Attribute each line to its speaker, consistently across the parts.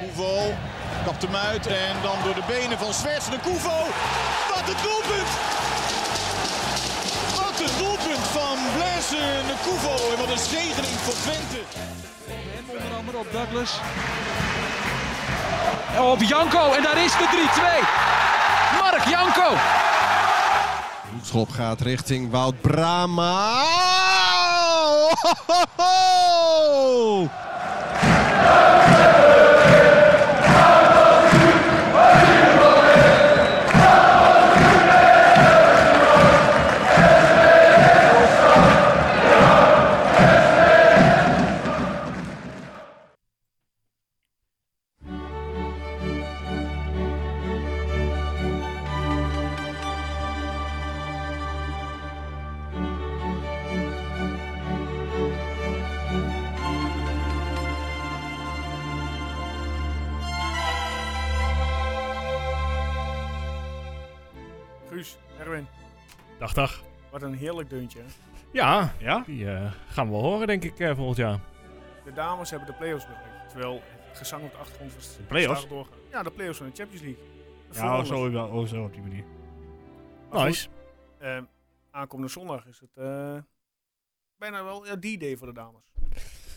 Speaker 1: Koevo kapt hem uit en dan door de benen van Zwerts de Koevo. Wat een doelpunt! Wat een doelpunt van Blaise de Koevo en wat een zegening voor Twente.
Speaker 2: Hem onder andere op Douglas. Op Janko en daar is de 3-2. Mark Janko.
Speaker 3: Schop gaat richting Wout Brama. Oh, ho, ho, ho.
Speaker 4: Guus, Erwin,
Speaker 5: Dag, dag.
Speaker 4: wat een heerlijk deuntje. hè?
Speaker 5: Ja,
Speaker 6: Ja?
Speaker 5: die eh, gaan we wel horen, denk ik, eh, volgend jaar.
Speaker 4: De dames hebben de play-offs bereikt, terwijl het gezang op de achtergrond was. De
Speaker 5: play-offs?
Speaker 4: doorgaan. Ja, de play-offs van de Champions League.
Speaker 6: Ja,
Speaker 4: Voorrondes.
Speaker 6: oh, zo, wel, oh, zo op die manier.
Speaker 4: Maar goed,
Speaker 5: Nice.
Speaker 4: ehm, aankomende zondag is het eh, bijna wel ja, die day voor de dames.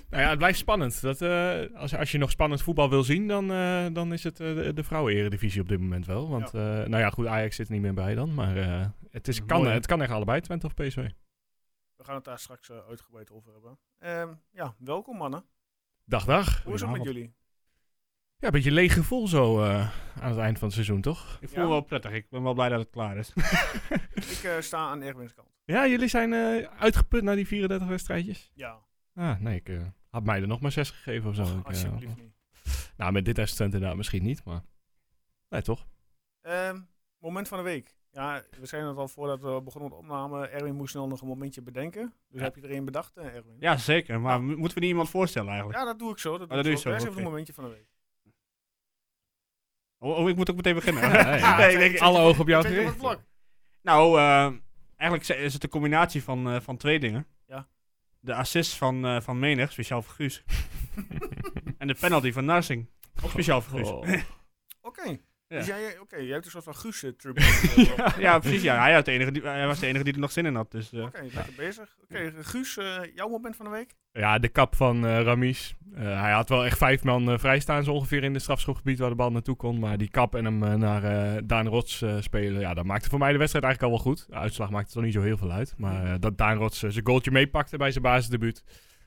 Speaker 5: Nou ja, het blijft spannend. Dat, eh, als, als je nog spannend voetbal wil zien, dan, eh, dan is het eh, de, de vrouwen-eredivisie op dit moment wel. Want, eh, nou ja, goed, Ajax zit er niet meer bij dan. Maar eh, het, is,
Speaker 6: Mooi,
Speaker 5: kan,
Speaker 6: hè?
Speaker 5: het kan echt allebei, Twente of PSV.
Speaker 4: We gaan het daar straks eh, uitgebreid over hebben. Ehm, ja, welkom mannen.
Speaker 5: Dag, dag.
Speaker 4: Hoe is het met
Speaker 5: Goedenavond.
Speaker 4: jullie?
Speaker 5: Ja, een beetje leeg gevoel zo eh, aan het eind van het seizoen, toch?
Speaker 6: Ik voel
Speaker 4: Ja?
Speaker 6: wel prettig. Ik ben wel blij dat het klaar is.
Speaker 4: Ik eh, sta aan Erwin's kant.
Speaker 5: Ja, jullie zijn eh, uitgeput na die 34 wedstrijdjes.
Speaker 4: Ja,
Speaker 5: Ah, nee, ik eh, had mij er nog maar zes gegeven of zo. Ik, eh,
Speaker 4: alsjeblieft niet.
Speaker 5: nou, met dit FC Twente inderdaad misschien niet, maar... Nee, toch?
Speaker 4: Ehm, moment van de week. Ja, we zeiden het al voordat we begonnen met opname. Erwin moest snel nog een momentje bedenken. Dus
Speaker 6: Ja.
Speaker 4: heb je er een bedacht, eh, Erwin?
Speaker 6: ja, zeker. Maar
Speaker 4: Nou.
Speaker 6: mo- moeten we niet iemand voorstellen eigenlijk?
Speaker 4: Ja, dat doe ik zo. Dat doe,
Speaker 6: Oh, dat
Speaker 4: ik
Speaker 6: doe
Speaker 4: zo.
Speaker 6: je zo,
Speaker 4: Best
Speaker 6: oké.
Speaker 4: even een momentje van de week.
Speaker 6: Oh, oh, ik moet ook meteen beginnen.
Speaker 5: Ja, ja.
Speaker 6: Nee, nee,
Speaker 5: Alle ogen op jou
Speaker 4: Zet je op
Speaker 5: gericht.
Speaker 4: het vlak.
Speaker 6: Nou, eh, eigenlijk ze- is het een combinatie van, eh, van twee dingen.
Speaker 4: Ja.
Speaker 6: De assist van, eh, van Menig, speciaal voor Guus. en de penalty van Narsing,
Speaker 4: Oh.
Speaker 6: ook speciaal
Speaker 5: Dus
Speaker 6: voor Guus.
Speaker 4: Oké.
Speaker 6: Ja.
Speaker 4: Dus jij, oké, jij hebt een soort van Guus eh, tribute. eh, op.
Speaker 6: Ja, precies. Ja. Hij, had de enige die- hij was de enige die er nog zin in had. Dus, eh,
Speaker 4: Oké, lekker bezig. Oké, Guus, eh, jouw moment van de week?
Speaker 5: Ja, de kap van eh Ramis. Eh, hij had wel echt vijf man eh, vrijstaan, zo ongeveer in het strafschopgebied waar de bal naartoe kon. Maar die kap en hem eh, naar eh, Daan Rots eh, spelen, ja, dat maakte voor mij de wedstrijd eigenlijk al wel goed. De uitslag maakte toch niet zo heel veel uit. Maar eh, dat Daan Rots eh, zijn goaltje meepakte bij zijn basisdebuut.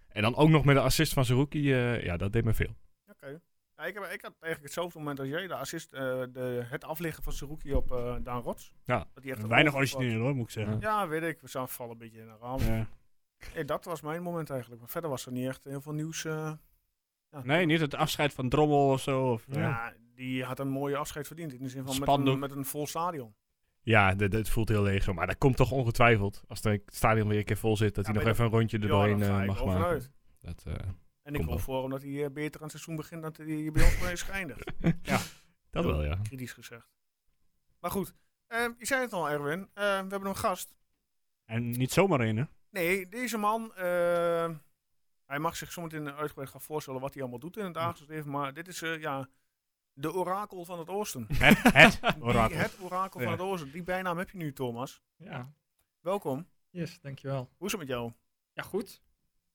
Speaker 5: En dan ook nog met de assist van zijn rookie, eh, ja, dat deed me veel.
Speaker 4: Oké. Ja, ik, heb, ik had eigenlijk hetzelfde moment als jij. De assist, eh, de, het afleggen van Saruki op eh, Daan Rots.
Speaker 5: Ja.
Speaker 4: Dat die echt een
Speaker 6: weinig
Speaker 4: overval-
Speaker 6: origineel hoor, moet ik zeggen.
Speaker 4: Ja, weet ik. We staan vallen een beetje in de raam.
Speaker 6: Ja.
Speaker 4: Nee, dat was mijn moment eigenlijk. Maar verder was er niet echt heel veel nieuws. eh. ja,
Speaker 6: Nee, niet het afscheid van Drommel of zo. Of,
Speaker 4: Ja. die had een mooie afscheid verdiend. In de zin van met
Speaker 6: Spandoek.
Speaker 4: een, met een vol stadion.
Speaker 5: Ja, de- de- het voelt heel leeg zo. Maar dat komt toch ongetwijfeld, als het stadion weer een keer vol zit, dat
Speaker 4: Ja,
Speaker 5: hij nog
Speaker 4: maar
Speaker 5: even een rondje
Speaker 4: Ja,
Speaker 5: erdoorheen
Speaker 4: daar ga
Speaker 5: eh,
Speaker 4: ik
Speaker 5: mag
Speaker 4: wel van
Speaker 5: maken.
Speaker 4: uit.
Speaker 5: Dat, eh,
Speaker 4: En ik
Speaker 5: Komt
Speaker 4: hoop voor hem dat hij eh, beter aan het seizoen begint dan dat hij bij ons mee is geëindigd.
Speaker 5: dat wel, ja.
Speaker 4: Kritisch gezegd. Maar goed, eh, je zei het al Erwin. eh, we hebben een gast.
Speaker 6: eh, En niet zomaar één, hè?
Speaker 4: Nee, deze man... eh, hij mag zich zometeen uitgebreid gaan voorstellen wat hij allemaal doet in het dagelijks leven. Maar dit is eh, ja, de orakel van het oosten. Die-
Speaker 6: Het, het orakel.
Speaker 4: het orakel
Speaker 6: Ja.
Speaker 4: van het oosten. Die bijnaam heb je nu, Thomas.
Speaker 7: Ja,
Speaker 4: Welkom.
Speaker 7: yes, dankjewel.
Speaker 4: Hoe is het met jou?
Speaker 7: Ja, goed.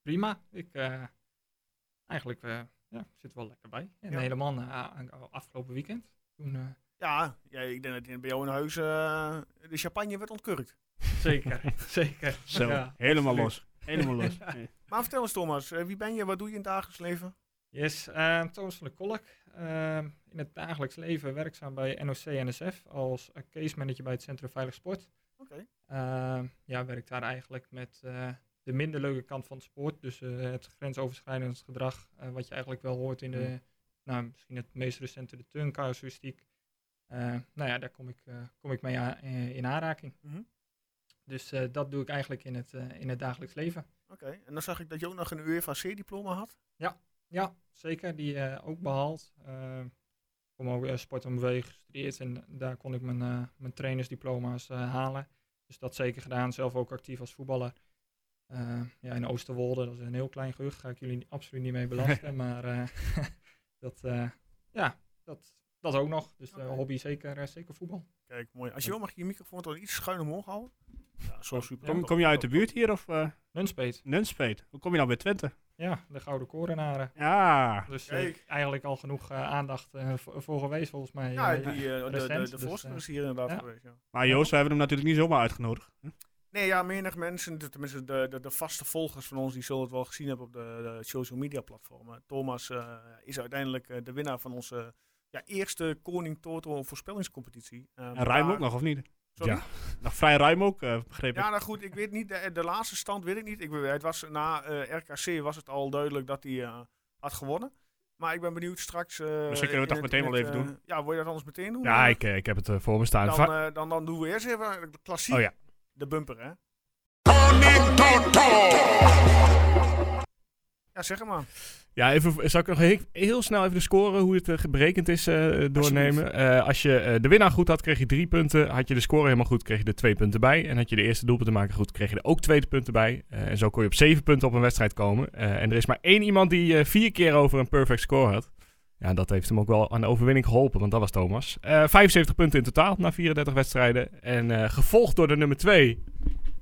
Speaker 7: Prima. Ik eh, eigenlijk eh, ja, zit wel lekker bij. En
Speaker 4: Ja.
Speaker 7: helemaal na a- afgelopen weekend. Toen, eh,
Speaker 4: Ja, ja, ik denk dat in- bij jou in huis eh, de champagne werd ontkurkt.
Speaker 7: zeker, zeker.
Speaker 6: Zo,
Speaker 7: Ja,
Speaker 6: helemaal
Speaker 7: absoluut.
Speaker 6: los. Helemaal los. Ja.
Speaker 4: Maar vertel eens Thomas, eh, wie ben je? Wat doe je in het dagelijks leven?
Speaker 7: Yes, eh, Thomas van der Kolk. eh, in het dagelijks leven werkzaam bij NOC-NSF als eh, case manager bij het Centrum Veilig Sport.
Speaker 4: Oké.
Speaker 7: Eh, ja, werk daar eigenlijk met eh, de minder leuke kant van het sport. Dus eh, het grensoverschrijdend gedrag, eh, wat je eigenlijk wel hoort in de,
Speaker 4: Mm.
Speaker 7: nou, misschien het meest recente, de turncasuïstiek. Eh nou ja, daar kom ik, eh, kom ik mee a- eh, in aanraking.
Speaker 4: Mhm.
Speaker 7: Dus eh, dat doe ik eigenlijk in het, eh, in het dagelijks leven.
Speaker 4: Oké, en dan zag ik dat je ook nog een UEFA C-diploma had.
Speaker 7: Ja, zeker. Die eh, ook behaald. Eh, Ik kom ook eh, sport en bewegen gestudeerd en daar kon ik mijn, eh, mijn trainersdiploma's eh, halen. Dus dat zeker gedaan. Zelf ook actief als voetballer. Eh, ja, in Oosterwolde, dat is een heel klein gehucht. Ga ik jullie ni- absoluut niet mee belasten. maar eh, dat, eh, ja, dat, dat ook nog. Dus de hobby is zeker, eh, zeker voetbal.
Speaker 4: Kijk, mooi. Als je wil mag je je microfoon toch iets schuin omhoog houden? Ja, zo super.
Speaker 6: Kom, kom je uit de buurt hier of eh
Speaker 7: Nunspeet.
Speaker 6: Nunspeet? Hoe kom je nou bij Twente?
Speaker 7: Ja, de Gouden Korenaren.
Speaker 6: Ja,
Speaker 7: Dus eh,
Speaker 4: Kijk.
Speaker 7: eigenlijk al genoeg eh, aandacht eh, voor voor geweest volgens mij.
Speaker 4: Ja,
Speaker 7: eh,
Speaker 4: die, eh, de, de,
Speaker 7: recent,
Speaker 4: de
Speaker 7: dus,
Speaker 4: voorzitter
Speaker 7: eh,
Speaker 4: is hier inderdaad
Speaker 7: ja.
Speaker 4: geweest. Ja.
Speaker 6: maar Joost, we hebben hem natuurlijk niet zomaar uitgenodigd.
Speaker 4: Nee, ja, menig mensen, de- tenminste de, de, de vaste volgers van ons, die zullen het wel gezien hebben op de, de social media platformen. Thomas eh, is uiteindelijk eh, de winnaar van onze ja, eerste Koning Toto voorspellingscompetitie. Eh,
Speaker 6: En
Speaker 4: maar-
Speaker 6: ruim ook nog, of niet?
Speaker 4: Sorry?
Speaker 5: Ja.
Speaker 6: Nog vrij ruim ook, eh, begreep ik.
Speaker 4: Ja, nou goed, ik weet niet, de, de laatste stand weet ik niet. Ik, weet- het was, na eh, RKC was het al duidelijk dat hij eh, had gewonnen. Maar ik ben benieuwd straks... eh,
Speaker 6: kunnen we het
Speaker 4: in
Speaker 6: toch meteen
Speaker 4: in
Speaker 6: wel
Speaker 4: het,
Speaker 6: even
Speaker 4: eh, Ja, wil je dat anders meteen doen?
Speaker 5: Ja,
Speaker 4: Eh,
Speaker 5: ik, eh, ik heb het eh, voor me staan.
Speaker 4: Dan,
Speaker 5: Va-
Speaker 4: eh, dan, dan doen we eerst even de klassiek.
Speaker 5: Oh ja.
Speaker 4: De bumper, hè? Ja, zeg maar.
Speaker 5: Ja, even, zal ik nog heel, heel snel even de score, hoe het eh, berekend is, eh, doornemen. Eh, als je eh, de winnaar goed had, kreeg je drie punten. Had je de score helemaal goed, kreeg je er twee punten bij. En had je de eerste doelpuntenmaker goed, kreeg je er ook twee punten bij. Eh, en zo kon je op zeven punten op een wedstrijd komen. Eh, en er is maar één iemand die eh, vier keer over een perfect score had. Ja, dat heeft hem ook wel aan de overwinning geholpen, want dat was Thomas. Eh, 75 punten in totaal na 34 wedstrijden. En eh, gevolgd door de nummer 2,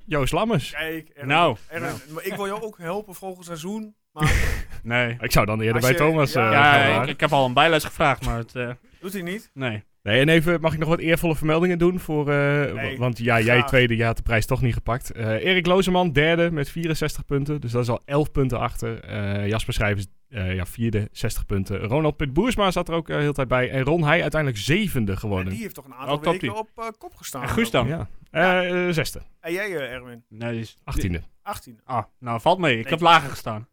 Speaker 5: Joost Lammers.
Speaker 4: Kijk, Erwin,
Speaker 6: Nou.
Speaker 4: Erwin, maar ik wil jou ook helpen volgend seizoen. Maar
Speaker 6: Nee.
Speaker 5: Ik zou dan eerder
Speaker 4: Als
Speaker 5: bij
Speaker 4: je-
Speaker 5: Thomas
Speaker 4: ja.
Speaker 5: eh, gaan
Speaker 6: Ja,
Speaker 5: waren.
Speaker 6: ik, ik heb al een bijles gevraagd, maar het... eh,
Speaker 4: doet hij niet.
Speaker 6: nee.
Speaker 5: Nee, en even, mag ik nog wat eervolle vermeldingen doen? Voor, eh,
Speaker 4: Nee,
Speaker 5: wa- want ja, jij
Speaker 4: graag.
Speaker 5: tweede, jij had de prijs toch niet gepakt. Eh, Erik Lozeman, derde met 64 punten. Dus dat is al 11 punten achter. Eh, Jasper Schrijvers, eh, ja, vierde, 60 punten. Ronald Pitboersma zat er ook eh, heel de tijd bij. En Ron Heij uiteindelijk zevende
Speaker 4: En
Speaker 5: geworden.
Speaker 4: die heeft toch een aantal
Speaker 6: Oh, top
Speaker 4: weken
Speaker 6: die.
Speaker 4: op eh, kop gestaan.
Speaker 6: En Guus
Speaker 4: ook.
Speaker 6: dan?
Speaker 5: Ja. Eh, eh, zesde,
Speaker 4: En jij, eh, Erwin?
Speaker 6: Nee, die is...
Speaker 5: 18e.
Speaker 4: 18.
Speaker 6: Ah, nou valt mee. Ik
Speaker 4: Nee.
Speaker 6: heb lager gestaan.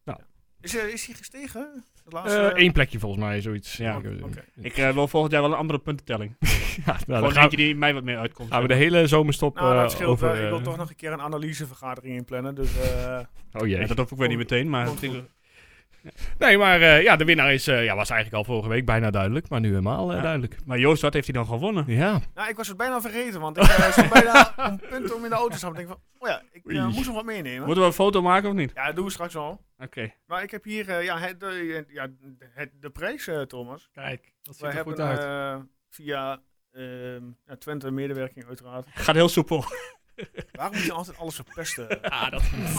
Speaker 4: Is, eh, is hij gestegen? Het laatste,
Speaker 5: Eén
Speaker 4: eh,
Speaker 5: plekje volgens mij, zoiets.
Speaker 6: Ja,
Speaker 5: Ik-
Speaker 4: oké.
Speaker 6: Ik eh, wil volgend jaar wel een andere puntentelling.
Speaker 5: Ja, nou, dan
Speaker 6: Gewoon
Speaker 5: gaan,
Speaker 6: eentje die mij wat meer uitkomt.
Speaker 5: gaan we de hele zomerstop
Speaker 4: Nou,
Speaker 5: eh,
Speaker 4: dat scheelt.
Speaker 5: over...
Speaker 4: eh, ik wil
Speaker 5: eh,
Speaker 4: toch nog een keer een analysevergadering inplannen. Dus eh,
Speaker 5: Oh jee.
Speaker 6: Ja, dat hoef ik weer niet meteen, maar...
Speaker 4: Komt goed.
Speaker 5: Nee, maar eh, ja, de winnaar is, eh, ja, was eigenlijk al vorige week bijna duidelijk. Maar nu helemaal eh,
Speaker 6: Ja.
Speaker 5: duidelijk.
Speaker 6: Maar Joost, wat heeft hij dan gewonnen?
Speaker 5: Ja.
Speaker 4: nou, ik was het bijna vergeten, want ik eh, stond bijna een punt om in de auto te stappen. Ik denk van, oh ja, ik eh,
Speaker 5: Oei.
Speaker 4: moest nog wat meenemen.
Speaker 6: Moeten we een foto maken of niet?
Speaker 4: Ja, dat doen we straks wel.
Speaker 6: Oké.
Speaker 4: Maar ik heb hier eh, ja, het, eh, ja, het, de prijs, eh, Thomas.
Speaker 7: Kijk, dat ziet
Speaker 4: Wij
Speaker 7: er
Speaker 4: hebben
Speaker 7: goed uit.
Speaker 4: eh, via ehm, ja, Twente medewerking uiteraard.
Speaker 6: Gaat heel soepel.
Speaker 4: Waarom moet je altijd alles verpesten?
Speaker 6: Ah, dat...
Speaker 4: Kunnen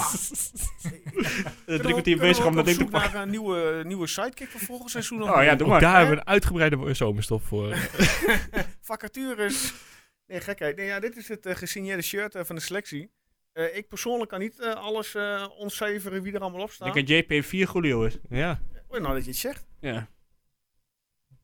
Speaker 6: Drie
Speaker 4: we-
Speaker 6: kwartier
Speaker 4: kunnen we
Speaker 6: bezig
Speaker 4: ook
Speaker 6: om dat
Speaker 4: op
Speaker 6: ding te
Speaker 4: zoek
Speaker 6: pakken.
Speaker 4: naar een nieuwe, nieuwe sidekick voor volgend seizoen. nog?
Speaker 6: Oh ja, doe
Speaker 5: Ook
Speaker 6: maar.
Speaker 5: daar hebben we een uitgebreide zomerstop voor.
Speaker 4: Vacatures. Nee, gekheid. Nee, ja, dit is het eh, gesigneerde shirt eh, van de selectie. Eh, ik persoonlijk kan niet eh, alles eh ontcijferen wie er allemaal op staat.
Speaker 6: Ik denk dat JP4 Julio is.
Speaker 5: ja.
Speaker 4: Oh, nou dat je het zegt.
Speaker 6: Ja.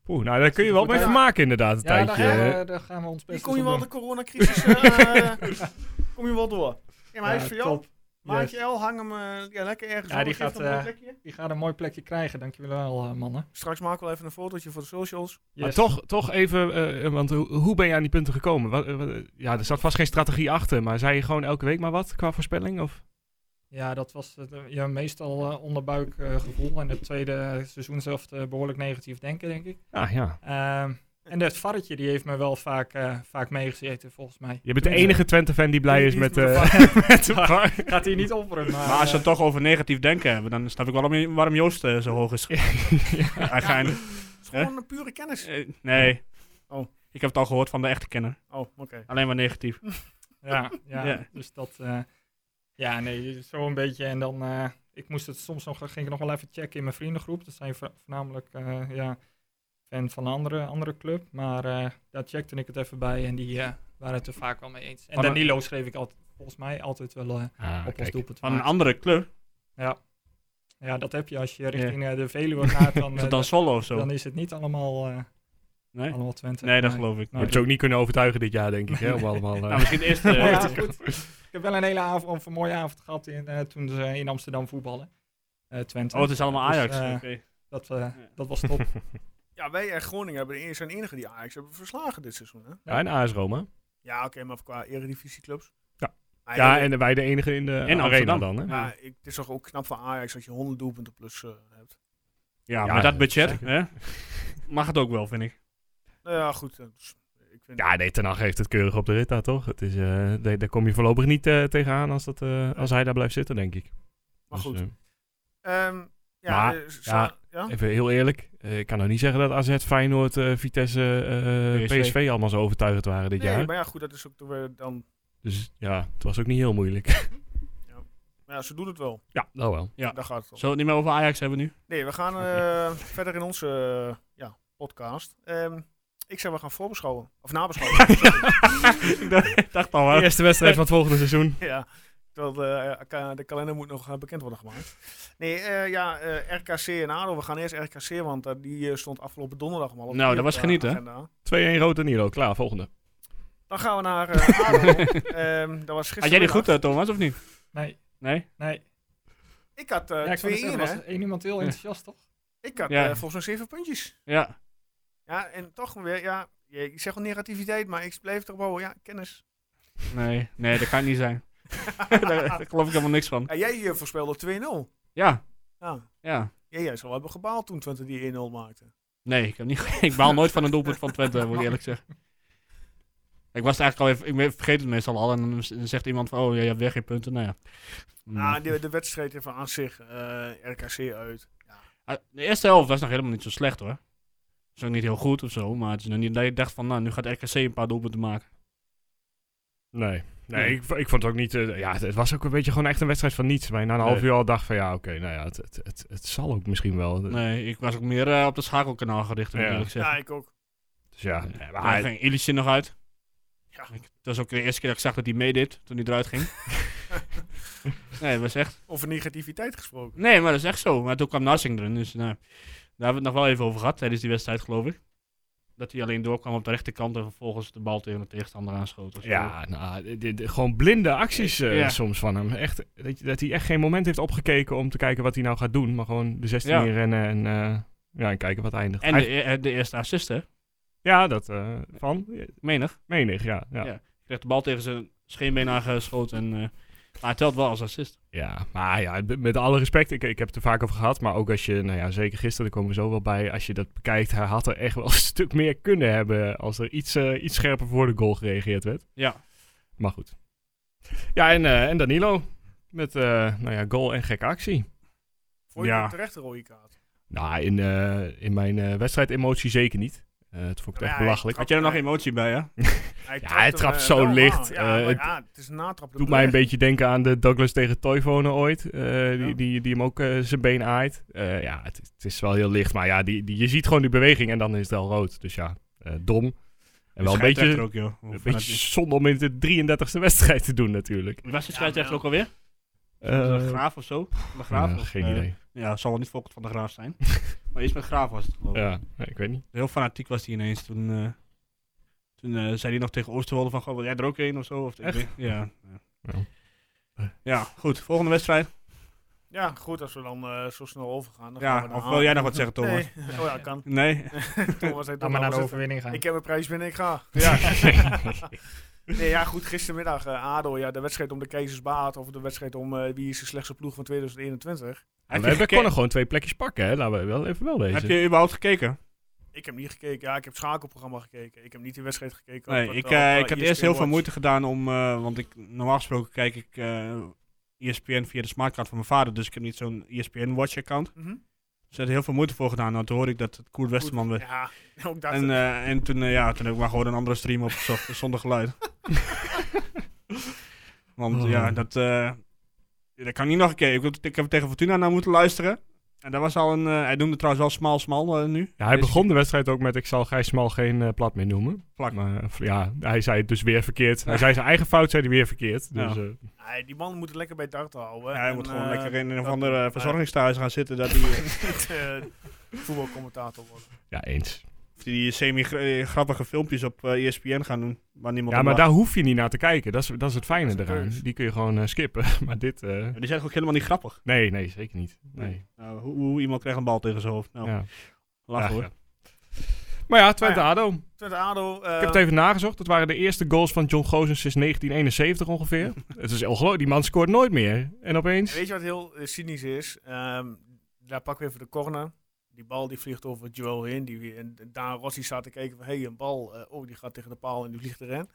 Speaker 5: Poeh, nou, daar kun je wel mee
Speaker 7: Ja.
Speaker 5: vermaken inderdaad, een
Speaker 7: Ja, daar,
Speaker 5: tijdje.
Speaker 7: gaan we- daar gaan we ons
Speaker 4: Die
Speaker 7: best
Speaker 4: kon je
Speaker 7: eens
Speaker 4: wel
Speaker 7: op
Speaker 4: de
Speaker 7: doen.
Speaker 4: coronacrisis. eh kom je wel door. Ja, maar hij is
Speaker 7: Ja,
Speaker 4: voor jou.
Speaker 7: top.
Speaker 4: Maatje L, hang hem eh, ja, lekker ergens.
Speaker 7: Ja,
Speaker 4: op.
Speaker 7: die
Speaker 4: Geef
Speaker 7: gaat,
Speaker 4: hem een
Speaker 7: eh,
Speaker 4: plekje.
Speaker 7: Die gaat een mooi plekje krijgen, dankjewel eh, mannen.
Speaker 4: Straks maken we wel even een fotootje voor de socials.
Speaker 5: Maar
Speaker 7: Yes.
Speaker 5: toch, toch even, eh, want hoe- hoe ben je aan die punten gekomen? Wat, eh, wat, eh, ja, er zat vast geen strategie achter, maar zei je gewoon elke week maar wat qua voorspelling? Of?
Speaker 7: Ja, dat was het, eh, ja, meestal eh, onderbuikgevoel. en het tweede seizoen zelf eh, behoorlijk negatief denken, denk ik.
Speaker 5: Ja, Ah, ja.
Speaker 7: Ehm, en dat varretje, die heeft me wel vaak, eh, vaak meegezeten, volgens mij.
Speaker 5: Je bent de enige Twente-fan die blij
Speaker 4: Die-
Speaker 5: is
Speaker 4: die
Speaker 5: met...
Speaker 4: is met de
Speaker 5: eh, met de VAR.
Speaker 7: Gaat hij niet offeren, maar...
Speaker 6: Maar als ze
Speaker 7: eh,
Speaker 6: het toch over negatief denken hebben, dan snap ik wel waarom, je- waarom Joost eh, zo hoog is. Eigenlijk.
Speaker 4: Het is gewoon een pure kennis.
Speaker 6: Eh, nee.
Speaker 4: Oh.
Speaker 6: Ik heb het al gehoord van de echte kenner.
Speaker 4: Oh, oké.
Speaker 6: Alleen maar negatief.
Speaker 7: Ja, ja,
Speaker 6: Ja.
Speaker 7: dus dat... eh, ja, nee, zo een beetje. En dan... eh, ik moest het soms nog... Ging ik nog wel even checken in mijn vriendengroep. Dat zijn vo- voornamelijk, eh, ja... Fan van een andere, andere club. Maar eh, daar checkte ik het even bij. En die eh, waren het er vaak wel mee eens. En
Speaker 6: Van een-
Speaker 7: Danilo schreef ik altijd, volgens mij altijd wel eh,
Speaker 5: Ah,
Speaker 7: op ons
Speaker 5: kijk.
Speaker 7: doelpunt. te
Speaker 6: Van een
Speaker 7: maken.
Speaker 6: andere club.
Speaker 7: Ja, dat heb je als je richting eh, de Veluwe gaat. Dan,
Speaker 6: Is
Speaker 7: eh,
Speaker 6: dat dan Zwolle of zo?
Speaker 7: dan is het niet allemaal, eh,
Speaker 6: Nee?
Speaker 7: allemaal Twente.
Speaker 6: Nee, dat geloof ik.
Speaker 5: Je hebt ze ook niet kunnen overtuigen dit jaar, denk ik, hè? Om allemaal... eh,
Speaker 6: Nou, misschien eerst... eh,
Speaker 7: Maar ja, goed. Ik heb wel een hele avond, of een mooie avond gehad in, eh, toen ze in Amsterdam voetballen. Eh, Twente.
Speaker 6: oh, het is allemaal
Speaker 7: Dus,
Speaker 6: Ajax.
Speaker 7: eh,
Speaker 6: Oké.
Speaker 7: dat, eh, dat was top.
Speaker 4: Ja, wij en Groningen hebben de- zijn de enige die Ajax hebben verslagen dit seizoen. Hè?
Speaker 5: ja, en AS Roma.
Speaker 4: Ja, oké, maar qua eredivisieclubs.
Speaker 5: Ja.
Speaker 4: Maar
Speaker 5: Ja,
Speaker 4: ik-
Speaker 5: en wij de enige in de
Speaker 6: In
Speaker 5: arena
Speaker 6: Amsterdam.
Speaker 5: dan, hè?
Speaker 4: maar ik, het is toch ook knap van Ajax dat je 100 doelpunten plus eh, hebt.
Speaker 6: Ja,
Speaker 5: ja,
Speaker 6: met dat budget
Speaker 5: zeker.
Speaker 6: hè, mag het ook wel, vind ik.
Speaker 4: Nou ja, goed. eh, dus ik vind
Speaker 5: Ja, nee, Ten Hag heeft het keurig op de rit daar, toch? Het is, eh, nee, daar kom je voorlopig niet eh, tegenaan als, dat, eh, als hij daar blijft zitten, denk ik.
Speaker 4: Maar
Speaker 5: Dus,
Speaker 4: goed.
Speaker 5: eh,
Speaker 4: Ehm, ja,
Speaker 5: Maar,
Speaker 4: eh, Sa-
Speaker 5: ja,
Speaker 4: Ja?
Speaker 5: Even heel eerlijk, eh, ik kan nou niet zeggen dat AZ, Feyenoord, eh, Vitesse, eh,
Speaker 8: PSV.
Speaker 5: PSV. allemaal zo overtuigend waren dit
Speaker 4: Nee,
Speaker 5: jaar.
Speaker 4: maar ja, goed, dat is ook weer dan...
Speaker 5: Dus ja, het was ook niet heel moeilijk.
Speaker 4: Maar ja, ze doen het wel.
Speaker 5: ja, dat wel.
Speaker 8: Ja.
Speaker 4: Daar gaat het om.
Speaker 8: Zullen we het niet meer over Ajax hebben nu?
Speaker 4: Nee, we gaan eh, verder in onze eh, ja, podcast. Ehm, ik zou we gaan voorbeschouwen. Of nabeschouwen. sorry.
Speaker 8: ik dacht- ik dacht al,
Speaker 5: De
Speaker 8: hè.
Speaker 5: eerste wedstrijd van het volgende seizoen.
Speaker 4: ja. Terwijl eh, ka- de kalender moet nog eh, bekend worden gemaakt. Nee, eh, ja, eh, RKC en ADO. We gaan eerst RKC, want eh, die eh, stond afgelopen donderdag allemaal op
Speaker 8: Nou,
Speaker 4: de
Speaker 8: dat was
Speaker 4: eh,
Speaker 8: genieten, hè?
Speaker 4: agenda.
Speaker 5: 2-1 rood en Nilo, klaar, volgende.
Speaker 4: Dan gaan we naar eh ADO. Ehm, dat was
Speaker 8: Had jij die
Speaker 4: gisteren.
Speaker 8: goed, eh, Thomas, of niet?
Speaker 7: Nee,
Speaker 8: Nee?
Speaker 7: nee.
Speaker 4: Ik had eh,
Speaker 7: Ja, ik
Speaker 4: twee
Speaker 7: wou net
Speaker 4: in,
Speaker 7: zeggen, was
Speaker 4: hè?
Speaker 7: er één iemand heel enthousiast, toch?
Speaker 5: Nou,
Speaker 4: Ik had
Speaker 8: Ja.
Speaker 4: eh, volgens mij zeven puntjes.
Speaker 8: Ja.
Speaker 4: Ja, en toch weer, ja, je- ik zeg wel negativiteit, maar ik blijf toch wel, ja, kennis.
Speaker 8: Nee, nee, dat kan het niet zijn. daar, daar geloof ik helemaal niks van.
Speaker 4: En jij eh, voorspelde 2-0.
Speaker 8: Ja,
Speaker 4: Ja.
Speaker 8: ja.
Speaker 4: Ja, jij zou wel hebben gebaald toen Twente die 1-0 maakte.
Speaker 8: Mm. Nee, ik, heb niet, ge- ik baal nooit van een doelpunt van Twente, moet ik eerlijk zeggen. Ik was het eigenlijk al even, ik ben- vergeet het meestal al en dan z- dan zegt iemand van, oh, ja, je hebt weer geen punten, nou ja. Hmm.
Speaker 4: Ah, de, de wedstrijd even aan zich, eh, RKC uit.
Speaker 8: Ah, De eerste helft was nog helemaal niet zo slecht hoor. Is ook niet heel goed of zo, maar het is nog niet dat je dacht van, nou, nu gaat RKC een paar doelpunten maken.
Speaker 5: Nee. Nee,
Speaker 8: Nee.
Speaker 5: ik, ik vond het ook niet... eh, ja, het, het was ook een beetje gewoon echt een wedstrijd van niets. Waar je na een half
Speaker 8: Nee.
Speaker 5: uur al dacht van... Ja, oké, nou ja, het, het, het, het zal ook misschien wel.
Speaker 8: Nee, ik was ook meer eh, op het schakelkanaal gericht, moet ik
Speaker 5: Ja.
Speaker 8: eerlijk
Speaker 4: Ja,
Speaker 8: zeggen.
Speaker 4: ik ook.
Speaker 5: Dus ja, nee, maar
Speaker 8: Daar
Speaker 5: hij-
Speaker 8: ging Illich nog uit.
Speaker 4: Ja.
Speaker 8: Ik, dat was ook de eerste keer dat ik zag dat hij meedeed, toen hij eruit ging. nee, dat was echt...
Speaker 4: Over negativiteit gesproken.
Speaker 8: Nee, maar dat is echt zo. Maar toen kwam Narsing erin. Dus nou, daar hebben we het nog wel even over gehad tijdens die wedstrijd, geloof ik. Dat hij alleen doorkwam op de rechterkant en vervolgens de bal tegen de tegenstander aanschoot. of zo.
Speaker 5: Ja, nou, dit- dit- gewoon blinde acties eh,
Speaker 8: Ja.
Speaker 5: soms van hem. Echt, dat, je- dat hij echt geen moment heeft opgekeken om te kijken wat hij nou gaat doen. Maar gewoon de 16
Speaker 8: Ja.
Speaker 5: in rennen en, eh, ja, en kijken wat eindigt.
Speaker 8: En
Speaker 5: Hij-
Speaker 8: de, e- de eerste assist, hè?
Speaker 5: Ja, dat eh, van
Speaker 8: Menig.
Speaker 5: menig, ja. Ja, ja.
Speaker 8: Ja. Kreeg de bal tegen zijn scheenbeen aangeschoten. En, eh, maar het telt wel als assist.
Speaker 5: maar ja, b- met alle respect, ik, ik heb het er vaak over gehad. Maar ook als je, nou ja, zeker gisteren, daar komen we zo wel bij. Als je dat bekijkt, hij had er echt wel een stuk meer kunnen hebben. Als er iets, eh, iets scherper voor de goal gereageerd werd.
Speaker 8: Ja.
Speaker 5: Maar goed. Ja, en, eh, en Danilo. Met, eh, nou ja, goal en gekke actie.
Speaker 4: Vond je
Speaker 8: Ja.
Speaker 4: het terecht een rode kaart?
Speaker 5: Nou, in, eh, in mijn eh wedstrijdemotie zeker niet. Eh het vond ik
Speaker 4: Ja,
Speaker 5: echt
Speaker 4: hij
Speaker 5: belachelijk.
Speaker 4: trapt-
Speaker 8: Had jij er nog emotie bij, hè?
Speaker 4: Hij
Speaker 5: Ja,
Speaker 4: trapt
Speaker 5: hij
Speaker 4: hem,
Speaker 5: trapt
Speaker 4: eh,
Speaker 5: zo
Speaker 4: wel aan.
Speaker 5: licht,
Speaker 4: Ja,
Speaker 5: eh,
Speaker 4: maar
Speaker 5: het-
Speaker 4: ja, het is een natrap. dat
Speaker 5: doet mij een
Speaker 4: bedoelt
Speaker 5: beetje denken aan de Douglas tegen Toivonen ooit. eh,
Speaker 4: Ja.
Speaker 5: die, die, die hem ook eh, zijn been aait. Eh, ja, het, het is wel heel licht. Maar ja, die, die, je ziet gewoon die beweging en dan is het al rood. Dus ja, eh, dom. En wel een beetje,
Speaker 8: Scheidsrechter Ook, joh. Hoe
Speaker 5: een
Speaker 8: vanuit
Speaker 5: beetje zonde om in de 33e wedstrijd te doen natuurlijk.
Speaker 8: die- Was de
Speaker 4: Ja,
Speaker 8: scheidsrechter
Speaker 4: maar-
Speaker 8: ook alweer? de
Speaker 5: Eh,
Speaker 8: Graaf of zo? De Graaf?
Speaker 5: ja,
Speaker 8: of,
Speaker 5: geen
Speaker 8: eh,
Speaker 5: idee.
Speaker 8: Ja, het zal wel niet Volkert van de Graaf zijn. maar iets met Graaf was het, geloof ik.
Speaker 5: Ja, nee, ik weet niet.
Speaker 8: Heel fanatiek was hij ineens. Toen, eh, toen eh, zei hij nog tegen Oosterwolde van, goh, wil jij er ook een of zo? Of, ik
Speaker 5: Echt?
Speaker 8: weet- Ja. Ja.
Speaker 5: Nou.
Speaker 8: ja, goed. Volgende wedstrijd.
Speaker 4: Ja, goed, als we dan eh, zo snel overgaan. Dan gaan we
Speaker 8: Ja,
Speaker 4: naar
Speaker 8: of wil jij nog wat zeggen, Thomas?
Speaker 4: Nee. Oh ja, kan.
Speaker 8: Nee?
Speaker 4: Thomas heeft
Speaker 7: Laat maar naar de overwinning gaan.
Speaker 4: Ik heb mijn prijs binnen, ik ga.
Speaker 8: Ja.
Speaker 4: Nee, ja, goed, gistermiddag eh, ADO, ja, de wedstrijd om de keizersbaat of de wedstrijd om eh, wie is de slechtste ploeg van 2021.
Speaker 5: Maar
Speaker 8: Heb
Speaker 5: we
Speaker 8: je,
Speaker 5: hebben-
Speaker 8: geke-
Speaker 5: konden gewoon twee plekjes pakken, hè. Laten we wel even wel wezen.
Speaker 8: heb je überhaupt gekeken?
Speaker 4: Ik heb niet gekeken, ja, ik heb het schakelprogramma gekeken. Ik heb niet de wedstrijd gekeken. op
Speaker 8: Nee,
Speaker 4: het-
Speaker 8: ik,
Speaker 4: op,
Speaker 8: eh,
Speaker 4: eh,
Speaker 8: ik had
Speaker 4: ESPN
Speaker 8: eerst heel veel
Speaker 4: Watch.
Speaker 8: moeite gedaan om, eh, want ik, normaal gesproken kijk ik eh ESPN via de smartcard van mijn vader, dus ik heb niet zo'n ESPN Watch account.
Speaker 4: Mhm.
Speaker 8: Dus daar had heel veel moeite voor gedaan. Nou, toen hoorde ik dat het Koert Westerman werd.
Speaker 4: Ja, ook dat.
Speaker 8: En, eh, en toen, eh, ja, toen heb ik maar gewoon een andere stream opgezocht zonder geluid. Want
Speaker 5: Oh.
Speaker 8: ja, dat, eh, dat kan niet nog een keer. Ik, heb- ik heb tegen Fortuna naar moeten luisteren. En dat was al een. eh, hij noemde trouwens wel smal smal eh, nu.
Speaker 5: Ja, hij
Speaker 8: Deze
Speaker 5: begon de wedstrijd ook met ik zal Gijs Smal geen eh, plat meer noemen.
Speaker 8: Plak.
Speaker 5: Maar eh, ja, hij zei het dus weer verkeerd. Hij zei zijn eigen fout, zei hij weer verkeerd. Dus,
Speaker 8: Ja.
Speaker 5: eh,
Speaker 4: Nee, die man moet het lekker bij darten houden.
Speaker 8: keer. Ja, hij
Speaker 4: En,
Speaker 8: moet gewoon
Speaker 4: eh,
Speaker 8: lekker in een of
Speaker 4: dat-
Speaker 8: ander eh,
Speaker 4: eh,
Speaker 8: verzorgingstehuis gaan zitten. Dat hij, eh,
Speaker 4: eh, voetbalcommentator worden.
Speaker 5: ja, eens.
Speaker 8: of die semi-grappige filmpjes op eh, ESPN gaan doen. Waar niemand
Speaker 5: Ja,
Speaker 8: om
Speaker 5: maar
Speaker 8: lacht.
Speaker 5: daar hoef je niet naar te kijken. Dat is, dat is het fijne
Speaker 4: Dat is een
Speaker 5: eraan.
Speaker 4: keus.
Speaker 5: Die kun je gewoon eh, skippen. Maar dit, eh,
Speaker 8: Die zijn ook helemaal niet grappig.
Speaker 5: nee, nee, zeker niet. Nee.
Speaker 8: Nou, hoe, hoe iemand krijgt een bal tegen zijn hoofd. Nou,
Speaker 5: Ja.
Speaker 8: lachen
Speaker 5: Ja,
Speaker 8: hoor.
Speaker 5: ja. Maar ja, Twente
Speaker 4: Maar
Speaker 5: ADO. Ik
Speaker 4: Twente ADO. Nou eh,
Speaker 5: heb het even nagezocht. Dat waren de eerste goals van John Gozens sinds 1971 ongeveer. het is ongelooflijk. Die man scoort nooit meer. En opeens...
Speaker 4: Weet je wat heel eh, cynisch is? Ehm, daar pakken we even de corner. Die bal die vliegt over Joel heen. Die, en Daan Rossi staat te kijken van... Hé, hey, een bal. eh, oh, die gaat tegen de paal en die vliegt erin.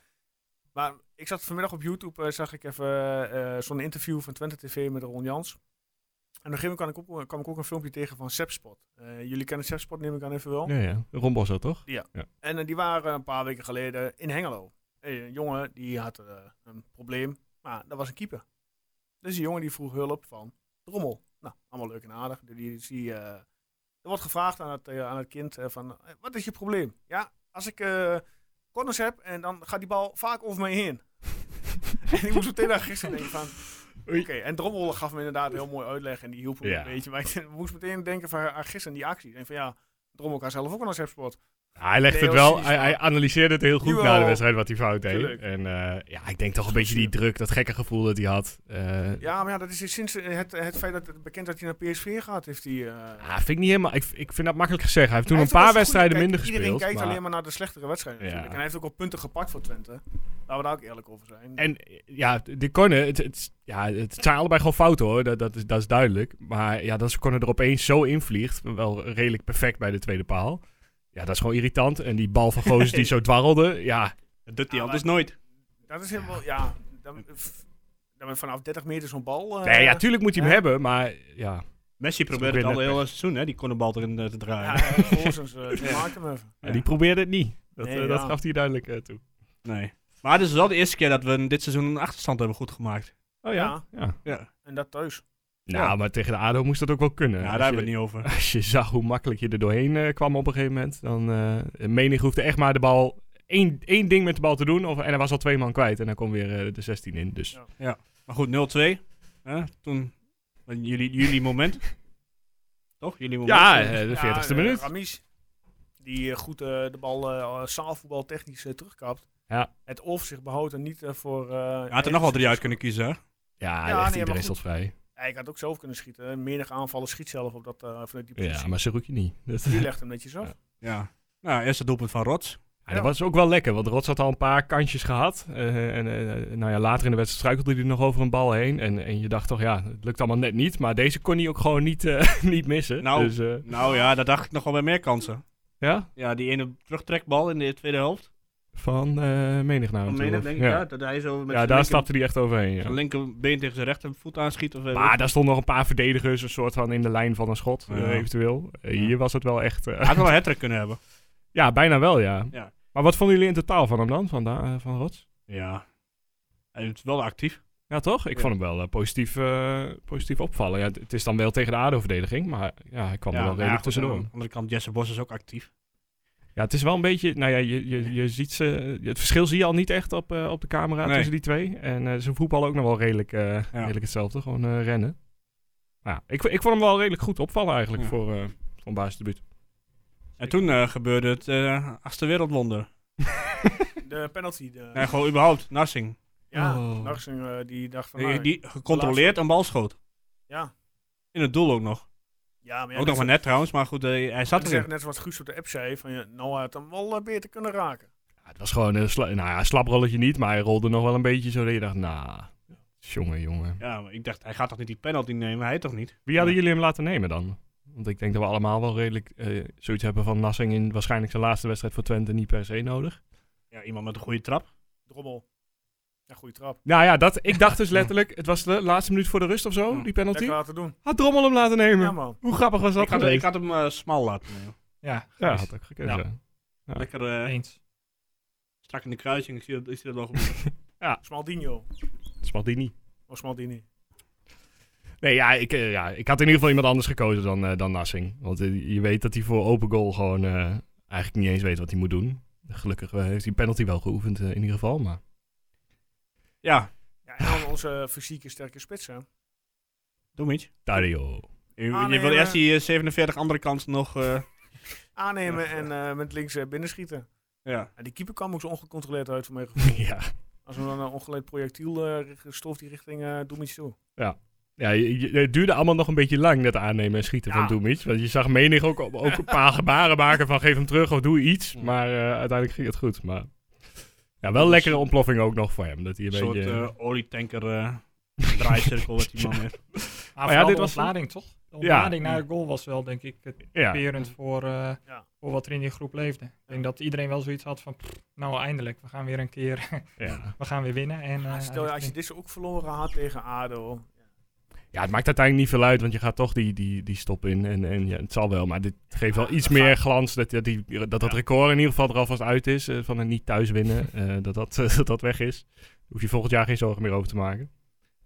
Speaker 4: Maar ik zat vanmiddag op YouTube... eh, zag ik even eh, zo'n interview van Twente TV met Ron Jans. En op een gegeven moment kwam ik ook, kwam ik ook een filmpje tegen van Sepspot. Eh, jullie kennen Sepspot, neem ik aan even wel.
Speaker 5: Ja, ja. Rombosser, toch?
Speaker 4: En eh, die waren een paar weken geleden in Hengelo. Eh, Een jongen die had eh, een probleem, maar dat was een keeper. Dus die jongen die vroeg hulp van Drommel. Nou, allemaal leuk en aardig. Die, die, die, eh, er wordt gevraagd aan het, eh, aan het kind eh, van, eh, wat is je probleem? Ja, als ik eh corners heb en dan gaat die bal vaak over mij heen. en ik moest meteen aan gisteren denken van, oké.
Speaker 5: Oei.
Speaker 4: En Drommel gaf me inderdaad een heel mooi uitleg en die hielp me
Speaker 5: Ja.
Speaker 4: een beetje. Maar ik moest meteen denken van, ah, gisteren die actie. En van ja, Drommel kan zelf ook een sport.
Speaker 5: Ja, hij legde
Speaker 4: Nee,
Speaker 5: het
Speaker 4: joh,
Speaker 5: wel.
Speaker 4: precies,
Speaker 5: Hij, hij analyseerde het heel goed
Speaker 4: Jawel.
Speaker 5: na de wedstrijd wat hij fout
Speaker 4: Tuurlijk.
Speaker 5: deed. En eh, ja, ik denk toch een beetje die druk, dat gekke gevoel dat hij had. Eh,
Speaker 4: Ja, maar ja, dat is sinds eh, het, het feit dat het bekend dat hij naar PSV gaat, heeft hij... eh,
Speaker 5: ah, vind ik niet helemaal. Ik, ik vind dat makkelijk gezegd. Hij heeft toen
Speaker 4: hij
Speaker 5: een
Speaker 4: heeft ook
Speaker 5: paar
Speaker 4: wel eens goede-
Speaker 5: wedstrijden
Speaker 4: kijk,
Speaker 5: minder
Speaker 4: Iedereen
Speaker 5: gespeeld.
Speaker 4: kijkt
Speaker 5: maar-
Speaker 4: alleen maar naar de slechtere wedstrijden
Speaker 5: Ja.
Speaker 4: natuurlijk. En hij heeft ook al punten gepakt voor Twente. Laten we daar ook eerlijk over zijn.
Speaker 5: En eh, ja, de corner, het, het, ja, het zijn allebei gewoon fouten hoor, dat, dat, is, dat is duidelijk. Maar ja, dat ze corner er opeens zo invliegt, wel redelijk perfect bij de tweede paal. Ja, dat is gewoon irritant. En die bal van Goos die zo dwarrelde, ja,
Speaker 8: Dat doet
Speaker 4: hij
Speaker 8: hij
Speaker 4: Ja, anders
Speaker 8: anders nooit.
Speaker 4: dat is helemaal... Ja, dan, f- dan vanaf 30 meter zo'n bal... eh,
Speaker 5: nee, ja, tuurlijk moet hij hem
Speaker 4: hè?
Speaker 5: hebben, maar ja.
Speaker 8: Messi
Speaker 5: ook
Speaker 8: probeerde
Speaker 5: weer
Speaker 8: het al
Speaker 5: net
Speaker 8: heel seizoen, hè, die cornerbal erin eh, te
Speaker 4: Ja,
Speaker 8: draaien.
Speaker 4: ja, Goossens, eh, die maakt hem even.
Speaker 5: Ja, die probeerde het niet. Dat,
Speaker 4: Nee,
Speaker 5: eh, dat
Speaker 4: ja.
Speaker 5: gaf hij duidelijk eh, toe.
Speaker 8: Nee. Maar dit is wel de eerste keer dat we dit seizoen een achterstand hebben goed gemaakt.
Speaker 5: Oh
Speaker 4: ja?
Speaker 5: ja?
Speaker 8: Ja,
Speaker 4: En dat thuis.
Speaker 5: Nou, maar tegen de ADO moest dat ook wel kunnen.
Speaker 8: ja
Speaker 5: Als
Speaker 8: daar hebben we
Speaker 5: je-
Speaker 8: het niet over.
Speaker 5: Als je zag hoe makkelijk je er doorheen eh, kwam op een gegeven moment, dan eh menig hoefde echt maar de bal één, één ding met de bal te doen. Of, en hij was al twee man kwijt en dan kwam weer eh, de 16 in. Dus
Speaker 4: Ja.
Speaker 8: Maar goed, 0-2. hè, Toen, en jullie, jullie moment. Toch? Jullie moment.
Speaker 5: ja,
Speaker 8: eh,
Speaker 5: eh, de
Speaker 4: Ja,
Speaker 5: 40ste
Speaker 4: eh,
Speaker 5: minuut.
Speaker 4: Ramis, die eh, goed eh, de bal eh zaalvoetbal technisch terugkapt.
Speaker 5: Ja.
Speaker 4: Het overzicht behoudt en niet eh, voor... eh
Speaker 8: hij had er nog wel drie uit kunnen kiezen, hè?
Speaker 5: Ja,
Speaker 4: nee,
Speaker 5: echt
Speaker 4: maar
Speaker 5: iedereen
Speaker 4: goed.
Speaker 5: stond vrij.
Speaker 4: Ja, ik had ook zelf kunnen schieten. Menig aanvallen schiet zelf op dat, eh vanuit die positie.
Speaker 5: Ja, maar ze je niet. Dat,
Speaker 4: Die legt hem netjes af.
Speaker 5: Ja.
Speaker 8: Ja. Nou, eerst het doelpunt van Rots.
Speaker 5: Ja, dat was ook wel lekker, want Rots had al een paar kantjes gehad. Eh, en eh, nou ja, later in de wedstrijd struikelde hij nog over een bal heen. En, en je dacht toch, ja, het lukt allemaal net niet. Maar deze kon hij ook gewoon niet, eh, niet missen.
Speaker 8: Nou.
Speaker 5: Dus, eh,
Speaker 8: Nou ja, daar dacht ik nog wel bij meer kansen.
Speaker 5: ja,
Speaker 8: Ja, die ene terugtrekbal in de tweede helft.
Speaker 5: van eh menig nou.
Speaker 8: Van Menig, denk ik, ja.
Speaker 5: ja.
Speaker 8: dat hij zo met
Speaker 5: Ja,
Speaker 8: zijn
Speaker 5: daar
Speaker 8: linker-
Speaker 5: stapte hij echt overheen. Ja.
Speaker 8: zijn linkerbeen tegen zijn rechtervoet aanschiet. Of, eh,
Speaker 5: Maar daar stonden nog een paar verdedigers, een soort van in de lijn van een schot,
Speaker 8: Ja.
Speaker 5: eh, eventueel. Eh,
Speaker 8: Ja.
Speaker 5: Hier was het wel echt. eh,
Speaker 8: hij had wel een hat kunnen hebben.
Speaker 5: ja, bijna wel, ja.
Speaker 8: Ja.
Speaker 5: Maar wat vonden jullie in totaal van hem dan, van, da- eh, van Rots?
Speaker 8: Ja. Hij is wel actief.
Speaker 5: Ja, toch? Ik
Speaker 8: Ja.
Speaker 5: vond hem wel eh, positief, eh, positief opvallen. Ja, het- het is dan wel tegen de ADO-verdediging, maar ja, hij kwam er wel
Speaker 8: maar
Speaker 5: redelijk
Speaker 8: goed,
Speaker 5: tussendoor.
Speaker 8: Aan de andere kant, Jesse Bos is ook actief.
Speaker 5: Ja, het is wel een beetje... Nou ja, je, je, je ziet ze... Het verschil zie je al niet echt op, eh, op de camera
Speaker 8: Nee.
Speaker 5: tussen die twee. En eh, ze voetballen ook nog wel redelijk, eh, redelijk hetzelfde. Gewoon eh, rennen. Maar ja, ik, ik vond hem wel redelijk goed opvallen eigenlijk
Speaker 8: Ja.
Speaker 5: voor, eh voor een basisdebuut.
Speaker 8: En toen eh, gebeurde het eh achtste wereldwonder.
Speaker 4: De penalty. De,
Speaker 8: Nee, gewoon überhaupt. Narsing.
Speaker 4: ja,
Speaker 5: Oh.
Speaker 4: Narsing, eh, die dacht van...
Speaker 8: Die,
Speaker 4: nou,
Speaker 8: die gecontroleerd een bal schoot.
Speaker 4: ja,
Speaker 8: In het doel ook nog.
Speaker 4: ja, maar ja,
Speaker 8: ook nog
Speaker 4: net,
Speaker 8: maar net trouwens, maar goed, eh, hij zat
Speaker 4: zo- net,
Speaker 8: erin.
Speaker 4: net zoals Guus op de app zei, van ja, nou hij had hem wel eh, beter kunnen raken.
Speaker 5: Ja, het was gewoon een sla- nou ja, slaprolletje niet, maar hij rolde nog wel een beetje zo dat je dacht, nou, jongen, jongen.
Speaker 8: Ja, maar ik dacht, hij gaat toch niet die penalty nemen? Hij toch niet?
Speaker 5: Wie hadden jullie hem laten nemen dan? Want ik denk dat we allemaal wel redelijk eh, zoiets hebben van Nassing in waarschijnlijk zijn laatste wedstrijd voor Twente niet per se nodig.
Speaker 8: Ja, iemand met een goede trap.
Speaker 4: Drommel. Ja, goede trap.
Speaker 5: Nou ja, dat, ik dacht dus letterlijk, het was de laatste minuut voor de rust of zo,
Speaker 8: Ja.
Speaker 5: die
Speaker 4: Hm.
Speaker 5: penalty.
Speaker 4: Lekker laten doen.
Speaker 5: Had Drommel hem laten nemen.
Speaker 4: Ja man.
Speaker 5: Hoe grappig was dat
Speaker 8: Ik had, ik
Speaker 5: geweest?
Speaker 8: had hem eh, smal laten nemen.
Speaker 7: Ja,
Speaker 5: Ja,
Speaker 7: Gijs,
Speaker 5: had ik gekend,
Speaker 7: Ja.
Speaker 5: ja. Ja.
Speaker 8: Lekker eh,
Speaker 7: eens.
Speaker 8: strak in de kruising. Ik zie dat, ik zie dat wel gebeuren.
Speaker 4: Smaldinho.
Speaker 5: Spaldini.
Speaker 4: Of Smaldini.
Speaker 5: Nee, ja ik, eh, ja, ik had in ieder geval iemand anders gekozen dan, eh, dan Nassing. Want eh, je weet dat hij voor open goal gewoon eh, eigenlijk niet eens weet wat hij moet doen. Gelukkig eh, heeft hij penalty wel geoefend eh, in ieder geval, maar...
Speaker 8: ja,
Speaker 4: Ja, en dan onze fysieke sterke spits hè.
Speaker 8: doe maar iets.
Speaker 5: Dario.
Speaker 8: Je,
Speaker 4: Ah, nee,
Speaker 8: wil eerst
Speaker 4: maar-
Speaker 8: die eh, 47 andere kanten nog... eh,
Speaker 4: Aannemen
Speaker 8: Ja,
Speaker 4: en eh, met links eh, binnenschieten.
Speaker 8: ja.
Speaker 4: En die keeper kwam ook zo ongecontroleerd uit voor mij.
Speaker 5: ja.
Speaker 4: Als we dan een ongeleid projectiel eh, richt- stoft die richting eh Doemitje toe.
Speaker 5: Ja, je- je- het duurde allemaal nog een beetje lang, dat aannemen en schieten
Speaker 4: Ja.
Speaker 5: van Doemits. Want je zag menig ook, ook een paar gebaren maken van geef hem terug of doe iets. Maar eh, uiteindelijk ging het goed. Maar ja, wel lekkere ontploffing ook nog voor hem. Dat hij
Speaker 8: Een
Speaker 5: een
Speaker 8: soort
Speaker 5: beetje...
Speaker 8: eh, olietanker eh, draaicirkel wat die man heeft.
Speaker 7: Maar
Speaker 5: Oh ja,
Speaker 7: ja,
Speaker 5: dit
Speaker 7: dit de
Speaker 5: was-
Speaker 7: ontlading, toch? De
Speaker 5: Ja.
Speaker 7: ontlading naar de goal was wel, denk ik, het
Speaker 5: ja.
Speaker 7: typerend voor, eh,
Speaker 4: Ja.
Speaker 7: voor wat er in die groep leefde. Ik denk dat iedereen wel zoiets had van, "Pff, nou eindelijk, we gaan weer een keer,
Speaker 5: Ja.
Speaker 4: Ah,
Speaker 7: we gaan weer winnen. En, eh,
Speaker 4: Ja, stel, als je dit ook verloren had tegen ADO.
Speaker 5: Ja, het maakt uiteindelijk niet veel uit, want je gaat toch die, die, die stop in. En, en ja, het zal wel, maar dit geeft wel iets meer glans. Dat dat, die, dat, dat record in ieder geval er alvast uit is. eh, van een niet thuis winnen. eh, dat, dat, dat dat weg is. Daar hoef je volgend jaar geen zorgen meer over te maken.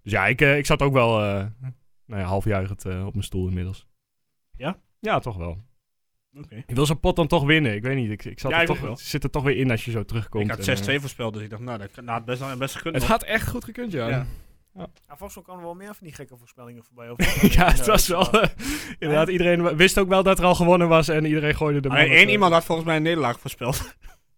Speaker 5: Dus ja, ik, eh, ik zat ook wel eh nou ja, halfjuichend eh, op mijn stoel inmiddels.
Speaker 8: Ja?
Speaker 5: Ja, toch wel.
Speaker 8: Oké.
Speaker 5: Ik wil zo'n pot dan toch winnen. Ik weet niet. Ik, ik zat
Speaker 8: Ja,
Speaker 5: er
Speaker 8: ik
Speaker 5: toch,
Speaker 8: ook wel.
Speaker 5: zit er toch weer in als je zo terugkomt.
Speaker 8: Ik
Speaker 5: en,
Speaker 8: had 6-2
Speaker 5: eh,
Speaker 8: voorspeld, dus ik dacht, nou, dat kan- nou, het best, wel- best gekund
Speaker 5: het
Speaker 8: nog.
Speaker 5: had echt goed gekund, ja.
Speaker 8: Ja.
Speaker 5: Ja,
Speaker 4: Ja, volgens mij kwamen er wel meer van die gekke voorspellingen voorbij. Over
Speaker 5: het was wel... eh, inderdaad, iedereen wa- wist ook wel dat er al gewonnen was en iedereen gooide de
Speaker 8: Alleen Ah, één iemand had volgens mij een nederlaag voorspeld.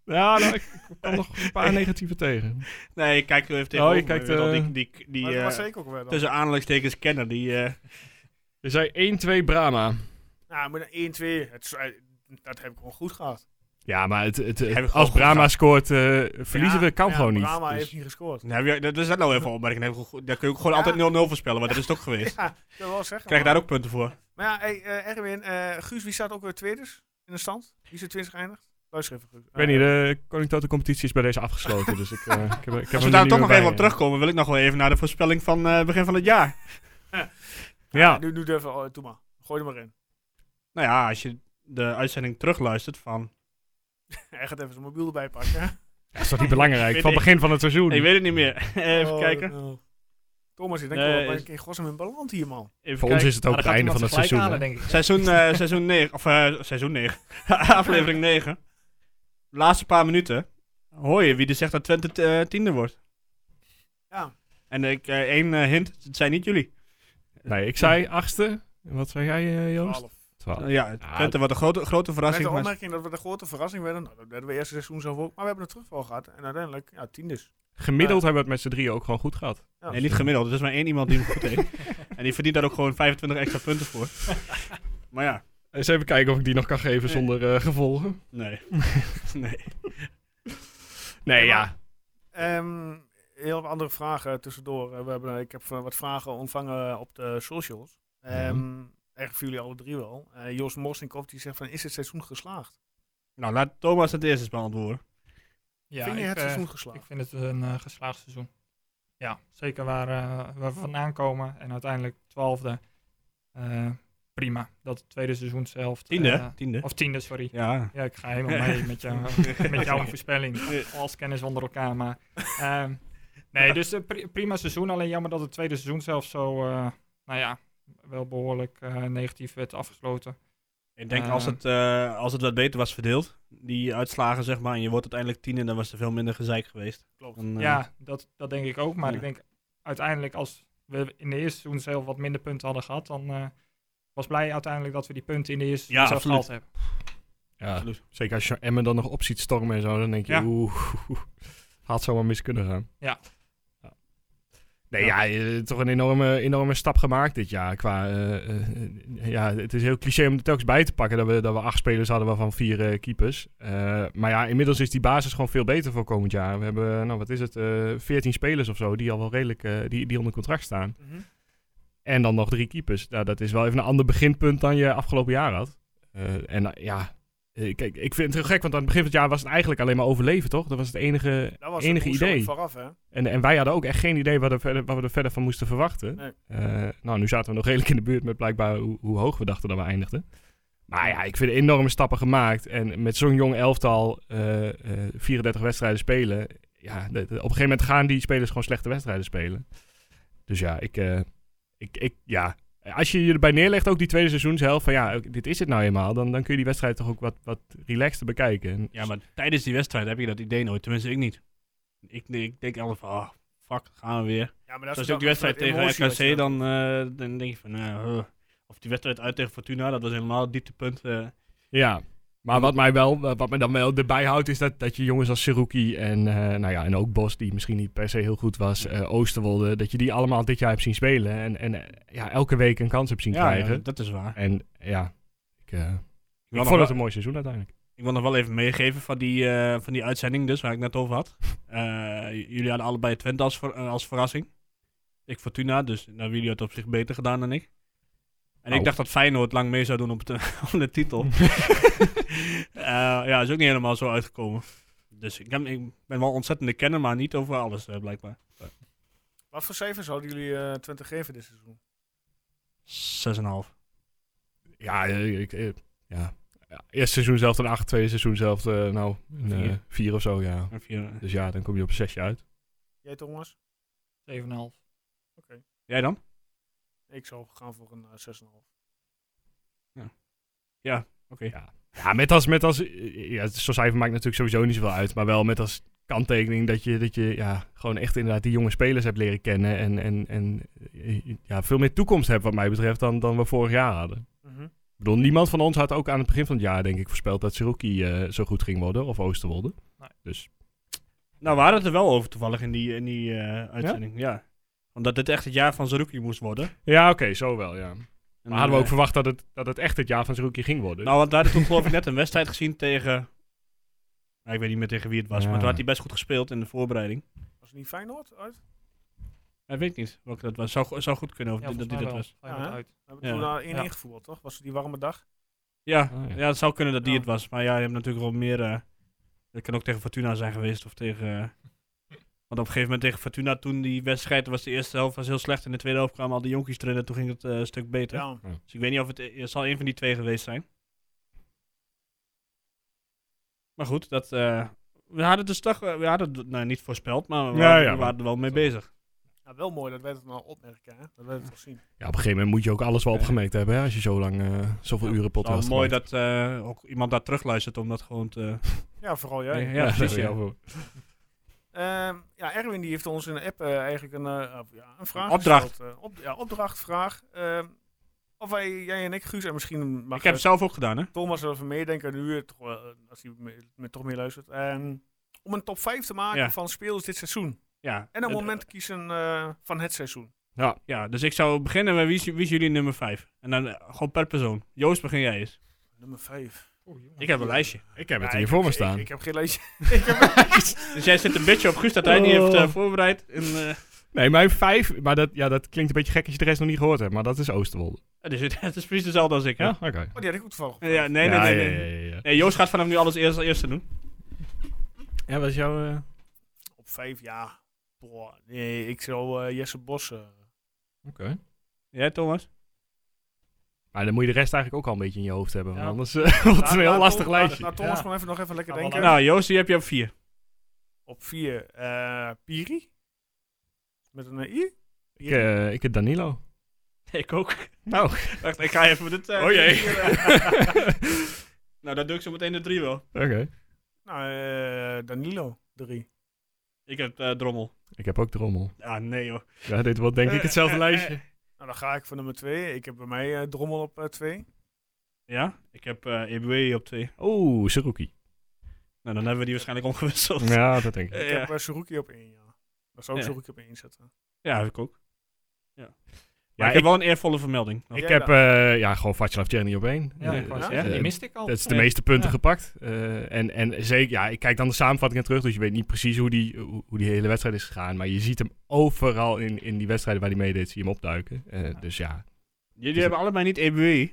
Speaker 5: Ja, nou, ik ik kwam nog een paar negatieve tegen.
Speaker 8: nee, ik kijk er even tegen.
Speaker 5: kijkt, eh,
Speaker 8: die, die, die,
Speaker 4: Maar dat
Speaker 8: eh,
Speaker 4: was zeker ook wel. dan.
Speaker 5: Dus-
Speaker 8: tussen aanhalingstekens kennen, die... eh,
Speaker 5: Er zei 1-2 Brama.
Speaker 4: Nou, maar dan 1-2, het, is- eh, dat heb ik gewoon goed gehad.
Speaker 5: Ja, maar het, het,
Speaker 8: Heb ik
Speaker 5: als
Speaker 8: gewoon
Speaker 5: Brama
Speaker 8: gedaan.
Speaker 5: scoort, eh, verliezen
Speaker 4: Ja,
Speaker 5: we kan
Speaker 4: ja,
Speaker 5: gewoon niet.
Speaker 4: Brahma
Speaker 5: Dus-
Speaker 4: heeft niet gescoord.
Speaker 8: nou, heb je- dat is dat nou even een opmerking. Daar heb ik gewoon- Daar kun je ook gewoon
Speaker 4: Ja.
Speaker 8: altijd 0-0 voorspellen, want dat is het ook geweest.
Speaker 4: Ja, dat wil wel zeggen.
Speaker 8: Krijg je
Speaker 4: maar-
Speaker 8: daar ook punten voor?
Speaker 4: Maar ja, hey, eh, Erwin, eh, Guus, wie staat ook weer tweeders in de stand? Wie is er twintig geëindigd? Luister even, Guus. Eh,
Speaker 5: Ik weet niet, eh, de Koninklijke Competitie is bij deze afgesloten, dus ik, eh, ik heb, er- ik heb
Speaker 8: Als
Speaker 5: er
Speaker 8: we
Speaker 5: nu
Speaker 8: daar
Speaker 5: niet meer
Speaker 8: toch nog
Speaker 5: bij,
Speaker 8: even op
Speaker 5: eh.
Speaker 8: terugkomen, wil ik nog wel even naar de voorspelling van eh, begin van het jaar.
Speaker 5: Ja,
Speaker 4: Nu, nu durven, oh, doe maar. Gooi er maar in.
Speaker 8: Nou ja, als je de uitzending terugluistert van...
Speaker 4: Hij gaat even zijn mobiel erbij pakken. hè?
Speaker 5: dat is toch niet belangrijk?
Speaker 8: Weet
Speaker 5: Van
Speaker 8: ik.
Speaker 5: begin van het seizoen.
Speaker 8: Ik weet het niet meer. even
Speaker 4: Oh,
Speaker 8: kijken.
Speaker 4: oh. Thomas, ik denk
Speaker 8: Nee,
Speaker 4: wel,
Speaker 8: is-
Speaker 4: ik in godsnaam in balans hier, man.
Speaker 8: Even
Speaker 5: Voor ons
Speaker 8: kijken.
Speaker 5: is
Speaker 7: Nou,
Speaker 5: het ook het einde van het seizoen. hè.
Speaker 7: denk ik.
Speaker 8: Seizoen, eh, seizoen 9, of eh, seizoen 9, aflevering 9. Laatste paar minuten. Hoor je wie er zegt dat Twente t- eh, tiende wordt?
Speaker 4: Ja.
Speaker 8: En ik, eh, één eh, hint, het zijn niet jullie.
Speaker 5: Nee, ik zei achtste. En Wat zei jij, eh, Joost?
Speaker 4: 12.
Speaker 5: Twaalf.
Speaker 8: Eh, ja,
Speaker 5: Ah,
Speaker 8: Twente wordt een grote, grote
Speaker 4: Met de
Speaker 8: verrassing. Maar
Speaker 4: opmerking dat we de grote verrassing werden. Nou, dat werden we eerste seizoen zelf ook. Maar we hebben een terugval gehad. En uiteindelijk, ja, tien dus.
Speaker 5: Gemiddeld hebben we het met z'n drieën ook gewoon goed gehad.
Speaker 4: Ja.
Speaker 8: nee, niet gemiddeld. Er is maar één iemand die hem goed heeft. en die verdient daar ook gewoon 25 extra punten voor. maar ja,
Speaker 5: Eens even kijken of ik die nog kan geven zonder eh, gevolgen.
Speaker 8: nee. nee.
Speaker 5: Nee, ja.
Speaker 4: Ehm, heel wat andere vragen tussendoor. Eh, We hebben, eh, ik heb eh, wat vragen ontvangen op de socials. Ehm Eigenlijk voor jullie alle drie wel. Eh Jos Morsinkov die zegt van, is het seizoen geslaagd?
Speaker 8: Nou, laat Thomas het eerst eens beantwoorden.
Speaker 7: Ja,
Speaker 4: Vind je het
Speaker 7: ik, eh,
Speaker 4: seizoen
Speaker 7: Ik
Speaker 4: geslaagd?
Speaker 7: vind het een eh, geslaagd seizoen. Ja, zeker waar, eh, waar we vandaan komen. En uiteindelijk twaalfde. eh, prima. Dat het tweede seizoenshelft.
Speaker 8: Tiende,
Speaker 7: eh,
Speaker 8: tiende.
Speaker 7: of tiende, sorry.
Speaker 8: Ja.
Speaker 7: Ja, ik ga helemaal mee met, jou, met jouw voorspelling. Als kennis onder elkaar, maar... ehm, nee, dus eh, pri- prima seizoen. Alleen jammer dat het tweede seizoen zelf zo... eh, nou ja, wel behoorlijk eh, negatief werd afgesloten.
Speaker 8: Ik denk
Speaker 7: Eh.
Speaker 8: als, het, eh, als het wat beter was verdeeld, die uitslagen zeg maar, en je wordt uiteindelijk tiende, dan was er veel minder gezeik geweest.
Speaker 4: Klopt.
Speaker 8: Dan, eh,
Speaker 7: Ja, dat, dat denk ik ook. Maar
Speaker 8: Ja.
Speaker 7: ik denk uiteindelijk als we in de eerste seizoen zelf wat minder punten hadden gehad, dan eh, was blij uiteindelijk dat we die punten in de eerste
Speaker 8: Ja,
Speaker 7: seizoen zelf
Speaker 8: absoluut.
Speaker 7: gehaald hebben.
Speaker 5: ja.
Speaker 8: absoluut.
Speaker 5: Zeker als je Emmen dan nog op ziet stormen en zo, dan denk je,
Speaker 7: Ja.
Speaker 5: oeh, had zomaar mis kunnen gaan.
Speaker 7: Ja.
Speaker 5: Ja. Nee, ja, eh, toch een enorme, enorme stap gemaakt dit jaar. Qua, eh, eh, eh, ja, het is heel cliché om er telkens bij te pakken dat we, dat we acht spelers hadden, waarvan vier eh, keepers. Eh, maar ja, inmiddels is die basis gewoon veel beter voor komend jaar. We hebben, eh, nou wat is het, veertien spelers of zo die al wel redelijk eh, die, die onder contract staan.
Speaker 4: Mhm.
Speaker 5: En dan nog drie keepers. Nou, dat is wel even een ander beginpunt dan je afgelopen jaar had. Eh, en eh, ja, eh, kijk, ik vind het heel gek, want aan het begin van het jaar was het eigenlijk alleen maar overleven, toch? Dat was het enige,
Speaker 4: Dat was het
Speaker 5: enige
Speaker 4: hoezo
Speaker 5: idee.
Speaker 4: vooraf, hè?
Speaker 5: En, en wij hadden ook echt geen idee wat, er verder, wat we er verder van moesten verwachten.
Speaker 4: Nee.
Speaker 5: Eh, nou, nu zaten we nog redelijk in de buurt met blijkbaar hoe, hoe hoog we dachten dat we eindigden. Maar ja, ik vind enorme stappen gemaakt. En met zo'n jong elftal eh, eh, 34 wedstrijden spelen. Ja, de- de- op een gegeven moment gaan die spelers gewoon slechte wedstrijden spelen. Dus ja, ik, eh, ik, ik ja. Als je je erbij neerlegt, ook die tweede seizoenshelft, van ja, dit is het nou eenmaal, dan, dan kun je die wedstrijd toch ook wat, wat relaxter bekijken. En
Speaker 8: Ja, maar tijdens die wedstrijd heb je dat idee nooit, tenminste ik niet. Ik, ik denk altijd van, ah, fuck, gaan we weer.
Speaker 4: Ja, maar dat
Speaker 8: Als
Speaker 4: is
Speaker 8: ook die wedstrijd tegen
Speaker 4: emotie wat je hebt.
Speaker 8: RKC, dan, eh, dan denk je van, nou, huh. of die wedstrijd uit tegen Fortuna, dat was helemaal het dieptepunt. eh.
Speaker 5: Ja, maar wat mij, wel, wat mij dan wel erbij houdt is dat, dat je jongens als Seruki en, eh, nou ja, en ook Bos, die misschien niet per se heel goed was, eh, Oosterwolde, dat je die allemaal dit jaar hebt zien spelen en, en eh, ja, elke week een kans hebt zien
Speaker 8: ja,
Speaker 5: krijgen.
Speaker 8: ja, dat is waar.
Speaker 5: En ja, ik, eh,
Speaker 8: Ik
Speaker 5: ik
Speaker 8: wil,
Speaker 5: vond
Speaker 8: nog
Speaker 5: het
Speaker 8: wel,
Speaker 5: een mooi seizoen uiteindelijk.
Speaker 8: ik wil nog wel even meegeven van die, eh, van die uitzending dus, waar ik net over had. Eh, j- jullie hadden allebei Twente als, ver- eh, als verrassing. Ik Fortuna, dus nou, jullie hadden het op zich beter gedaan dan ik. En
Speaker 5: Au.
Speaker 8: ik dacht dat Feyenoord lang mee zou doen op, het, op de titel. Eh, ja, is ook niet helemaal zo uitgekomen. Dus ik, heb- ik ben wel ontzettende kenner, maar niet over alles eh, blijkbaar.
Speaker 4: Wat voor cijfers zouden jullie eh Twente geven dit seizoen?
Speaker 8: 6,5.
Speaker 5: Ja, eh, ik, eh, ja. ja. Eerste seizoen zelf een 8, tweede seizoen zelf eh, nou een
Speaker 8: Vier.
Speaker 5: 4 of zo, ja.
Speaker 8: Een vier. eh.
Speaker 5: Dus ja, dan kom je op een 6 uit.
Speaker 4: Jij Thomas?
Speaker 7: 7,5.
Speaker 8: Jij dan?
Speaker 4: Ik zou gaan voor een eh, 6,5.
Speaker 8: Oké.
Speaker 5: Ja, met als, met als eh, ja, zo'n cijfer maakt natuurlijk sowieso niet zoveel uit, maar wel met als kanttekening dat je, dat je ja, gewoon echt inderdaad die jonge spelers hebt leren kennen en, en, en eh, ja, veel meer toekomst hebt wat mij betreft dan, dan we vorig jaar hadden.
Speaker 4: Mhm.
Speaker 5: Ik bedoel, niemand van ons had ook aan het begin van het jaar, denk ik, voorspeld dat Siroki eh, zo goed ging worden. Of Oosterwolde.
Speaker 7: Nee.
Speaker 5: Dus
Speaker 8: Nou, we hadden het er wel over toevallig in die, in die eh, uitzending. Ja? Omdat dit echt het jaar van Zerouki moest worden.
Speaker 5: ja, oké, zo wel, ja.
Speaker 8: En,
Speaker 5: Maar hadden we ook
Speaker 8: eh,
Speaker 5: verwacht dat het, dat het echt het jaar van Siroki ging worden.
Speaker 8: Nou, want daar had ik toen geloof ik net een wedstrijd gezien tegen... Nou, ik weet niet meer tegen wie het was,
Speaker 5: Ja.
Speaker 8: maar toen had hij best goed gespeeld in de voorbereiding.
Speaker 4: Was het niet Feyenoord uit?
Speaker 8: Ik weet niet welke dat was. Zou, go- zou goed kunnen of
Speaker 7: Ja,
Speaker 8: die- dat
Speaker 7: volgens
Speaker 8: die
Speaker 7: mij
Speaker 8: dat
Speaker 7: wel.
Speaker 8: was.
Speaker 7: Ga je
Speaker 4: Ja, hè?
Speaker 7: met uit.
Speaker 4: We hebben
Speaker 8: Ja.
Speaker 4: toen daar 1-1
Speaker 7: Ja.
Speaker 4: gevoetbald, toch? Was het die warme dag?
Speaker 8: Ja,
Speaker 5: Oh, ja.
Speaker 8: ja. het zou kunnen dat die
Speaker 4: Ja.
Speaker 8: het was. Maar ja, je hebt natuurlijk wel meer... eh, dat kan ook tegen Fortuna zijn geweest of tegen... eh, want op een gegeven moment tegen Fortuna, toen die wedstrijd was de eerste helft was heel slecht. In de tweede helft kwamen al die jonkies erin en toen ging het eh, een stuk beter.
Speaker 4: Ja.
Speaker 8: Dus ik weet niet of het, het zal een van die twee geweest zijn. Maar goed, dat, eh, we hadden dus toch, we hadden het nou, niet voorspeld, maar we,
Speaker 5: Ja,
Speaker 8: waren,
Speaker 5: ja,
Speaker 8: we waren er wel mee
Speaker 5: dat-
Speaker 8: bezig.
Speaker 4: Nou, wel mooi dat wij het nou opmerken, hè? Dat wij het wel zien.
Speaker 5: Ja, op een gegeven moment moet je ook alles wel opgemerkt hebben, hè, als je zo lang, eh, zoveel uren
Speaker 8: Het is
Speaker 5: podcast
Speaker 8: wel mooi
Speaker 5: maakt.
Speaker 8: dat eh, ook iemand daar terugluistert om dat gewoon te...
Speaker 4: Ja, vooral jij.
Speaker 8: ja, precies.
Speaker 5: sorry,
Speaker 8: Ja.
Speaker 5: over-
Speaker 4: Ehm, ja, Erwin die heeft ons in de app eh, eigenlijk een, eh, of ja, een vraag
Speaker 8: Een opdracht.
Speaker 4: gesteld. Eh, op, ja, opdrachtvraag. Ehm, of wij, jij en ik, Guus, en misschien mag
Speaker 8: Ik heb het
Speaker 4: eh,
Speaker 8: zelf ook gedaan, hè?
Speaker 4: Thomas er even meedenken nu, eh, toch, wel, eh, als hij me, me toch meer luistert. Ehm, om een top 5 te maken
Speaker 8: Ja.
Speaker 4: van spelers dit seizoen.
Speaker 8: Ja.
Speaker 4: En een
Speaker 8: Het-
Speaker 4: moment kiezen eh, van het seizoen.
Speaker 8: Ja, dus ik zou beginnen met wie is, wie is jullie nummer 5? En dan eh, gewoon per persoon. Joost, begin jij eens.
Speaker 4: Nummer 5.
Speaker 7: Oeh, jongen.
Speaker 8: Ik heb een lijstje.
Speaker 5: Ik heb het hier voor me staan.
Speaker 4: Ik, heb geen lijstje.
Speaker 8: Dus jij zit een beetje op Guus dat hij niet
Speaker 5: Oh.
Speaker 8: heeft eh, voorbereid. En, eh,
Speaker 5: Nee, mijn vijf, maar dat, ja, dat klinkt een beetje gek als je de rest nog niet gehoord hebt, maar dat is Oosterwolde.
Speaker 8: dus het het is precies dezelfde als ik, hè?
Speaker 5: Ja, oké.
Speaker 4: Oh, die had ik ook toevallig.
Speaker 8: Ja, nee, nee,
Speaker 5: Ja,
Speaker 8: nee,
Speaker 5: ja,
Speaker 8: nee.
Speaker 5: ja, ja, ja.
Speaker 8: Nee, Joost gaat vanaf nu alles eerst, als eerste doen.
Speaker 5: Ja, wat is jouw... eh,
Speaker 4: Op 5, ja. Boah, nee, ik zou eh, Jesse Bos... eh,
Speaker 8: Jij, Thomas?
Speaker 5: Maar dan moet je de rest eigenlijk ook al een beetje in je hoofd hebben, want
Speaker 7: Ja.
Speaker 5: anders eh, wordt het
Speaker 4: laat-
Speaker 5: een heel
Speaker 4: Nou, laat
Speaker 5: lastig
Speaker 4: Tom-
Speaker 5: lijstje.
Speaker 4: Laat, laat Thomas
Speaker 7: Ja.
Speaker 4: gewoon even nog even lekker
Speaker 7: Laat wel
Speaker 4: denken.
Speaker 8: Nou, Joost, die heb je op vier.
Speaker 4: Op 4 eh Piri. Met een eh, I.
Speaker 5: Ik, eh, ik heb Danilo.
Speaker 8: Ik ook.
Speaker 5: Nou.
Speaker 8: Wacht, ik ga even dit... eh,
Speaker 5: Oh jee.
Speaker 8: hier, eh. nou, dan doe ik zo meteen de drie wel.
Speaker 5: Oké.
Speaker 4: Nou, eh, Danilo 3.
Speaker 8: Ik heb eh, Drommel.
Speaker 5: Ik heb ook de rommel.
Speaker 8: Ah, nee joh.
Speaker 5: Ja, dit wordt denk ik hetzelfde
Speaker 8: Eh, eh,
Speaker 5: lijstje.
Speaker 4: Nou, dan ga ik voor nummer 2. Ik heb bij mij eh, Drommel op 2.
Speaker 8: Ja? Ik heb eh EBW op twee.
Speaker 5: Oeh, Saruki.
Speaker 8: Nou, dan hebben we die waarschijnlijk omgewisseld.
Speaker 5: Ja, dat denk ik.
Speaker 8: Eh,
Speaker 4: ik
Speaker 8: ja.
Speaker 4: heb uh, op 1, ja. Daar zou ik
Speaker 8: Ja.
Speaker 4: Suruki op 1 zetten.
Speaker 8: ja, heb ik ook. Ja. Maar
Speaker 5: Ja,
Speaker 8: ik
Speaker 5: ik-
Speaker 8: heb wel een eervolle vermelding.
Speaker 5: Ik
Speaker 4: Jij
Speaker 5: heb
Speaker 4: dan?
Speaker 5: eh, ja, gewoon Vatjelav Tjerni op één.
Speaker 7: Ja,
Speaker 5: Eh,
Speaker 7: ik wou
Speaker 4: Ja?
Speaker 7: zeggen,
Speaker 5: Eh,
Speaker 7: die miste ik al.
Speaker 5: Dat is de
Speaker 7: Ja.
Speaker 5: meeste punten
Speaker 7: Ja.
Speaker 5: gepakt. Eh, en, en zeker, ja, ik kijk dan de samenvattingen terug, dus je weet niet precies hoe die, hoe hoe die hele wedstrijd is gegaan. Maar je ziet hem overal in, in die wedstrijden waar hij meedeed, zie je hem opduiken. Eh, Dus ja.
Speaker 8: Jullie hebben allebei niet E EBW.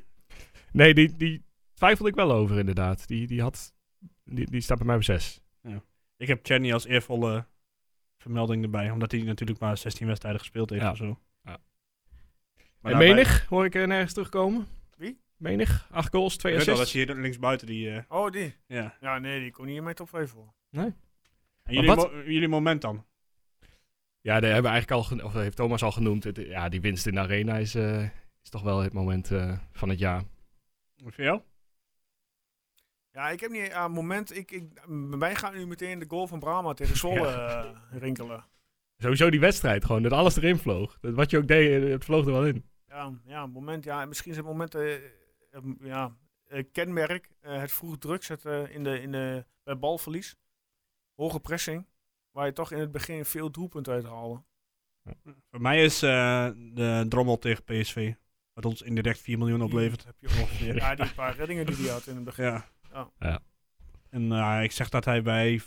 Speaker 5: Nee, die, die twijfelde ik wel over inderdaad. Die, die, had, die, die staat bij mij op zes.
Speaker 8: Ik heb Chenny als eervolle vermelding erbij. Omdat hij natuurlijk maar 16 wedstrijden gespeeld heeft
Speaker 5: Ja.
Speaker 8: of zo.
Speaker 5: Ja.
Speaker 8: Maar
Speaker 5: en
Speaker 8: daarbij-
Speaker 5: menig, hoor ik er nergens terugkomen.
Speaker 4: Wie?
Speaker 5: Menig, acht goals, twee
Speaker 8: Ik weet wel
Speaker 5: assists.
Speaker 8: dat je hier linksbuiten die... eh,
Speaker 4: Oh, die.
Speaker 8: ja.
Speaker 4: Ja, nee, die kon niet in mijn top 5 voor.
Speaker 8: En
Speaker 5: Maar
Speaker 8: jullie,
Speaker 5: wat-
Speaker 8: mo- jullie moment dan?
Speaker 5: Ja, daar hebben we eigenlijk al geno- of dat heeft Thomas al genoemd. Het- ja, die winst in de arena is, eh, is toch wel het moment eh, van het jaar.
Speaker 8: Voor jou?
Speaker 4: Ja, ik heb niet... Aan moment... Ik, ik, bij mij gaat nu meteen de goal van Brahma tegen Zwolle eh, rinkelen.
Speaker 5: Sowieso die wedstrijd gewoon, dat alles erin vloog. Dat, wat je ook deed, eh, het vloog er wel in.
Speaker 4: Ja, ja, moment. Ja, misschien zijn momenten... eh, eh, ja, eh, kenmerk. eh, het vroeg druk zetten in de, in de, bij balverlies. Hoge pressing. Waar je toch in het begin veel doelpunten uit haalde.
Speaker 8: Voor mij is eh, de drommel tegen PSV. Wat ons indirect 4 miljoen oplevert.
Speaker 4: Heb je ongeveer. Ja, die paar reddingen die hij had in het begin.
Speaker 8: Ja.
Speaker 4: Ja.
Speaker 5: Ja.
Speaker 8: En eh, ik zeg dat hij bij...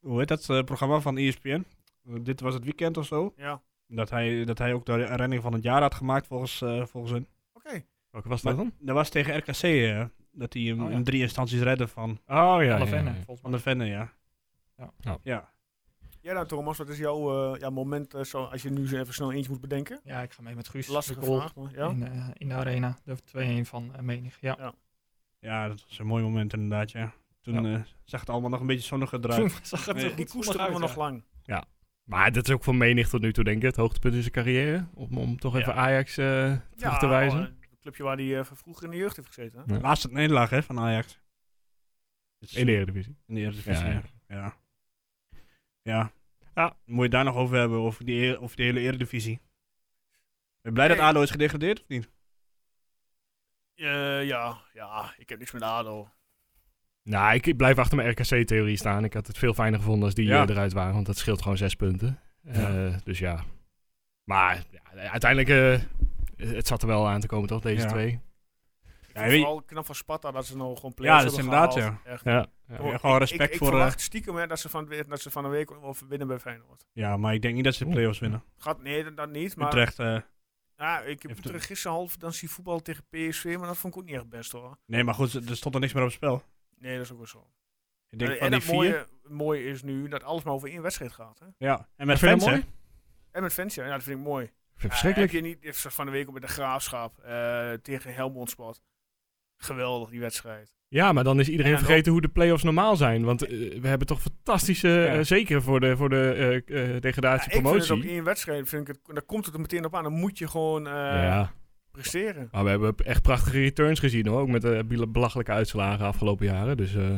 Speaker 8: Hoe heet dat eh, programma van ESPN? Eh, dit was het weekend of zo.
Speaker 4: Ja,
Speaker 8: Dat hij, dat hij ook de renning van het jaar had gemaakt volgens, eh volgens hun.
Speaker 4: oké.
Speaker 5: Welke was
Speaker 8: dat
Speaker 5: dan?
Speaker 8: Dat was tegen RKC eh, dat hij hem
Speaker 7: Oh, ja.
Speaker 8: in drie instanties redde van,
Speaker 5: Oh ja, ja,
Speaker 7: Alle
Speaker 5: ja,
Speaker 7: vennen,
Speaker 5: ja.
Speaker 7: volgens
Speaker 8: van
Speaker 7: mij.
Speaker 8: de Venne, ja.
Speaker 7: Ja.
Speaker 5: Ja.
Speaker 8: ja.
Speaker 4: Ja, Jij dan, Thomas, wat is jouw eh, ja, moment eh, zo, als je nu zo even snel eentje moet bedenken?
Speaker 7: Ja, ik ga mee met Guus.
Speaker 4: Lastige
Speaker 7: De goal
Speaker 4: vraag, maar ja.
Speaker 7: in, eh, in de arena. De 2-1 van eh, menig. Ja.
Speaker 8: Ja, dat was een mooi moment inderdaad, ja. Toen eh, zag het allemaal nog een beetje zonniger eruit.
Speaker 7: Zag het
Speaker 8: Nee,
Speaker 7: er
Speaker 4: Die
Speaker 7: goed
Speaker 4: koesteren we
Speaker 7: zonnig
Speaker 4: nog
Speaker 7: uit, ja.
Speaker 4: lang.
Speaker 5: Maar dat is ook voor menig tot nu toe, denk ik, het hoogtepunt in zijn carrière. Om, om toch even Ajax eh, terug te wijzen.
Speaker 4: eh, Het clubje waar hij eh, van vroeger in de jeugd heeft gezeten. hè?
Speaker 5: Ja.
Speaker 8: Laatste nederlaag, hè, van Ajax. Dus
Speaker 5: In de Eredivisie.
Speaker 8: in de Eredivisie,
Speaker 5: Ja,
Speaker 8: ja.
Speaker 5: ja.
Speaker 8: Ja. ja. Moet je het daar nog over hebben, over die, eer- over die hele Eredivisie. Ben je blij dat
Speaker 4: Nee.
Speaker 8: ADO is gedegradeerd, of niet?
Speaker 4: Eh, ja, ja, ik heb niks met ADO.
Speaker 5: Nou, ik, ik blijf achter mijn RKC-theorie staan. Ik had het veel fijner gevonden als die
Speaker 8: Ja.
Speaker 5: eh, eruit waren, want dat scheelt gewoon zes punten.
Speaker 8: Ja.
Speaker 5: Eh, dus ja. Maar ja, uiteindelijk, eh, het zat er wel aan te komen, toch, deze
Speaker 8: Ja.
Speaker 5: twee?
Speaker 4: Ik
Speaker 8: Ja,
Speaker 4: vind
Speaker 8: weet-
Speaker 4: vooral knap van Sparta dat ze nou gewoon play-offs
Speaker 8: dat is
Speaker 4: hebben
Speaker 8: inderdaad,
Speaker 4: gehaald. Echt.
Speaker 5: Ja.
Speaker 8: Ja, gewoon respect
Speaker 4: ik, ik
Speaker 8: voor... eh,
Speaker 4: verwacht stiekem hè, dat, ze van, de- dat ze van de week of winnen bij Feyenoord.
Speaker 8: eh, ja, maar ik denk niet dat ze de play-offs winnen.
Speaker 4: Gaat, nee, dat, dat niet. Maar
Speaker 8: Utrecht... eh,
Speaker 4: ja, ik heb
Speaker 8: Even
Speaker 4: Utrecht gisteren half dan zien voetbal tegen PSV, maar dat vond ik ook niet echt best hoor.
Speaker 8: nee, maar goed, er stond er niks meer op het spel.
Speaker 4: Nee, dat is ook wel zo.
Speaker 8: Ik denk
Speaker 4: en
Speaker 8: van
Speaker 4: en
Speaker 8: die
Speaker 4: het
Speaker 8: vier...
Speaker 4: mooie, mooie is nu dat alles maar over één wedstrijd gaat. Hè?
Speaker 8: Ja, en met
Speaker 5: Vind je dat
Speaker 8: fans, hè?
Speaker 5: mooi?
Speaker 4: En met fans, ja, ja, dat vind ik mooi.
Speaker 5: Ik vind het
Speaker 4: Ja,
Speaker 5: verschrikkelijk.
Speaker 4: Heb je niet even van de week op met de Graafschap eh, tegen Helmond Sport. Geweldig, die wedstrijd.
Speaker 5: Ja, maar dan is iedereen
Speaker 4: Ja, dan-
Speaker 5: vergeten hoe de play-offs normaal zijn. Want eh, we hebben toch fantastische, eh, zeker voor de, voor de eh, eh,
Speaker 4: Ja, ik vind het
Speaker 5: degradatie-promotie.
Speaker 4: op één wedstrijd, vind ik het, daar komt het er meteen op aan. Dan moet je gewoon eh,
Speaker 5: ja,
Speaker 4: presteren.
Speaker 5: maar we hebben echt prachtige returns gezien hoor. Ook met de belachelijke uitslagen afgelopen jaren. Dus eh,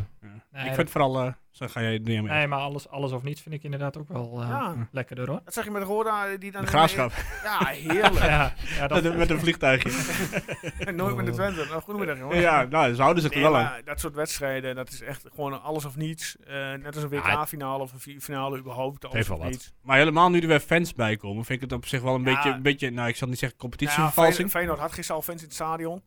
Speaker 7: Nee,
Speaker 8: ik vind het vooral... eh, zo ga jij dingen mee.
Speaker 7: nee, maar alles, alles of niets vind ik inderdaad ook wel eh
Speaker 8: Ah.
Speaker 4: Ja.
Speaker 7: lekkerder hoor.
Speaker 4: Dat zag je met Roda. Die dan
Speaker 8: de graafschap.
Speaker 4: Ja, heerlijk.
Speaker 7: Ja, ja, dat,
Speaker 8: met een vliegtuigje.
Speaker 4: En Nooit met de Twente. Nou, goedemiddag jongens.
Speaker 8: ja, nou, ze houden zich er
Speaker 4: Nee,
Speaker 8: wel aan.
Speaker 4: maar dat soort wedstrijden, dat is echt gewoon alles of niets. Eh, net als een
Speaker 5: Ja,
Speaker 4: WK-finale of een vi- finale überhaupt. Alles
Speaker 5: heeft wel
Speaker 4: of
Speaker 5: wat.
Speaker 4: niets.
Speaker 8: Maar helemaal nu er weer fans bij komen, vind ik het op zich wel een,
Speaker 4: Ja.
Speaker 8: beetje, een beetje, nou ik zal niet zeggen
Speaker 4: Ja,
Speaker 8: competitievervalsing.
Speaker 4: Feyenoord had gisteren al fans in het stadion.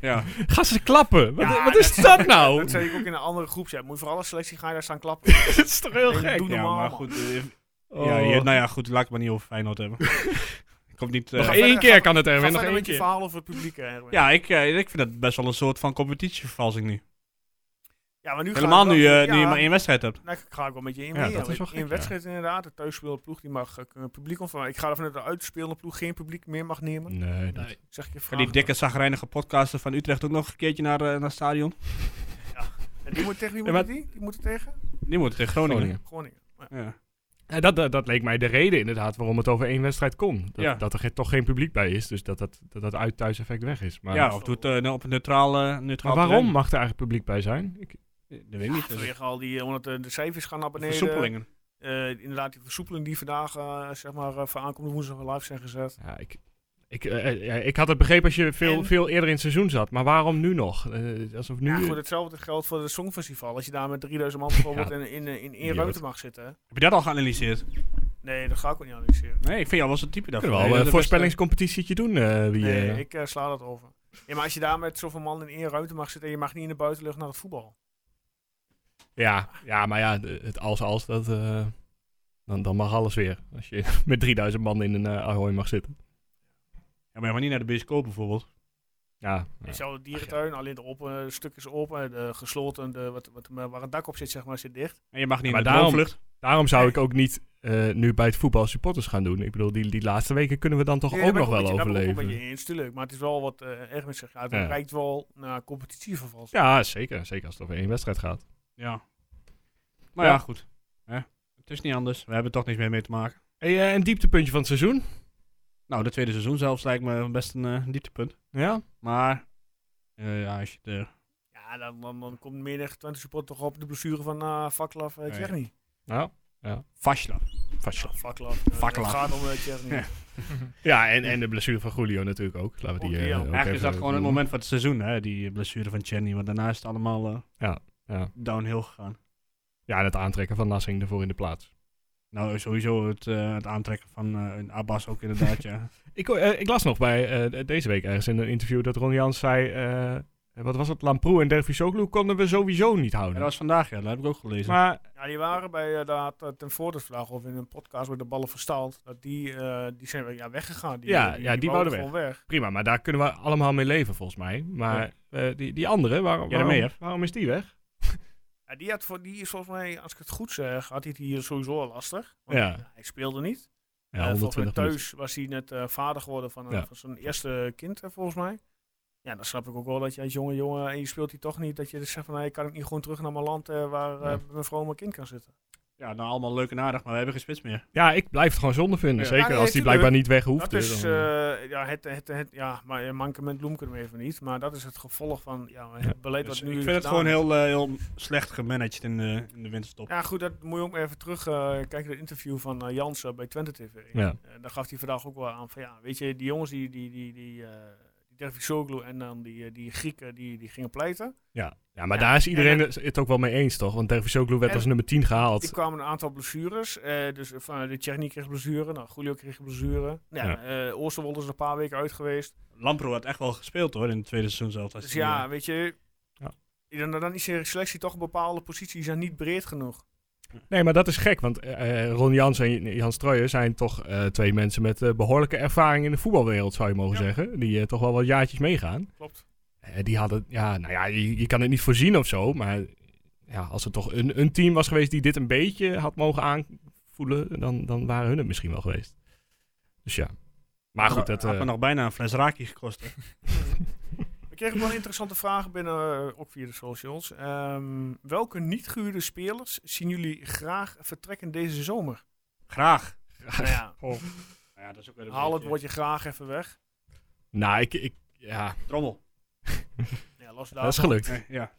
Speaker 8: Ja,
Speaker 5: gaan ze klappen? Wat,
Speaker 4: Ja,
Speaker 5: wat is
Speaker 4: dat-
Speaker 5: dat nou?
Speaker 4: Dat zei ik ook in een andere groep. Ja, moet je voor alle selectie ga je daar staan klappen.
Speaker 5: Dat is toch heel
Speaker 4: Ik
Speaker 5: gek?
Speaker 4: doe
Speaker 8: ja
Speaker 4: normaal,
Speaker 8: maar
Speaker 4: man.
Speaker 8: goed. eh,
Speaker 5: Oh.
Speaker 8: ja, hier- nou ja, goed, laat ik het maar niet over Feyenoord hebben. Komt niet, eh,
Speaker 5: nog
Speaker 4: Ga
Speaker 5: één
Speaker 4: verder,
Speaker 5: keer
Speaker 4: ga-
Speaker 5: kan het
Speaker 4: Ga
Speaker 5: Erwin, nog
Speaker 4: verder
Speaker 5: één
Speaker 4: met je
Speaker 5: keer.
Speaker 4: verhaal over het publiek, hè, Erwin.
Speaker 8: ja, ik, eh, ik vind dat best wel een soort van competitievervalsing nu.
Speaker 4: Ja, maar nu
Speaker 8: Helemaal
Speaker 4: gaat
Speaker 8: nu,
Speaker 4: het wel-
Speaker 8: eh, nu je
Speaker 4: ja,
Speaker 8: maar één wedstrijd hebt.
Speaker 4: nou, ik ga ik wel met je in.
Speaker 5: Ja,
Speaker 4: mee,
Speaker 5: dat is wel
Speaker 4: in
Speaker 5: gek, ja.
Speaker 4: wedstrijd inderdaad. De thuisspelende ploeg die mag eh, publiek ontvangen. Ik ga ervan uit dat de uitspelende ploeg geen publiek meer mag nemen.
Speaker 5: Nee,
Speaker 7: Nee.
Speaker 4: Zeg ik je
Speaker 8: Gaan
Speaker 4: vraag.
Speaker 8: die dikke, zagrijnige podcaster van Utrecht ook nog een keertje naar, eh, naar het stadion?
Speaker 4: En die moet tegen wie
Speaker 5: Ja,
Speaker 4: moet
Speaker 5: maar-
Speaker 4: die? Die moeten tegen?
Speaker 8: Die moet tegen Groningen.
Speaker 5: Groningen.
Speaker 4: Groningen. Maar ja.
Speaker 8: Ja.
Speaker 5: Eh, Dat, dat, dat leek mij de reden inderdaad waarom het over één wedstrijd kon. Dat,
Speaker 8: Ja.
Speaker 5: dat er ge- toch geen publiek bij is, dus dat dat, dat, dat uit-thuis-effect weg is. Maar,
Speaker 8: ja, of doet eh, nou, op een neutraal, eh,
Speaker 5: Ah. maar
Speaker 8: neutraal
Speaker 5: waarom mag er eigenlijk publiek bij zijn? Ik,
Speaker 8: terrein. Dat weet ik niet. dat is
Speaker 4: Vanwege al die, eh, omdat eh, de cijfers gaan naar beneden.
Speaker 8: Versoepelingen.
Speaker 4: Eh, inderdaad, die versoepelingen die vandaag, eh, zeg maar, eh, voor aankomende woensdag live zijn gezet.
Speaker 5: ja, ik, ik, eh, eh, ja, ik had het begrepen als je veel,
Speaker 4: En?
Speaker 5: veel eerder in het seizoen zat, maar waarom nu nog? Eh, alsof nu...
Speaker 4: Ja, goed, hetzelfde geldt voor het Songfestival. Als je daar met 3000 man bijvoorbeeld
Speaker 5: Ja.
Speaker 4: in, in, eh, in één
Speaker 5: Idioot.
Speaker 4: ruimte mag zitten. hè.
Speaker 8: Heb je dat al geanalyseerd?
Speaker 4: Nee, dat ga ik ook niet analyseren.
Speaker 8: Nee, ik vind jou wel zo'n type daarvoor.
Speaker 5: Kunnen we eh, al
Speaker 8: Nee, dat
Speaker 5: een
Speaker 8: is
Speaker 5: voorspellingscompetitietje doen? eh, wie,
Speaker 4: Nee,
Speaker 5: eh,
Speaker 4: ik eh, sla dat over. Ja, maar als je daar met zoveel man in één ruimte mag zitten en je mag niet in de buitenlucht naar het voetbal.
Speaker 5: Ja, ja, maar ja, de- het als-als, dat... eh, dan, dan mag alles weer. Als je met 3000 man in een eh Ahoy mag zitten.
Speaker 8: best- Ja, maar, maar niet naar de bioscoop bijvoorbeeld.
Speaker 5: Ja, ja.
Speaker 4: Hetzelfde dierentuin, alleen de open, eh, stuk is open, de gesloten, de, wat, wat, waar het dak op zit, zeg maar, zit dicht.
Speaker 8: En je mag niet
Speaker 5: Maar
Speaker 8: naar de
Speaker 5: daarom-
Speaker 8: vlucht.
Speaker 5: Daarom zou ik ook niet eh, nu bij het voetbal supporters gaan doen. Ik bedoel, die, die laatste weken kunnen we dan toch
Speaker 4: Nee,
Speaker 5: ook
Speaker 4: daar
Speaker 5: nog
Speaker 4: ben ik
Speaker 5: wel
Speaker 4: met je- Daar ben ik ook
Speaker 5: overleven.
Speaker 4: met je eens, tuurlijk. Maar het is wel wat eh Erwin zegt, ja, het
Speaker 5: Ja.
Speaker 4: reikt wel nou, naar competitievervals.
Speaker 5: Ja, zeker. Zeker als het over één wedstrijd gaat.
Speaker 8: Ja. Maar ja,
Speaker 5: Ja.
Speaker 8: goed. Hè? Het is niet anders. We hebben toch niks meer mee te maken.
Speaker 5: Hey, eh, een dieptepuntje van het seizoen.
Speaker 8: Nou, de tweede seizoen zelfs lijkt me best een eh, dieptepunt.
Speaker 5: Ja.
Speaker 8: Maar, eh, ja, als je het... eh,
Speaker 4: Ja, dan, dan, dan komt menig Twente supporter toch op de blessure van uh, Vaklav uh,
Speaker 8: Nee.
Speaker 4: Tjerni.
Speaker 5: Nou,
Speaker 8: Vaclav.
Speaker 5: vast wel.
Speaker 4: Vaklav.
Speaker 8: Vaclav.
Speaker 4: Het gaat om eh, Tjerni.
Speaker 8: Ja.
Speaker 5: Ja, en, en de blessure van Julio natuurlijk ook. Laten we die,
Speaker 4: Ook die,
Speaker 5: eh,
Speaker 4: ja.
Speaker 5: ook
Speaker 8: Eigenlijk is
Speaker 5: even
Speaker 8: dat gewoon
Speaker 5: noemen.
Speaker 8: het moment van het seizoen, hè. Die blessure van Chenny. Want daarna is het allemaal eh,
Speaker 5: Ja, ja.
Speaker 8: downhill gegaan.
Speaker 5: Ja, en het aantrekken van Nassing ervoor in de plaats.
Speaker 8: Nou, sowieso het, eh, het aantrekken van eh, een Abbas ook inderdaad, ja.
Speaker 5: Ik, eh, ik las nog bij eh, deze week ergens in een interview dat Ron Jans zei... eh, wat was het? Lamproe en Dervisoglu konden we sowieso niet
Speaker 8: Ja,
Speaker 5: houden.
Speaker 8: dat was vandaag, ja. Dat heb ik ook gelezen.
Speaker 5: Maar
Speaker 4: Ja, die waren bij eh, daar had, eh, ten voorde vandaag of in een podcast met de ballen verstaald. Dat die, eh, die zijn weer, ja, weggegaan. Die,
Speaker 5: Ja, ja, die wouden
Speaker 4: gewoon weg.
Speaker 5: prima, maar daar kunnen we allemaal mee leven volgens mij. Maar eh, die, die andere, waarom,
Speaker 8: Ja,
Speaker 5: waarom,
Speaker 8: daarmee, hè?
Speaker 5: waarom is die weg?
Speaker 4: Ja, die, had voor, die is volgens mij, als ik het goed zeg, had hij het hier sowieso al lastig. Want
Speaker 5: Ja.
Speaker 4: Hij speelde niet.
Speaker 5: Ja,
Speaker 4: Eh,
Speaker 5: 120
Speaker 4: volgens mij
Speaker 5: minuten.
Speaker 4: thuis was hij net eh, vader geworden van, eh,
Speaker 5: Ja.
Speaker 4: van zijn eerste kind, eh, volgens mij. Ja, dan snap ik ook wel dat je als jonge jongen, en je speelt die toch niet, dat je dus zegt van, nee, kan ik niet gewoon terug naar mijn land eh, waar eh, mijn vrouw en mijn kind kan zitten.
Speaker 8: Ja, nou allemaal leuk en aardig, maar we hebben geen spits meer.
Speaker 5: Ja, ik blijf het gewoon zonde vinden.
Speaker 8: Ja.
Speaker 5: Zeker
Speaker 4: Ja, nee,
Speaker 5: als die
Speaker 4: tuurlijk.
Speaker 5: blijkbaar niet weg hoeft.
Speaker 4: dat is,
Speaker 5: dan, eh,
Speaker 4: eh, ja, het, het, het, ja, maar eh, mankement noem ik hem even niet, maar dat is het gevolg van, ja, het
Speaker 5: Ja.
Speaker 4: beleid wat
Speaker 8: Dus
Speaker 4: nu
Speaker 8: ik vind het
Speaker 4: gedaan
Speaker 8: gewoon
Speaker 4: is.
Speaker 8: heel, eh, heel slecht gemanaged in de, in de winterstop.
Speaker 4: Ja, goed, dat moet je ook maar even terug eh, kijken. Dat interview van eh, Jansen bij Twente TV.
Speaker 5: Ja.
Speaker 4: Eh, daar gaf hij vandaag ook wel aan van ja, weet je, die jongens die, die, die, die, eh die Dervisoglu en dan die, eh, die Grieken, die, die gingen pleiten.
Speaker 5: ja. ja, maar
Speaker 4: ja,
Speaker 5: daar is iedereen
Speaker 4: en-
Speaker 5: het ook wel mee eens, toch? Want Dervisoglu werd
Speaker 4: En-
Speaker 5: als nummer 10 gehaald.
Speaker 4: Er kwamen een aantal blessures. eh, dus van, de Tjerni kreeg blessure, nou, Julio kreeg blessure. Nou,
Speaker 5: Ja.
Speaker 4: ja. eh, Oosterwold is een paar weken uit geweest.
Speaker 8: Lampro had echt wel gespeeld hoor in het tweede seizoen zelf. als
Speaker 4: Dus
Speaker 8: hij,
Speaker 4: ja,
Speaker 8: eh,
Speaker 4: weet je,
Speaker 5: Ja.
Speaker 4: dan, dan is je selectie toch een bepaalde positie, die zijn niet breed genoeg.
Speaker 5: Nee, maar dat is gek, want eh, eh, Ron Jans en Jan Strooijen zijn toch eh, twee mensen met eh, behoorlijke ervaring in de voetbalwereld, zou je mogen
Speaker 4: Ja.
Speaker 5: zeggen. Die eh, toch wel wat jaartjes meegaan.
Speaker 4: Klopt.
Speaker 5: Eh, die hadden, ja, nou ja, je, je kan het niet voorzien of zo, maar ja, als er toch een, een team was geweest die dit een beetje had mogen aanvoelen, dan, dan waren hun het misschien wel geweest. Dus ja. Maar goed, dat...
Speaker 8: had me
Speaker 5: eh,
Speaker 8: nog bijna een fles raki gekost. hè.
Speaker 4: We kregen wel interessante vragen binnen, eh, ook via de socials. Ehm, welke niet gehuurde spelers zien jullie graag vertrekken deze zomer?
Speaker 8: Graag.
Speaker 4: nou ja,
Speaker 8: Nou ja, dat is ook weer een
Speaker 4: haal het
Speaker 8: beetje-
Speaker 4: woordje graag even weg.
Speaker 5: nou, ik, ik, ja,
Speaker 8: Drommel.
Speaker 4: Ja, los
Speaker 5: dat is
Speaker 4: daarvan.
Speaker 5: gelukt.
Speaker 8: Eh, ja.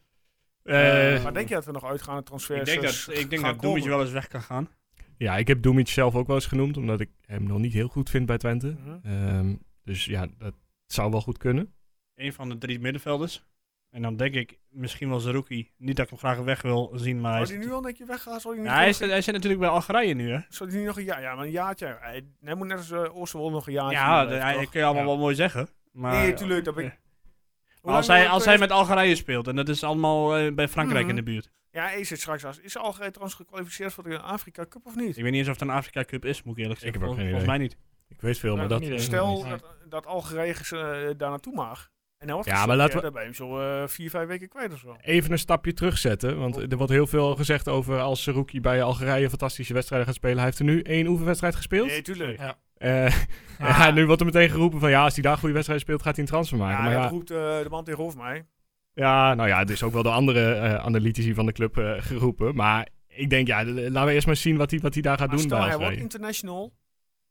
Speaker 5: Eh,
Speaker 4: Maar denk je dat we nog uitgaande transfers
Speaker 8: Ik denk
Speaker 4: dus
Speaker 8: dat, ik denk
Speaker 4: gaan
Speaker 8: dat Doemetje
Speaker 4: komen?
Speaker 8: wel eens weg kan gaan.
Speaker 5: ja, ik heb Doemic zelf ook wel eens genoemd, omdat ik hem nog niet heel goed vind bij Twente.
Speaker 4: Mhm.
Speaker 5: Ehm, dus ja, dat zou wel goed kunnen.
Speaker 8: Een van de drie middenvelders. En dan denk ik misschien wel Zerouki. Niet dat ik hem graag weg wil zien, maar hij
Speaker 4: Zou
Speaker 8: is,
Speaker 4: die nu al dat je weggaat? Zou die,
Speaker 8: Ja,
Speaker 4: niet
Speaker 8: hij,
Speaker 4: nog-
Speaker 8: is, hij zit natuurlijk bij Algerije nu, hè?
Speaker 4: zou die nu nog een jaar? Ja, maar een jaartje. Hij, hij moet net als eh Oosterwold nog een jaartje.
Speaker 8: Ja,
Speaker 4: blijven,
Speaker 8: dat hij-
Speaker 4: toch?
Speaker 8: dat kun je allemaal
Speaker 5: Ja.
Speaker 8: wel mooi zeggen. Maar
Speaker 4: Nee, tuurlijk. Dat ben ik...
Speaker 8: Ja.
Speaker 4: Hoe
Speaker 8: Maar
Speaker 4: lang
Speaker 8: als,
Speaker 4: Mhm.
Speaker 8: hij,
Speaker 4: wil
Speaker 8: als
Speaker 4: ik,
Speaker 8: hij
Speaker 4: eh,
Speaker 8: met Algerije speelt, en dat is allemaal eh, bij Frankrijk in de buurt.
Speaker 4: Ja, hij zit straks als... Is Algerije trouwens gekwalificeerd voor de Afrika Cup of niet?
Speaker 8: Ik weet niet eens of het een Afrika Cup is, moet ik eerlijk
Speaker 5: Ik
Speaker 8: zeggen.
Speaker 5: heb ook
Speaker 8: Vol-
Speaker 5: geen
Speaker 8: Volgens mij niet.
Speaker 5: Ik weet veel, maar
Speaker 7: Nou,
Speaker 5: dat...
Speaker 7: niet eens.
Speaker 4: Stel
Speaker 7: Nee.
Speaker 4: dat, dat Algerije eh, daar naartoe mag. En dan wordt
Speaker 5: Ja,
Speaker 4: ja,
Speaker 5: maar
Speaker 4: maar
Speaker 5: laten we-
Speaker 4: Dan ben je hem zo eh, vier, vijf weken kwijt of zo.
Speaker 5: Even een stapje terugzetten, want er wordt heel veel gezegd over als Seruki bij Algerije fantastische wedstrijden gaat spelen. Hij heeft er nu één oefenwedstrijd gespeeld.
Speaker 4: Nee, Ah. tuurlijk.
Speaker 7: Ja.
Speaker 5: Eh, ja, nu wordt er meteen geroepen van ja, als hij daar goede wedstrijd speelt, gaat hij een transfer maken.
Speaker 4: Ja,
Speaker 5: maar ja,
Speaker 4: dat roept eh, de man tegenover mij.
Speaker 5: ja, nou ja, het is ook wel de andere eh, analytici van de club eh, geroepen. Maar ik denk, ja, l- laten we eerst maar zien wat hij, wat hij daar gaat
Speaker 4: Maar
Speaker 5: doen
Speaker 4: stel,
Speaker 5: bij
Speaker 4: hij wordt
Speaker 5: Algerije.
Speaker 4: international.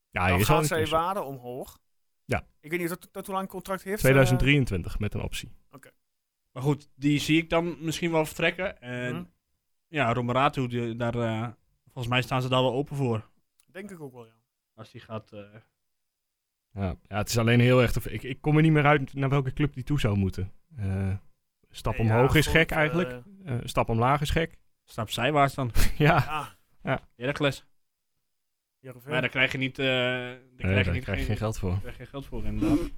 Speaker 5: Ja, hij
Speaker 4: dan
Speaker 5: is al
Speaker 4: gaat zijn
Speaker 5: international.
Speaker 4: waarde omhoog.
Speaker 5: Ja.
Speaker 4: Ik weet niet dat, dat hoe lang het contract heeft. eh,
Speaker 5: 2023 met een optie.
Speaker 8: Maar goed, die zie ik dan misschien wel vertrekken. En
Speaker 4: Mhm.
Speaker 8: ja, Romeratu, die- daar, eh, volgens mij staan ze daar wel open voor.
Speaker 4: denk ik ook wel, ja.
Speaker 8: Als die gaat... eh,
Speaker 5: Ja. ja, het is alleen heel erg... Ik, ik kom er niet meer uit naar welke club die toe zou moeten. Eh, stap
Speaker 4: Nee, ja,
Speaker 5: omhoog is
Speaker 4: goed,
Speaker 5: gek
Speaker 4: eh,
Speaker 5: eigenlijk. Eh, stap omlaag is gek.
Speaker 8: stap zijwaarts dan.
Speaker 5: ja.
Speaker 4: ja,
Speaker 8: Heracles.
Speaker 4: Heerenveen.
Speaker 8: Maar daar krijg je niet... eh daar krijg je niet
Speaker 5: geld voor.
Speaker 8: daar krijg je geen geld voor, inderdaad.
Speaker 5: Nee,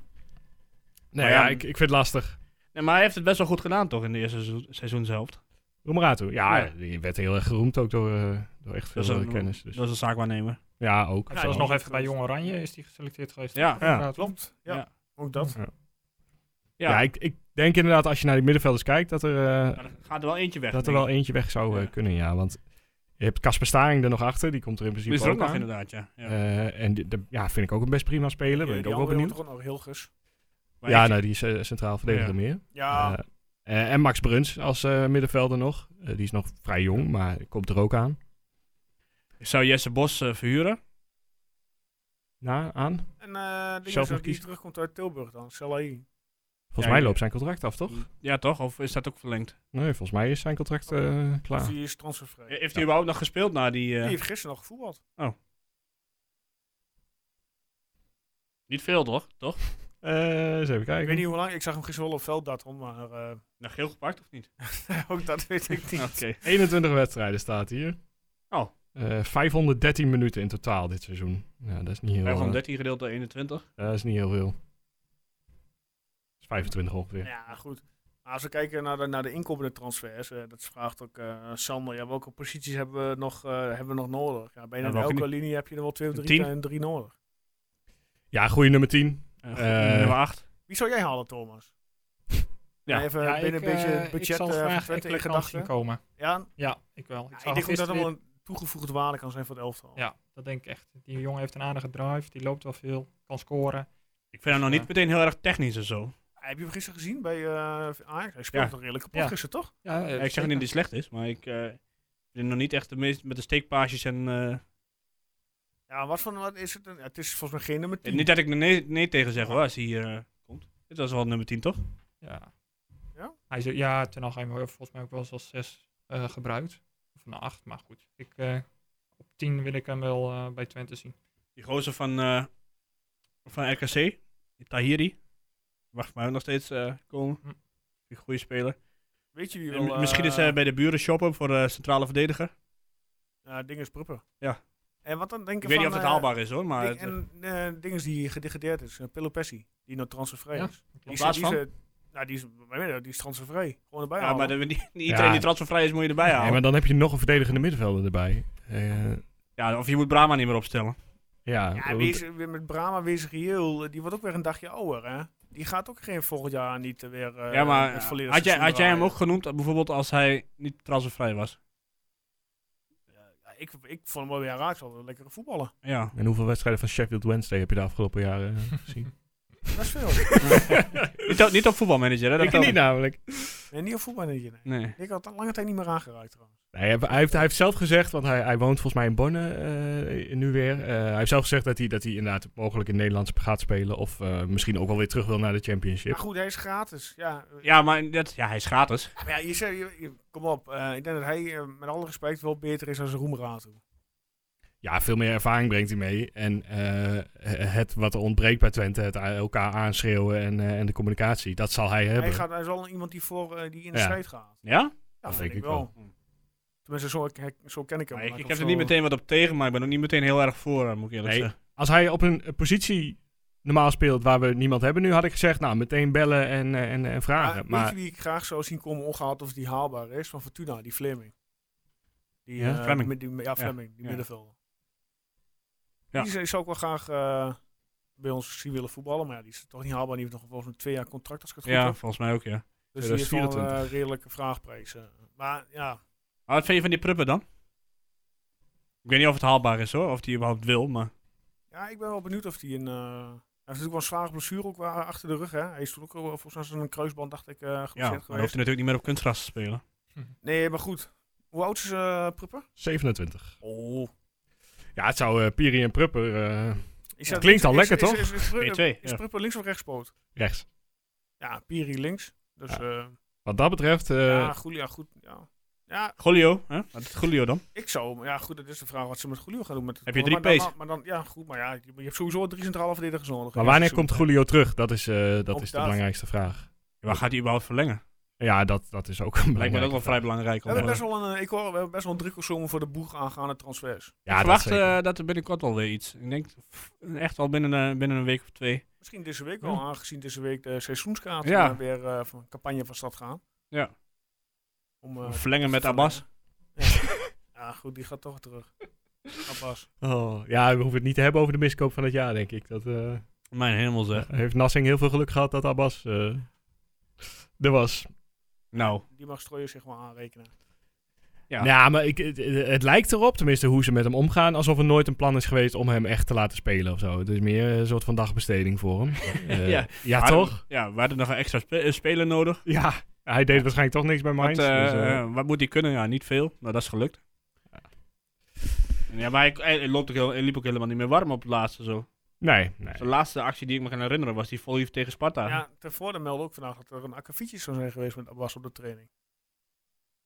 Speaker 8: Maar
Speaker 5: ja,
Speaker 8: ja,
Speaker 5: ik, ik vind het lastig.
Speaker 8: Nee, maar hij heeft het best wel goed gedaan toch in de eerste seizoen, seizoenshelft.
Speaker 5: Roemerato, ja,
Speaker 8: Ja.
Speaker 5: die werd heel erg geroemd ook door, eh, door echt
Speaker 8: Dat is
Speaker 5: veel
Speaker 8: een-
Speaker 5: eh, kennis. Dus.
Speaker 8: Dat is een zaakwaarnemer.
Speaker 5: Ja, ook.
Speaker 7: Hij
Speaker 5: Ja,
Speaker 7: was
Speaker 4: die
Speaker 7: nog
Speaker 4: is
Speaker 7: even bij Jong Oranje, is die geselecteerd geweest.
Speaker 8: Ja.
Speaker 5: Ja,
Speaker 4: Klopt, ja.
Speaker 8: Ja.
Speaker 4: Ook dat.
Speaker 8: Ja,
Speaker 5: ik, ik denk inderdaad als je naar die middenvelders kijkt, dat er, eh,
Speaker 8: Maar er gaat er wel eentje weg.
Speaker 5: dat er
Speaker 8: denk
Speaker 5: wel
Speaker 8: ik.
Speaker 5: eentje weg zou eh,
Speaker 8: Ja.
Speaker 5: kunnen, ja. Want je hebt Casper Staring er nog achter, die komt er in principe
Speaker 8: Die is er ook nog
Speaker 5: aan.
Speaker 8: inderdaad, ja. ja.
Speaker 5: Eh, en die- de- ja, vind ik ook een best prima speler, ben
Speaker 4: Die-
Speaker 5: ik
Speaker 4: die
Speaker 5: ook wel
Speaker 4: andere
Speaker 5: benieuwd.
Speaker 4: wordt ook nog heel gus.
Speaker 8: Maar
Speaker 5: Ja,
Speaker 8: ik-
Speaker 5: nou, die is eh, centraal verdediger
Speaker 8: Ja.
Speaker 5: meer.
Speaker 4: Ja,
Speaker 5: Eh, eh, en Max Bruns als eh, middenvelder nog. Eh, die is nog vrij jong, maar komt er ook aan.
Speaker 8: Ik zou Jesse Bos eh, verhuren.
Speaker 5: Na, aan.
Speaker 4: en eh
Speaker 5: zelf
Speaker 4: ding
Speaker 5: nog
Speaker 4: is die
Speaker 5: kiezen.
Speaker 4: terugkomt uit Tilburg dan. Salahi.
Speaker 5: Volgens
Speaker 8: Ja,
Speaker 5: mij
Speaker 8: ja.
Speaker 5: loopt zijn contract af, toch?
Speaker 8: Ja, toch? Of is dat ook verlengd?
Speaker 5: Nee, volgens mij is zijn contract
Speaker 4: Oké.
Speaker 5: eh,
Speaker 4: Dus
Speaker 5: klaar.
Speaker 4: die is transfervrij.
Speaker 8: Eh, Heeft hij
Speaker 5: Ja.
Speaker 8: überhaupt nog gespeeld na die... eh,
Speaker 4: Die heeft gisteren nog gevoetbald.
Speaker 8: Niet veel, toch? Toch?
Speaker 5: Eh, eens even kijken.
Speaker 4: Ik weet niet hoe lang. Ik zag hem gisteren wel op veld dat, hoor, maar eh,
Speaker 8: Nou, geel gepakt of niet?
Speaker 4: ook dat weet ik niet.
Speaker 8: Oké.
Speaker 5: 21 wedstrijden staat hier.
Speaker 8: Oh.
Speaker 5: Eh, 513 minuten in totaal dit seizoen. Ja, dat is niet heel, eh,
Speaker 8: 513 gedeeld door 21.
Speaker 5: dat is niet heel veel. Dat is 25 ongeveer.
Speaker 4: Ja, goed. Maar als we kijken naar de, naar de inkomende transfers, eh, dat vraagt ook eh, Sander. Ja, welke posities hebben we nog, eh, hebben we nog nodig? Ja, bijna
Speaker 8: Ja,
Speaker 4: in
Speaker 8: welke
Speaker 4: elke
Speaker 8: niet?
Speaker 4: linie heb je er wel twee of
Speaker 8: Een
Speaker 4: drie,
Speaker 8: tien?
Speaker 4: eh, drie nodig.
Speaker 5: Ja, goede nummer 10.
Speaker 8: Eh, goed,
Speaker 5: Eh,
Speaker 8: nummer 8.
Speaker 4: Wie zou jij halen, Thomas?
Speaker 5: Ja.
Speaker 4: Even
Speaker 7: Ja,
Speaker 4: binnen
Speaker 7: ik,
Speaker 4: een beetje
Speaker 7: eh,
Speaker 4: het
Speaker 7: ik
Speaker 4: budget
Speaker 7: zal
Speaker 4: eh, van
Speaker 7: graag
Speaker 4: Twente in
Speaker 7: Ekkelenkamp zien
Speaker 4: gedachten.
Speaker 7: komen.
Speaker 4: Ja,
Speaker 7: Ja, Oh, ik wel.
Speaker 4: ik
Speaker 7: zag
Speaker 4: denk dat
Speaker 7: hem
Speaker 4: dat
Speaker 7: gisteren
Speaker 4: wel een toegevoegde waarde kan zijn voor het elftal.
Speaker 7: Ja, dat denk ik echt. Die jongen heeft een aardige drive, die loopt wel veel, kan scoren.
Speaker 8: Ik vind hem nog
Speaker 7: Ja.
Speaker 8: niet meteen heel erg technisch en
Speaker 4: Eh,
Speaker 8: zo.
Speaker 4: Heb je hem gisteren gezien bij eh Ajax? Hij speelde
Speaker 8: Ja.
Speaker 4: toch redelijk kapot
Speaker 7: Ja.
Speaker 4: gisteren, toch?
Speaker 7: Ja, eh,
Speaker 8: Ja, ik zeg niet dat hij slecht is, maar ik eh, vind hem nog niet echt de meest met de steekpaasjes en... eh,
Speaker 4: Ja, wat, van, wat is het? een- het is volgens mij geen nummer 10.
Speaker 8: Eh, niet dat ik er nee, nee tegen zeg hoor, als hij hier eh, komt. Dit was wel nummer 10 toch?
Speaker 7: Ja.
Speaker 4: Ja?
Speaker 7: Hij is, ja, ten algemeen heeft volgens mij ook wel eens als 6 gebruikt. Of een 8, maar goed. Ik, eh, op 10 wil ik hem wel eh, bij Twente zien.
Speaker 8: Die gozer van, eh, van RKC, die Tahiri. Wacht maar nog steeds eh, komen.
Speaker 7: Hm.
Speaker 8: Een goede speler.
Speaker 4: Weet je wie
Speaker 8: En
Speaker 4: wel...
Speaker 8: mi- misschien is
Speaker 4: eh,
Speaker 8: hij bij de buren shoppen voor eh, centrale verdediger.
Speaker 4: Ja, ding is Pruppen.
Speaker 8: Ja.
Speaker 4: En wat dan denk
Speaker 8: Ik weet niet of het
Speaker 4: eh,
Speaker 8: haalbaar is hoor, maar...
Speaker 4: ding-
Speaker 8: het, eh,
Speaker 4: en eh ding is die gedegradeerd is, uh, Pelopessi, die nog transfervrij
Speaker 7: Ja,
Speaker 4: is. Die
Speaker 8: In
Speaker 4: is,
Speaker 8: plaats
Speaker 4: die is,
Speaker 8: van?
Speaker 4: eh, nou, die is, wij weten dat, die is transfervrij. Gewoon erbij
Speaker 8: ja, maar
Speaker 4: halen.
Speaker 8: dan, niet, niet
Speaker 5: Ja.
Speaker 8: iedereen die transfervrij is moet je erbij
Speaker 5: Nee,
Speaker 8: halen.
Speaker 5: Eh, maar dan heb je nog een verdedigende middenvelder erbij. Eh,
Speaker 8: ja, of je moet Brahma niet meer opstellen.
Speaker 5: ja,
Speaker 4: Ja, wees, met Brahma wees reëel, eh, die wordt ook weer een dagje ouder, hè? Die gaat ook geen volgend jaar niet eh, weer eh,
Speaker 8: ja, maar
Speaker 4: het
Speaker 8: eh,
Speaker 4: volledige
Speaker 8: had jij,
Speaker 4: seizoen
Speaker 8: had jij hem
Speaker 4: draaien.
Speaker 8: ook genoemd eh, bijvoorbeeld als hij niet transfervrij was?
Speaker 4: Ja, ik, ik vond hem wel weer raak, wel een lekkere voetballen.
Speaker 8: Ja.
Speaker 5: En hoeveel wedstrijden van Sheffield Wednesday heb je de afgelopen jaren eh, gezien?
Speaker 4: Dat is veel.
Speaker 8: niet, op, niet op voetbalmanager, hè? dat
Speaker 5: ik
Speaker 8: wel.
Speaker 5: niet namelijk.
Speaker 4: nee, niet op voetbal, nee. nee.
Speaker 8: Nee.
Speaker 4: Ik had al lange tijd niet meer aangeraakt, trouwens.
Speaker 5: Nee, hij, hij heeft, hij heeft zelf gezegd, want hij, hij woont volgens mij in Bonn eh, nu weer. Eh, hij heeft zelf gezegd dat hij, dat hij inderdaad mogelijk in Nederland gaat spelen. Of eh, misschien ook wel weer terug wil naar de
Speaker 4: Maar
Speaker 5: championship.
Speaker 4: goed, hij is gratis. Ja, eh,
Speaker 8: Ja, maar dat, ja, hij is gratis.
Speaker 4: Maar ja, je zei, je- je- kom op. eh, ik denk dat hij eh, met alle respect wel beter is dan Roemraad.
Speaker 5: Ja, veel meer ervaring brengt hij mee. En eh, het wat er ontbreekt bij Twente, het a- elkaar aanschreeuwen en, eh, en de communicatie, dat zal hij hebben.
Speaker 4: Hij, gaat, hij is wel iemand die, voor, eh, die in de
Speaker 5: Ja.
Speaker 4: strijd gaat.
Speaker 8: Ja?
Speaker 4: Ja,
Speaker 5: denk ik wel.
Speaker 4: Tenminste, zo, ik- zo ken ik hem.
Speaker 8: Maar ik,
Speaker 4: Maar
Speaker 8: ik
Speaker 4: of
Speaker 8: heb er
Speaker 4: zo-
Speaker 8: niet meteen wat op tegen, maar ik ben ook niet meteen heel erg voor, eh, moet ik eerlijk
Speaker 5: Nee.
Speaker 8: zeggen.
Speaker 5: Als hij op een eh, positie normaal speelt waar we niemand hebben nu, had ik gezegd, nou, meteen bellen en, eh, en, en
Speaker 4: Maar
Speaker 5: vragen.
Speaker 4: Ah, weet
Speaker 5: maar
Speaker 4: je wie ik graag zou zien komen, ongeacht of die haalbaar is? Van Fortuna, die Fleming. Die,
Speaker 8: Ja,
Speaker 4: eh,
Speaker 8: Fleming.
Speaker 4: met die- ja, Fleming, die
Speaker 8: ja.
Speaker 4: middenvelder.
Speaker 8: Ja.
Speaker 4: Die zou- zou ik wel graag eh, bij ons zien willen voetballen, maar ja, die is toch niet haalbaar. Die heeft nog volgens mij twee jaar contract als ik het goed
Speaker 8: Ja,
Speaker 4: heb.
Speaker 8: volgens mij ook, ja.
Speaker 4: Dus die is wel een
Speaker 5: 2024.
Speaker 4: redelijke vraagprijs. eh. Maar ja,
Speaker 8: Maar wat vind je van die pruppen dan? Ik weet niet of het haalbaar is hoor, of die überhaupt wil, maar...
Speaker 4: Ja, ik ben wel benieuwd of hij een. eh, hij heeft natuurlijk wel een zware blessure ook wa- achter de rug. Hè? Hij is toen ook eh, volgens mij zijn kruisband, dacht ik, eh
Speaker 8: Ja, maar dan
Speaker 4: geblesseerd
Speaker 8: hoeft hij
Speaker 4: geweest.
Speaker 8: natuurlijk niet meer op kunstgras te spelen.
Speaker 4: Nee, maar goed. Hoe oud is eh Prupper?
Speaker 5: 27.
Speaker 4: Oh.
Speaker 5: Ja, het zou eh, Piri en Prupper eh, klinkt al lekker, toch?
Speaker 4: Is, is, is, Pru-
Speaker 8: B2,
Speaker 4: is
Speaker 8: ja.
Speaker 4: Prupper links of rechtspoot?
Speaker 5: rechts.
Speaker 4: Ja, Piri links. Dus
Speaker 5: Ja.
Speaker 4: ja,
Speaker 5: Wat dat betreft, eh,
Speaker 4: ja, Julia goed. Ja. ja,
Speaker 8: Golio, hè? Wat is Golio dan?
Speaker 4: ik zou. maar Ja, goed, dat is de vraag wat ze met Julio gaan doen. Met het
Speaker 8: Heb je
Speaker 4: voetbal.
Speaker 8: drie
Speaker 4: maar, dan- maar, maar dan, ja, goed, maar ja, je, je hebt sowieso drie centrale verdedigers nodig.
Speaker 5: maar
Speaker 4: Ja,
Speaker 5: wanneer
Speaker 4: zo-
Speaker 5: komt Julio terug? Dat is, eh, dat
Speaker 4: Ook
Speaker 5: is de
Speaker 4: dat.
Speaker 5: belangrijkste vraag.
Speaker 8: Ja, maar gaat hij überhaupt verlengen?
Speaker 5: Ja, dat, dat is ook een
Speaker 8: Lijkt me dat
Speaker 5: belangrijke
Speaker 8: ook wel vrij belangrijk.
Speaker 4: We hebben
Speaker 8: om,
Speaker 4: best
Speaker 8: eh,
Speaker 4: wel een, eh, ik hoor, we hebben best wel een drukkelzomer voor de boeg aangaande transfers.
Speaker 5: vraag. Ja,
Speaker 8: ik
Speaker 5: dat
Speaker 8: verwacht
Speaker 5: zeker.
Speaker 8: eh, dat er binnenkort wel weer iets. Ik denk pff, echt wel binnen, eh, binnen een week of twee.
Speaker 4: Misschien deze week wel, aangezien deze week de seizoenskaart
Speaker 8: Ja.
Speaker 4: eh, weer eh, van campagne van stad gaan.
Speaker 8: Ja.
Speaker 4: Om, eh,
Speaker 8: Verlengen met
Speaker 4: te-
Speaker 8: Abbas.
Speaker 4: Ja, goed, die gaat toch terug. Abbas.
Speaker 5: Oh, ja, we hoeven het niet te hebben over de miskoop van het jaar, denk ik. Dat eh,
Speaker 8: Mijn hemel zeg.
Speaker 5: heeft Nassing heel veel geluk gehad dat Abbas eh, er was.
Speaker 8: Nou,
Speaker 4: Die mag Strooijer zich maar aanrekenen.
Speaker 5: Ja,
Speaker 8: Ja.
Speaker 5: Nou, maar ik, het, het- het lijkt erop, tenminste hoe ze met hem omgaan, alsof er nooit een plan is geweest om hem echt te laten spelen of zo. Het is meer een soort van dagbesteding voor hem. Eh,
Speaker 8: Ja.
Speaker 5: ja,
Speaker 8: Maar
Speaker 5: toch?
Speaker 8: dan- Ja, we hadden nog een extra spe- eh, speler nodig.
Speaker 5: Ja, hij deed waarschijnlijk toch niks bij
Speaker 8: Want,
Speaker 5: Mainz.
Speaker 8: eh,
Speaker 5: dus, eh,
Speaker 8: eh, wat moet hij kunnen? Ja, niet veel. Nou, dat is gelukt.
Speaker 5: Ja.
Speaker 8: En Ja, maar hij, hij, loopt ook heel, hij liep ook helemaal niet meer warm op het laatste. Zo.
Speaker 5: nee, nee.
Speaker 8: De laatste actie die ik me kan herinneren was die volley tegen Sparta.
Speaker 4: Ja, ten voorde meldde ook vandaag dat er een akkefietje zou zijn geweest met Abbas op de training.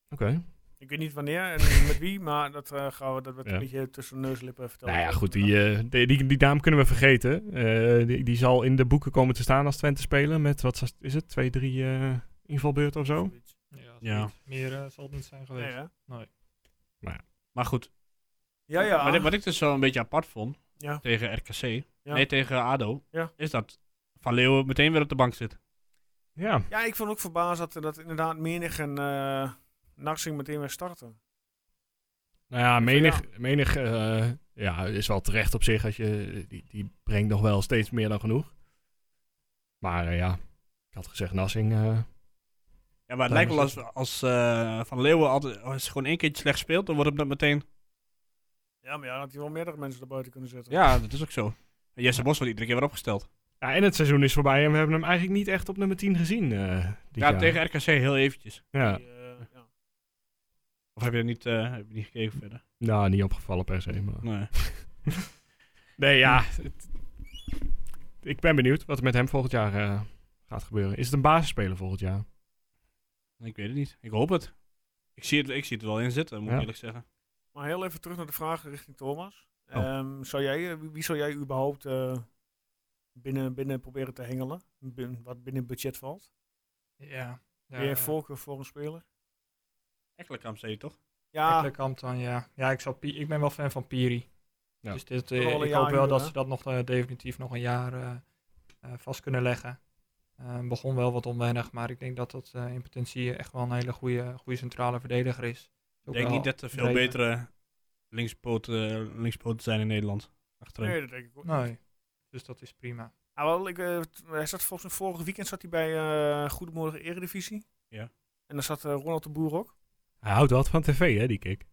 Speaker 5: Oké.
Speaker 4: Ik weet niet wanneer en met wie, maar dat eh, gaan we dat werd
Speaker 5: Ja.
Speaker 4: een beetje tussen de neuslippen vertellen.
Speaker 5: Nou ja, goed, die, eh, die, die, die naam kunnen we vergeten. Eh, die, die zal in de boeken komen te staan als Twente spelen met, wat is het, twee, drie eh invalbeurten of zo?
Speaker 7: Ja,
Speaker 8: Ja.
Speaker 7: zoiets. meer eh, zal het niet zijn
Speaker 4: Nee,
Speaker 7: geweest.
Speaker 4: hè?
Speaker 8: Maar goed,
Speaker 4: Ja, ja.
Speaker 8: wat, ik, wat ik dus zo een beetje apart vond
Speaker 4: Ja.
Speaker 8: tegen RKC,
Speaker 4: Ja.
Speaker 8: nee tegen ADO,
Speaker 4: Ja.
Speaker 8: is dat Van Leeuwen meteen weer op de bank zit.
Speaker 5: Ja.
Speaker 4: ja, ik vond ook verbaasd dat, dat inderdaad Menig en eh Narsing meteen weer starten.
Speaker 5: Nou ja, menig, menig eh, ja, is wel terecht op zich. Als je, die, die brengt nog wel steeds meer dan genoeg. Maar eh, ja, ik had gezegd Nassing eh,
Speaker 8: Ja, maar het lijkt wel als, als eh, Van Leeuwen altijd, als hij gewoon één keertje slecht speelt, dan wordt hem dat meteen...
Speaker 4: Ja, maar ja, dan had hij wel meerdere mensen erbuiten kunnen zetten.
Speaker 8: Ja, dat is ook zo. En Jesse Bos wordt iedere keer weer opgesteld.
Speaker 5: Ja, en het seizoen is voorbij en we hebben hem eigenlijk niet echt op nummer 10 gezien. eh, dit
Speaker 8: Ja,
Speaker 5: jaar.
Speaker 8: tegen RKC heel eventjes.
Speaker 5: Ja.
Speaker 4: Die, eh, ja.
Speaker 8: Of heb je er niet, eh, heb je niet gekeken verder?
Speaker 5: Nou, niet opgevallen per se. Maar...
Speaker 8: Nee.
Speaker 5: Nee, ja. het- ik ben benieuwd wat er met hem volgend jaar eh, gaat gebeuren. Is het een basisspeler volgend jaar?
Speaker 8: Ik weet het niet. Ik hoop het. Ik zie het, ik zie het er wel in zitten, moet
Speaker 5: Ja.
Speaker 8: ik eerlijk zeggen.
Speaker 4: Maar heel even terug naar de vraag richting Thomas.
Speaker 5: Oh.
Speaker 4: Ehm, zou jij, eh, wie, wie zou jij überhaupt eh, binnen, binnen proberen te hengelen? Bin- wat binnen het budget valt?
Speaker 7: Ja. eh,
Speaker 4: Ben jij voorkeur voor een speler?
Speaker 8: Eigenlijk aan zee toch?
Speaker 4: Ja,
Speaker 8: Ah.
Speaker 7: Eigenlijk dan, ja. Ja, ik, zou, Pi- ik ben wel fan van Piri.
Speaker 5: Ja.
Speaker 7: Dus dit,
Speaker 4: Nog
Speaker 7: eh,
Speaker 4: wel een
Speaker 7: ik
Speaker 4: jaar
Speaker 7: hoop wel dat
Speaker 4: huren,
Speaker 7: ze dat nog eh, definitief nog een jaar eh, eh, vast kunnen leggen. Eh, begon wel wat onwennig, maar ik denk dat dat eh, in potentie echt wel een hele goede, goede centrale verdediger is.
Speaker 8: Ik denk niet dat er veel
Speaker 7: beter
Speaker 8: betere linkspoot, eh, linkspoten zijn in Nederland. Achterin.
Speaker 4: nee, dat denk
Speaker 5: Nou.
Speaker 4: ik ook.
Speaker 7: Nee. Dus dat is prima.
Speaker 4: Ah, wel, ik, eh, t- hij zat volgens mij vorig weekend zat hij bij eh Goedemorgen Eredivisie.
Speaker 8: Ja.
Speaker 4: En daar zat eh, Ronald de Boer ook.
Speaker 5: Hij houdt wat van tv, hè, die kick.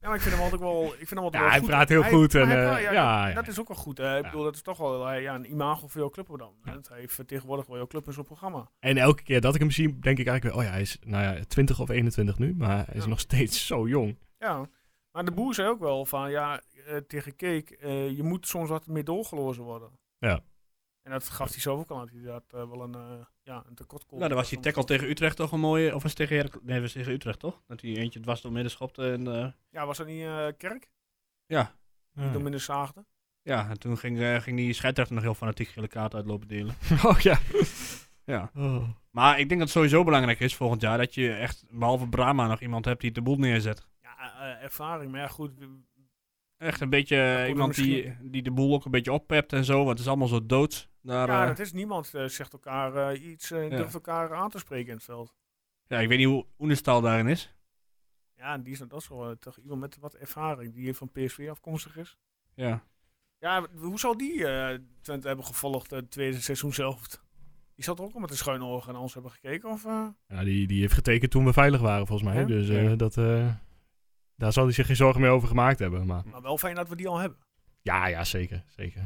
Speaker 4: Ja, maar ik vind hem altijd wel, ik vind hem altijd
Speaker 5: Ja,
Speaker 4: wel
Speaker 5: hij
Speaker 4: goed.
Speaker 5: praat heel goed
Speaker 4: maar
Speaker 5: en,
Speaker 4: hij
Speaker 5: eh,
Speaker 4: praat-
Speaker 5: ja,
Speaker 4: dat-
Speaker 5: ja,
Speaker 4: dat
Speaker 5: ja.
Speaker 4: is ook wel goed. hè. Ik
Speaker 5: Ja.
Speaker 4: bedoel, dat is toch wel eh, ja, een imago voor jouw club dan. hè. Want Hij vertegenwoordigt wel jouw club in zo'n programma.
Speaker 5: En elke keer dat ik hem zie, denk ik eigenlijk weer... Oh ja, hij is nou ja, 20 of 21 nu, maar hij is
Speaker 4: Ja.
Speaker 5: nog steeds zo jong.
Speaker 4: Ja, maar de boer zei ook wel van, ja, eh, tegen Keek, eh, je moet soms wat meer doorgelozen worden.
Speaker 5: Ja.
Speaker 4: En dat gaf hij zelf ook aan, dat hij dat eh, wel een, eh ja, een tekort
Speaker 8: Nou, dan was die tackle tegen Utrecht toch een mooie. Of was tegen, Heracles- nee, was tegen Utrecht toch? Dat hij eentje dwars door midden schopte. En, eh,
Speaker 4: Ja, was dat niet eh, Kerk?
Speaker 8: ja.
Speaker 4: Die door minder zaagde?
Speaker 8: ja, en toen ging, eh, ging die scheidsrechter nog heel fanatiek gele kaart uitlopen delen.
Speaker 5: oh ja.
Speaker 8: Ja.
Speaker 5: Oh.
Speaker 8: Maar ik denk dat het sowieso belangrijk is volgend jaar dat je echt, behalve Brahma, nog iemand hebt die de boel neerzet.
Speaker 4: Ja, eh, ervaring. Maar ja, goed. w-
Speaker 8: Echt een beetje eh,
Speaker 4: komt
Speaker 8: iemand
Speaker 4: er
Speaker 8: die, die de boel ook een beetje oppept en zo. Want het is allemaal zo dood. Daar,
Speaker 4: ja,
Speaker 8: eh,
Speaker 4: dat is niemand eh, zegt elkaar eh, iets, eh,
Speaker 8: Ja.
Speaker 4: durft elkaar aan te spreken in het veld.
Speaker 8: ja, ik weet niet hoe Oenestal daarin is.
Speaker 4: Ja, en die is, dat is wel eh, toch iemand met wat ervaring die hier van PSV afkomstig is.
Speaker 8: Ja.
Speaker 4: Ja, w- hoe zal die eh Twente hebben gevolgd eh, het tweede seizoen zelf? Die zat er ook al met een schuine ogen naar ons hebben gekeken? Of, eh?
Speaker 5: Ja, die, die heeft getekend toen we veilig waren, volgens mij.
Speaker 4: Ja?
Speaker 5: Dus eh,
Speaker 8: Ja.
Speaker 5: dat, eh, daar zal hij zich geen zorgen meer over gemaakt hebben. Maar
Speaker 8: Hm.
Speaker 4: Maar wel fijn dat we die al hebben.
Speaker 5: ja, ja zeker, zeker.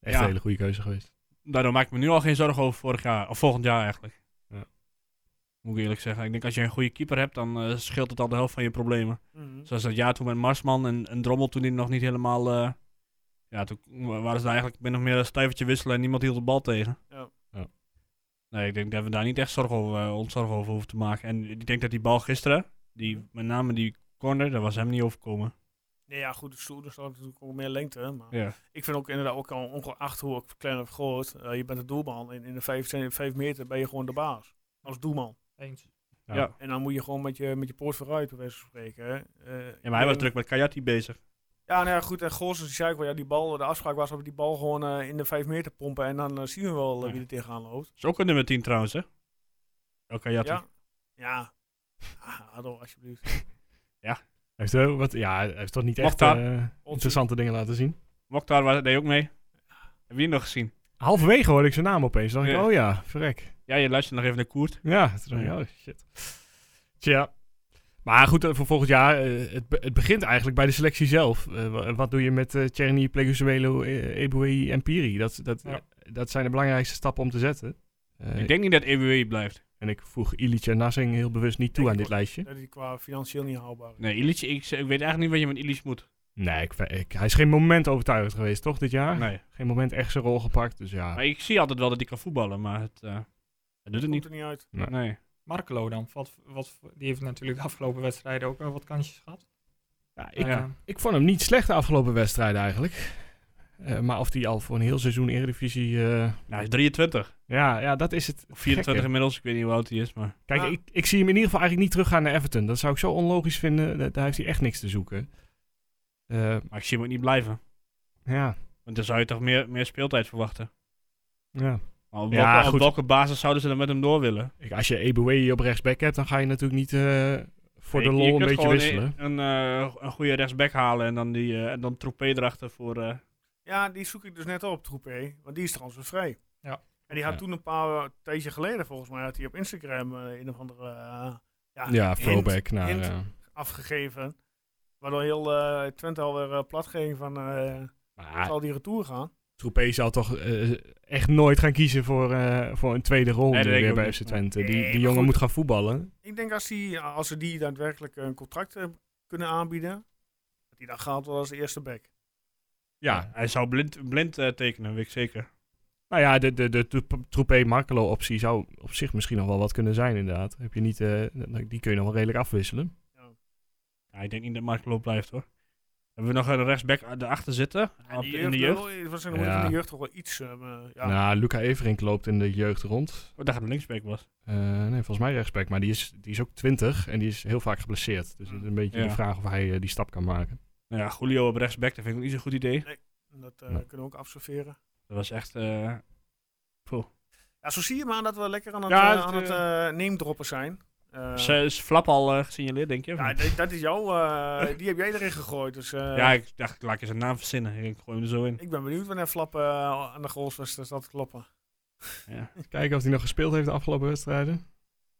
Speaker 5: Echt
Speaker 8: Ja.
Speaker 5: een hele goede keuze geweest.
Speaker 8: Daardoor maak ik me nu al geen zorgen over vorig jaar, of volgend jaar eigenlijk.
Speaker 5: Ja.
Speaker 8: Moet ik eerlijk zeggen. Ik denk als je een goede keeper hebt, dan eh, scheelt het al de helft van je problemen. Zoals dat jaar toen met Marsman en, en Drommel, toen die nog niet helemaal... eh, ja, toen wa- waren ze daar eigenlijk min of meer een stuivertje wisselen en niemand hield de bal tegen.
Speaker 4: Ja.
Speaker 5: Ja.
Speaker 8: Nee, ik denk dat we daar niet echt zorgen over, eh, ons zorgen over hoeven te maken. En ik denk dat die bal gisteren, die, met name die corner, daar was hem niet overkomen.
Speaker 4: Nee, ja, goed, de stoel is natuurlijk ook meer lengte. hè, Maar
Speaker 8: Ja.
Speaker 4: ik vind ook inderdaad, ook al ongeacht hoe ik klein of groot, eh, je bent een doelman. In, in de vijf, vijf meter ben je gewoon de baas. Als doelman.
Speaker 7: Eens.
Speaker 5: Ja.
Speaker 8: Ja.
Speaker 4: En dan moet je gewoon met je, met je poort vooruit, bij wijze van spreken. Hè. Eh,
Speaker 8: Ja, maar hij was
Speaker 4: ik-
Speaker 8: druk met Kayati bezig.
Speaker 4: Ja, nou ja, goed. En Goossens die zei ook wel, ja, die bal, de afspraak was dat we die bal gewoon eh, in de 5 meter pompen. En dan eh, zien we wel eh, wie er tegenaan loopt.
Speaker 8: Is ook een nummer 10 trouwens, hè? Oh, El Kayati.
Speaker 4: Ja. Ja. Ah, Ado, alsjeblieft.
Speaker 5: Hij heeft, eh, wat, ja, hij heeft toch niet echt
Speaker 8: Mokhtar.
Speaker 5: eh, interessante dingen laten zien.
Speaker 8: Mokhtar wa- deed ook mee. Heb je die nog gezien?
Speaker 5: Halverwege hoorde ik zijn naam opeens. Dan dacht ik,
Speaker 8: Ja.
Speaker 5: oh ja, verrek.
Speaker 8: Ja, je luistert nog even naar Koert.
Speaker 5: Ja, toen dacht ik, oh shit. Tja. Maar goed, eh, voor volgend jaar, eh, het, be- het begint eigenlijk bij de selectie zelf. Eh, wa- wat doe je met eh Tjerni, Pleguzuelo, eh, Eboué en Piri? Dat, dat,
Speaker 7: Ja.
Speaker 5: dat zijn de belangrijkste stappen om te zetten. Eh,
Speaker 8: Ik denk niet dat EWW blijft.
Speaker 5: En ik voeg Illich en Nassing heel bewust niet toe
Speaker 4: Denk
Speaker 5: aan
Speaker 4: ik
Speaker 5: dit lijstje.
Speaker 4: Dat is qua financieel niet haalbaar. is.
Speaker 8: Hm? Nee, Illich, ik, ik weet eigenlijk niet wat je met Illich moet.
Speaker 5: Nee, ik, ik- hij is geen moment overtuigend geweest, toch, dit jaar?
Speaker 8: Nee.
Speaker 5: Geen moment echt zijn rol gepakt, dus ja.
Speaker 8: Maar ik zie altijd wel dat hij kan voetballen, maar het, eh, hij doet het
Speaker 4: Komt
Speaker 8: niet.
Speaker 4: er niet uit.
Speaker 5: Nee.
Speaker 8: Nee.
Speaker 7: Markelo dan, wat, wat, die heeft natuurlijk de afgelopen wedstrijden ook wel wat kansjes gehad.
Speaker 5: Ja, ik,
Speaker 7: Eh,
Speaker 5: ik vond hem niet slecht de afgelopen wedstrijden eigenlijk. Eh, maar of hij al voor een heel seizoen Eredivisie... eh,
Speaker 8: Nou, hij is 23.
Speaker 5: ja, ja, dat is het.
Speaker 8: Of 24
Speaker 5: gekke.
Speaker 8: inmiddels, ik weet niet hoe oud hij is, maar...
Speaker 5: Kijk,
Speaker 4: Ja.
Speaker 5: ik, ik zie hem in ieder geval eigenlijk niet teruggaan naar Everton. Dat zou ik zo onlogisch vinden. Dat, daar heeft hij echt niks te zoeken. Eh,
Speaker 8: Maar ik zie hem ook niet blijven.
Speaker 5: ja,
Speaker 8: Want dan zou je toch meer, meer speeltijd verwachten.
Speaker 5: ja.
Speaker 8: Maar op,
Speaker 5: Ja,
Speaker 8: welke, op
Speaker 5: goed.
Speaker 8: welke basis zouden ze dan met hem door willen?
Speaker 5: Ik- als je Eboué op rechtsback hebt, dan ga je natuurlijk niet eh, voor
Speaker 8: Nee,
Speaker 5: de
Speaker 8: je-
Speaker 5: lol
Speaker 8: je
Speaker 5: een
Speaker 8: kunt
Speaker 5: beetje
Speaker 8: gewoon
Speaker 5: wisselen.
Speaker 8: Een, een, eh, een goede rechtsback halen en dan, die, eh, en dan Troepé erachter voor... eh,
Speaker 4: Ja, die zoek ik dus net op, troep E. Want die is trouwens weer vrij. En die had toen een paar tijdje geleden, volgens mij, had hij op Instagram eh, een of andere eh,
Speaker 8: Ah,
Speaker 4: ja,
Speaker 5: Ja,
Speaker 4: hint-
Speaker 5: throwback naar...
Speaker 4: hint
Speaker 5: eh,
Speaker 4: afgegeven. Waardoor heel eh, Twente alweer eh, plat ging van, eh,
Speaker 5: maar
Speaker 4: zal die retour gaan?
Speaker 5: Troepé zal toch eh, echt nooit gaan kiezen voor, eh, voor een tweede rol
Speaker 8: Nee, dat
Speaker 5: nu
Speaker 8: denk ik
Speaker 5: weer
Speaker 8: ook
Speaker 5: bij
Speaker 8: niet.
Speaker 5: FC Twente.
Speaker 4: Nee,
Speaker 5: die
Speaker 4: maar
Speaker 5: die jongen
Speaker 4: goed.
Speaker 5: moet gaan voetballen.
Speaker 4: Ik denk als, die, eh, als ze die daadwerkelijk een contract eh, kunnen aanbieden, dat die dan gaat wel als eerste back.
Speaker 5: Ja,
Speaker 8: Hij zou blind, blind eh, tekenen, weet ik zeker.
Speaker 5: nou ja, de, de, de Troepé-Markelo-optie zou op zich misschien nog wel wat kunnen zijn inderdaad. Heb je niet, eh, die kun je nog wel redelijk afwisselen.
Speaker 8: Ja, ik denk niet dat Marco blijft hoor. Hebben we nog een rechtsback a- daarachter zitten? Op- in de jeugd?
Speaker 4: Wel, waarschijnlijk wordt
Speaker 5: Ja.
Speaker 4: in de jeugd toch wel iets. eh, maar ja.
Speaker 5: Nou, Luca Everink loopt in de jeugd rond.
Speaker 8: Oh, Ik dacht dat het linksback was.
Speaker 5: Eh, nee, volgens mij rechtsback. Maar die is, die is ook 20 en die is heel vaak geblesseerd. Dus het is een beetje
Speaker 8: Ja.
Speaker 5: de vraag of hij eh, die stap kan maken.
Speaker 8: Nou ja, Julio op rechtsback, dat vind ik ook niet zo'n goed idee.
Speaker 4: Dat eh,
Speaker 5: Ja.
Speaker 4: kunnen we ook observeren.
Speaker 8: Dat was echt... eh,
Speaker 4: Ja, zo zie je maar dat we lekker aan het,
Speaker 8: Ja,
Speaker 4: eh,
Speaker 8: het,
Speaker 4: aan het eh, neemdroppen zijn. Eh,
Speaker 8: Ze is Flap al eh, gesignaleerd, denk je? of
Speaker 4: ja,
Speaker 8: niet?
Speaker 4: dat- dat is jouw. eh, die heb jij erin gegooid. Dus, eh,
Speaker 8: ja, ik dacht, laat ik eens een naam verzinnen. Ik gooi hem er zo in.
Speaker 4: ik ben benieuwd wanneer Flap eh, aan de goals was dat dat kloppen.
Speaker 8: Ja.
Speaker 5: Kijken of hij nog gespeeld heeft de afgelopen wedstrijden.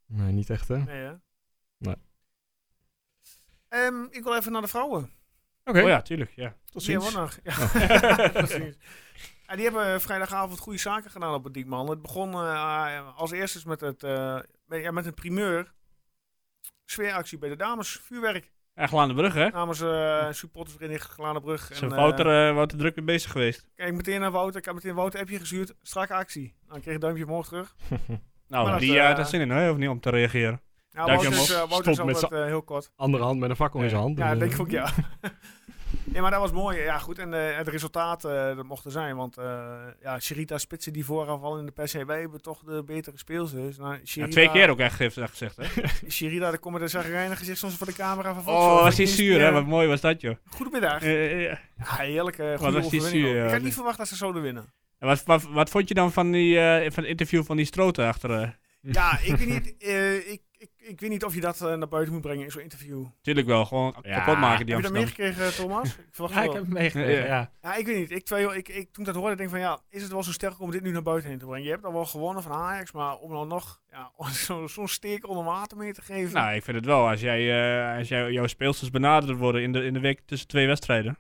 Speaker 5: Nee, niet echt hè. Oké.
Speaker 4: Nee, hè?
Speaker 5: Nee.
Speaker 4: Ehm, ik wil even naar de vrouwen.
Speaker 8: Oh ja, tuurlijk. Ja.
Speaker 5: tot
Speaker 4: Die
Speaker 5: ziens.
Speaker 4: hebben we nog. Ja. Precies. En die hebben vrijdagavond goede zaken gedaan op het Diekman. Het begon eh, als eerstes met, het, eh, met, ja, met een primeur. Sfeeractie bij de dames. Vuurwerk
Speaker 8: En Glaandenbrug, hè?
Speaker 4: namens eh supportersvereniging Gladenbrug.
Speaker 8: Zijn
Speaker 4: eh,
Speaker 8: Wouter, eh, Wouter druk mee bezig geweest.
Speaker 4: kijk meteen naar Wouter. Ik heb meteen Wouter appje gestuurd. Strakke actie. Dan kreeg ik een duimpje omhoog terug.
Speaker 8: Nou,
Speaker 4: Maar
Speaker 8: die
Speaker 4: dat,
Speaker 8: eh,
Speaker 4: eh,
Speaker 8: had er zin in, hè? Of niet, om te reageren.
Speaker 4: Ja,
Speaker 5: Duimpje
Speaker 4: Wouter is, eh,
Speaker 5: omhoog.
Speaker 4: Wouter is
Speaker 5: Stond met
Speaker 4: altijd eh, heel kort.
Speaker 5: Andere hand met een fakkel in zijn hand.
Speaker 4: Ja,
Speaker 5: Dus,
Speaker 4: denk ik
Speaker 5: eh,
Speaker 4: ook, ja. nee, maar dat was mooi. Ja, goed. En eh, het resultaat eh, dat mocht er zijn. Want eh ja, Sherita spitsen die vooraf al in de pers zei, wij hebben toch de betere speelsters. Nou,
Speaker 8: Ja,
Speaker 4: Sherita,
Speaker 8: twee keer ook echt heeft hij gezegd, hè?
Speaker 4: Sherita, daar komen de zagrijnen gezicht soms voor de camera van
Speaker 8: Oh,
Speaker 4: Volkswagen.
Speaker 8: was hij zuur, hè?
Speaker 4: Ja,
Speaker 8: Wat mooi was dat, joh.
Speaker 4: Goedemiddag.
Speaker 8: Eh, eh, eh.
Speaker 4: Ja, heerlijk. eh, goede
Speaker 8: was die
Speaker 4: overwinning.
Speaker 8: zuur,
Speaker 4: ook.
Speaker 8: ja.
Speaker 4: Ik had niet verwacht dat ze zouden winnen.
Speaker 8: En wat, wat, wat vond je dan van, die, eh, van het interview van die Stroten achter? eh?
Speaker 4: Ja, ik weet niet, eh, ik, ik, ik weet niet of je dat eh, naar buiten moet brengen in zo'n interview.
Speaker 8: Tuurlijk wel, gewoon kapot maken die
Speaker 4: Heb je dat
Speaker 8: Amsterdam.
Speaker 4: meegekregen, eh, Thomas? Ik verwacht
Speaker 7: Ja,
Speaker 4: het
Speaker 7: ik
Speaker 4: wel.
Speaker 7: heb hem meegekregen,
Speaker 8: Ja.
Speaker 7: ja.
Speaker 4: Ja, ik weet niet. Ik, terwijl ik, ik, toen ik dat hoorde, denk ik van ja, is het wel zo sterk om dit nu naar buiten heen te brengen? Je hebt al wel gewonnen van Ajax, maar om dan nog ja, zo- zo'n steek onder water mee te geven.
Speaker 8: Nou, ik vind het wel. Als, jij, eh, als jij, jouw speelsters benaderd worden in de, in de week tussen twee wedstrijden.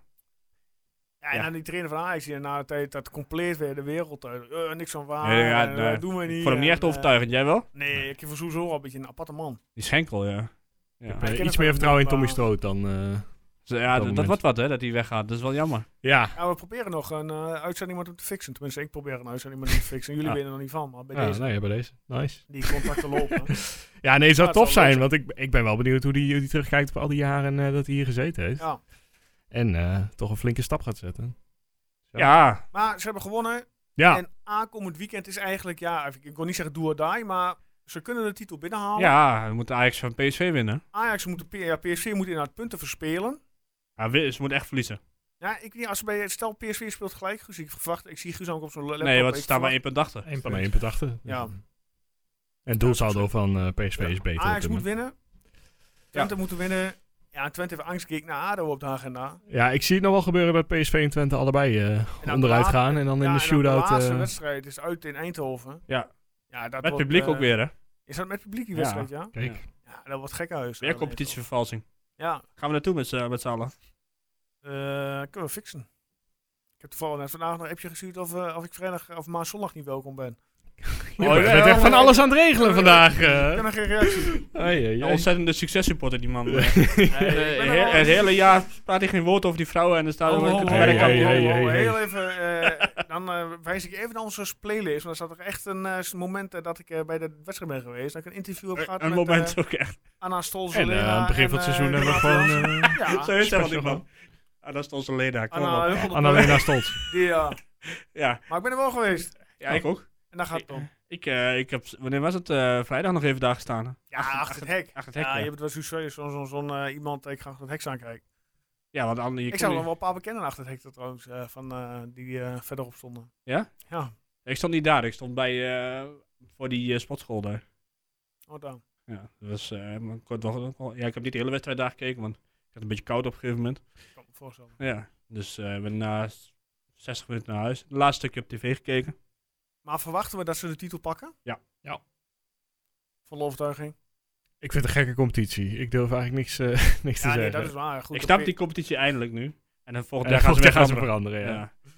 Speaker 4: ja, en
Speaker 8: ja.
Speaker 4: dan die trainer van Ajax, die na de tijd dat compleet weer de wereld uit. Eh, niks van waar,
Speaker 8: Nee, ja,
Speaker 4: en, eh,
Speaker 8: nee.
Speaker 4: doen we niet.
Speaker 8: Ik vond hem niet
Speaker 4: en,
Speaker 8: echt
Speaker 4: eh,
Speaker 8: overtuigend. Jij wel?
Speaker 4: nee, ik vind sowieso al een beetje een aparte man.
Speaker 8: Die Schenkel, ja. Ja,
Speaker 5: eh,
Speaker 4: ken hem
Speaker 5: iets
Speaker 4: van
Speaker 5: meer
Speaker 4: de
Speaker 5: vertrouwen in Tommy
Speaker 4: middelbare.
Speaker 5: Stroot dan... eh,
Speaker 8: Dus, ja
Speaker 5: dat
Speaker 8: dat, dat
Speaker 5: moment.
Speaker 8: wordt wat, hè, dat hij weggaat. Dat is wel jammer.
Speaker 5: ja,
Speaker 4: Ja, we proberen nog een eh, uitzending met hem te fixen. Tenminste, ik probeer een uitzending met hem te fixen. Jullie
Speaker 8: Ja.
Speaker 4: weten er nog niet van, maar bij
Speaker 5: ja,
Speaker 4: deze,
Speaker 5: nee, bij deze. Nice.
Speaker 4: die contacten lopen.
Speaker 5: Ja, nee, het zou
Speaker 4: Ja, het
Speaker 5: tof
Speaker 4: zou leuk
Speaker 5: zijn, want ik, ik ben wel benieuwd hoe die, hoe die terugkijkt op al die jaren eh, dat hij hier gezeten heeft.
Speaker 4: Ja.
Speaker 5: En eh, toch een flinke stap gaat zetten. Ja.
Speaker 8: Ja,
Speaker 4: Maar ze hebben gewonnen.
Speaker 5: Ja,
Speaker 4: En aankomend weekend is eigenlijk, ja, ik- ik wil niet zeggen do or die, maar ze kunnen de titel binnenhalen.
Speaker 8: ja, we moeten Ajax van PSV winnen.
Speaker 4: Ajax moet, de P- ja, PSV moet inderdaad punten verspelen.
Speaker 8: Ja, win- ze moeten echt verliezen.
Speaker 4: Ja, ik weet niet, als ze bij, stel PSV speelt gelijk, Guus, ik verwacht, ik zie Guus ook op zo'n laptop.
Speaker 8: Nee, want
Speaker 4: ik
Speaker 8: ze staan maar één
Speaker 4: verwacht-
Speaker 8: punt achter.
Speaker 7: Eén
Speaker 5: van maar
Speaker 7: punt.
Speaker 5: 1 achter.
Speaker 4: Ja.
Speaker 5: En doelsaldo van eh, PSV
Speaker 4: Ja.
Speaker 5: is beter. op
Speaker 4: Ajax
Speaker 5: dit
Speaker 4: moet
Speaker 5: moment.
Speaker 4: winnen. Twente moet winnen. Ja, Twente heeft angstgeek naar ADO op de agenda.
Speaker 5: ja, ik zie het nog wel gebeuren dat PSV en Twente allebei eh,
Speaker 4: dan
Speaker 5: onderuit
Speaker 4: de laat-
Speaker 5: gaan. En dan
Speaker 4: ja,
Speaker 5: in de
Speaker 4: en dan
Speaker 5: shootout...
Speaker 4: de laatste
Speaker 5: eh,
Speaker 4: wedstrijd is uit in Eindhoven.
Speaker 8: Ja.
Speaker 4: ja dat
Speaker 8: Met
Speaker 4: wordt,
Speaker 8: publiek
Speaker 4: eh,
Speaker 8: ook weer, hè.
Speaker 4: Is dat met publiek die
Speaker 8: Ja.
Speaker 4: wedstrijd, ja?
Speaker 5: kijk,
Speaker 8: Ja.
Speaker 4: Ja, dat wordt gek huis.
Speaker 8: Weer competitievervalsing.
Speaker 4: Ja,
Speaker 8: Gaan we naartoe met, z'n- met z'n
Speaker 4: Oh,
Speaker 8: allen?
Speaker 4: Eh, kunnen we fixen. Ik heb toevallig net vandaag nog een appje gestuurd of, eh, of ik vrijdag of maar zondag niet welkom ben.
Speaker 5: je bent
Speaker 8: ja,
Speaker 5: Oh, echt van
Speaker 4: ja.
Speaker 5: alles aan het regelen vandaag.
Speaker 4: Ik heb
Speaker 5: eh.
Speaker 4: nog geen reactie.
Speaker 5: Ai, ai,
Speaker 8: Een
Speaker 5: ai.
Speaker 8: ontzettende successupporter, die man. Eh,
Speaker 4: ik ben er
Speaker 8: he-
Speaker 4: wel- Oh,
Speaker 8: het hele jaar praat hij geen woord over die vrouwen en de staat
Speaker 4: Ho, ho, ho,
Speaker 5: Hey,
Speaker 8: oh,
Speaker 5: hey,
Speaker 4: ho,
Speaker 5: hey,
Speaker 4: ho,
Speaker 5: hey,
Speaker 4: ho,
Speaker 5: hey.
Speaker 4: Heel even, eh, dan eh, wijs ik even naar onze playlist. Want er staat toch echt een eh, moment eh, dat ik eh, bij de wedstrijd ben geweest. Dat ik een interview heb gehad
Speaker 8: Een
Speaker 4: met
Speaker 8: moment
Speaker 4: eh,
Speaker 8: ook echt.
Speaker 4: Anna Stolz.
Speaker 5: En eh, aan het begin van het seizoen hebben we gewoon... eh,
Speaker 8: Zo
Speaker 4: ja,
Speaker 8: heet hij wel, die
Speaker 5: special.
Speaker 8: man. Ah, nou, dat is onze leraar. Kom
Speaker 4: Anna,
Speaker 8: op.
Speaker 4: heel goed op de-
Speaker 5: Annalena Stolz.
Speaker 4: die, ja.
Speaker 8: Ja,
Speaker 4: Maar ik ben er wel geweest.
Speaker 8: ja, ik ook.
Speaker 4: En daar gaat het om.
Speaker 8: Ik, eh, ik heb, wanneer was het? eh, vrijdag nog even daar gestaan.
Speaker 4: Ja, achter het hek.
Speaker 8: Achter het hek,
Speaker 4: Ja,
Speaker 8: ja.
Speaker 4: je hebt wel zo'n zo, zo, zo'n, eh, iemand dat ik graag het hek staan kijk.
Speaker 8: Ja, want Anne, je
Speaker 4: Ik
Speaker 8: kon
Speaker 4: zou nog
Speaker 8: niet-
Speaker 4: wel een paar bekenden achter het hek trouwens, eh, van, eh, die eh, verderop stonden.
Speaker 8: Ja?
Speaker 4: Ja,
Speaker 8: ik stond niet daar. Ik stond bij, eh, voor die eh, sportschool daar.
Speaker 4: oh daar.
Speaker 8: Ja, dat was, eh, maar ik, had wel- ook wel- ja, ik heb niet de hele wedstrijd daar gekeken, want ik had een beetje koud op een gegeven moment.
Speaker 4: Ik kan me voorstellen.
Speaker 8: Ja, dus eh, ik ben na 60 minuten naar huis. Het laatste stukje op tv gekeken.
Speaker 4: Maar verwachten we dat ze de titel pakken?
Speaker 5: Ja. Ja.
Speaker 4: Vol overtuiging.
Speaker 5: Ik vind het een gekke competitie. Ik durf eigenlijk niks, eh, niks te
Speaker 4: Ja, nee,
Speaker 5: zeggen.
Speaker 4: dat is waar. Goed,
Speaker 8: ik snap
Speaker 4: oké.
Speaker 8: die competitie eindelijk nu. En dan
Speaker 5: En
Speaker 8: volgend
Speaker 5: dan
Speaker 8: Eh, jaar gaan ze weer
Speaker 5: gaan ze
Speaker 8: veranderen.
Speaker 5: veranderen, ja.
Speaker 8: Ja.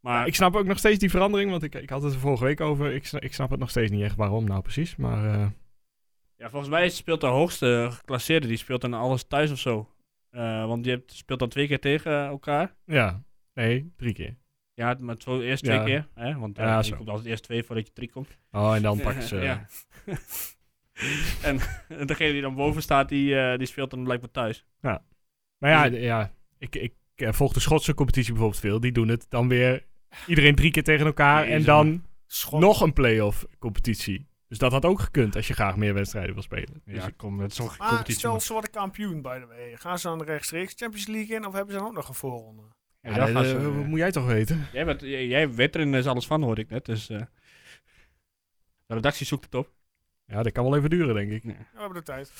Speaker 8: Maar
Speaker 5: Ik snap ook nog steeds die verandering, want ik, ik had het er vorige week over. Ik, sna- ik snap het nog steeds niet echt waarom nou precies, maar... eh,
Speaker 8: ja, volgens mij speelt de hoogste geclasseerde, die speelt dan alles thuis of zo. Eh, want je hebt, speelt dan twee keer tegen elkaar.
Speaker 5: Ja. Nee, drie keer.
Speaker 8: Ja, maar zo eerst
Speaker 5: Ja.
Speaker 8: twee keer. Hè? Want eh,
Speaker 5: Ja,
Speaker 8: je
Speaker 5: zo.
Speaker 8: komt altijd eerst twee voordat je drie komt.
Speaker 5: Oh, en dan pakken ze...
Speaker 8: Ja. en, en degene die dan boven staat, die, eh, die speelt dan blijkbaar thuis.
Speaker 5: Maar ja, d- ja ik, ik eh, volg de Schotse competitie bijvoorbeeld veel. Die doen het dan weer iedereen drie keer tegen elkaar
Speaker 8: Nee,
Speaker 5: en
Speaker 8: zeg
Speaker 5: dan
Speaker 4: Schot-
Speaker 5: nog een play-off competitie. Dus dat had ook gekund als je graag meer wedstrijden wil spelen. Dus
Speaker 8: Ja,
Speaker 5: ik-
Speaker 8: kom, dat is toch
Speaker 4: Maar stel ze worden kampioen, by the way. Gaan ze dan rechtstreeks Champions League in of hebben ze dan ook nog een voorronde?
Speaker 5: ja,
Speaker 8: dan
Speaker 5: dat-
Speaker 8: gaan ze-
Speaker 5: eh, wat moet jij toch weten?
Speaker 8: Jij, bent, jij, jij weet er ineens alles van, hoor ik net. Dus, eh, de redactie zoekt het op.
Speaker 5: Ja, dat kan wel even duren, denk ik.
Speaker 4: Ja, we hebben de tijd.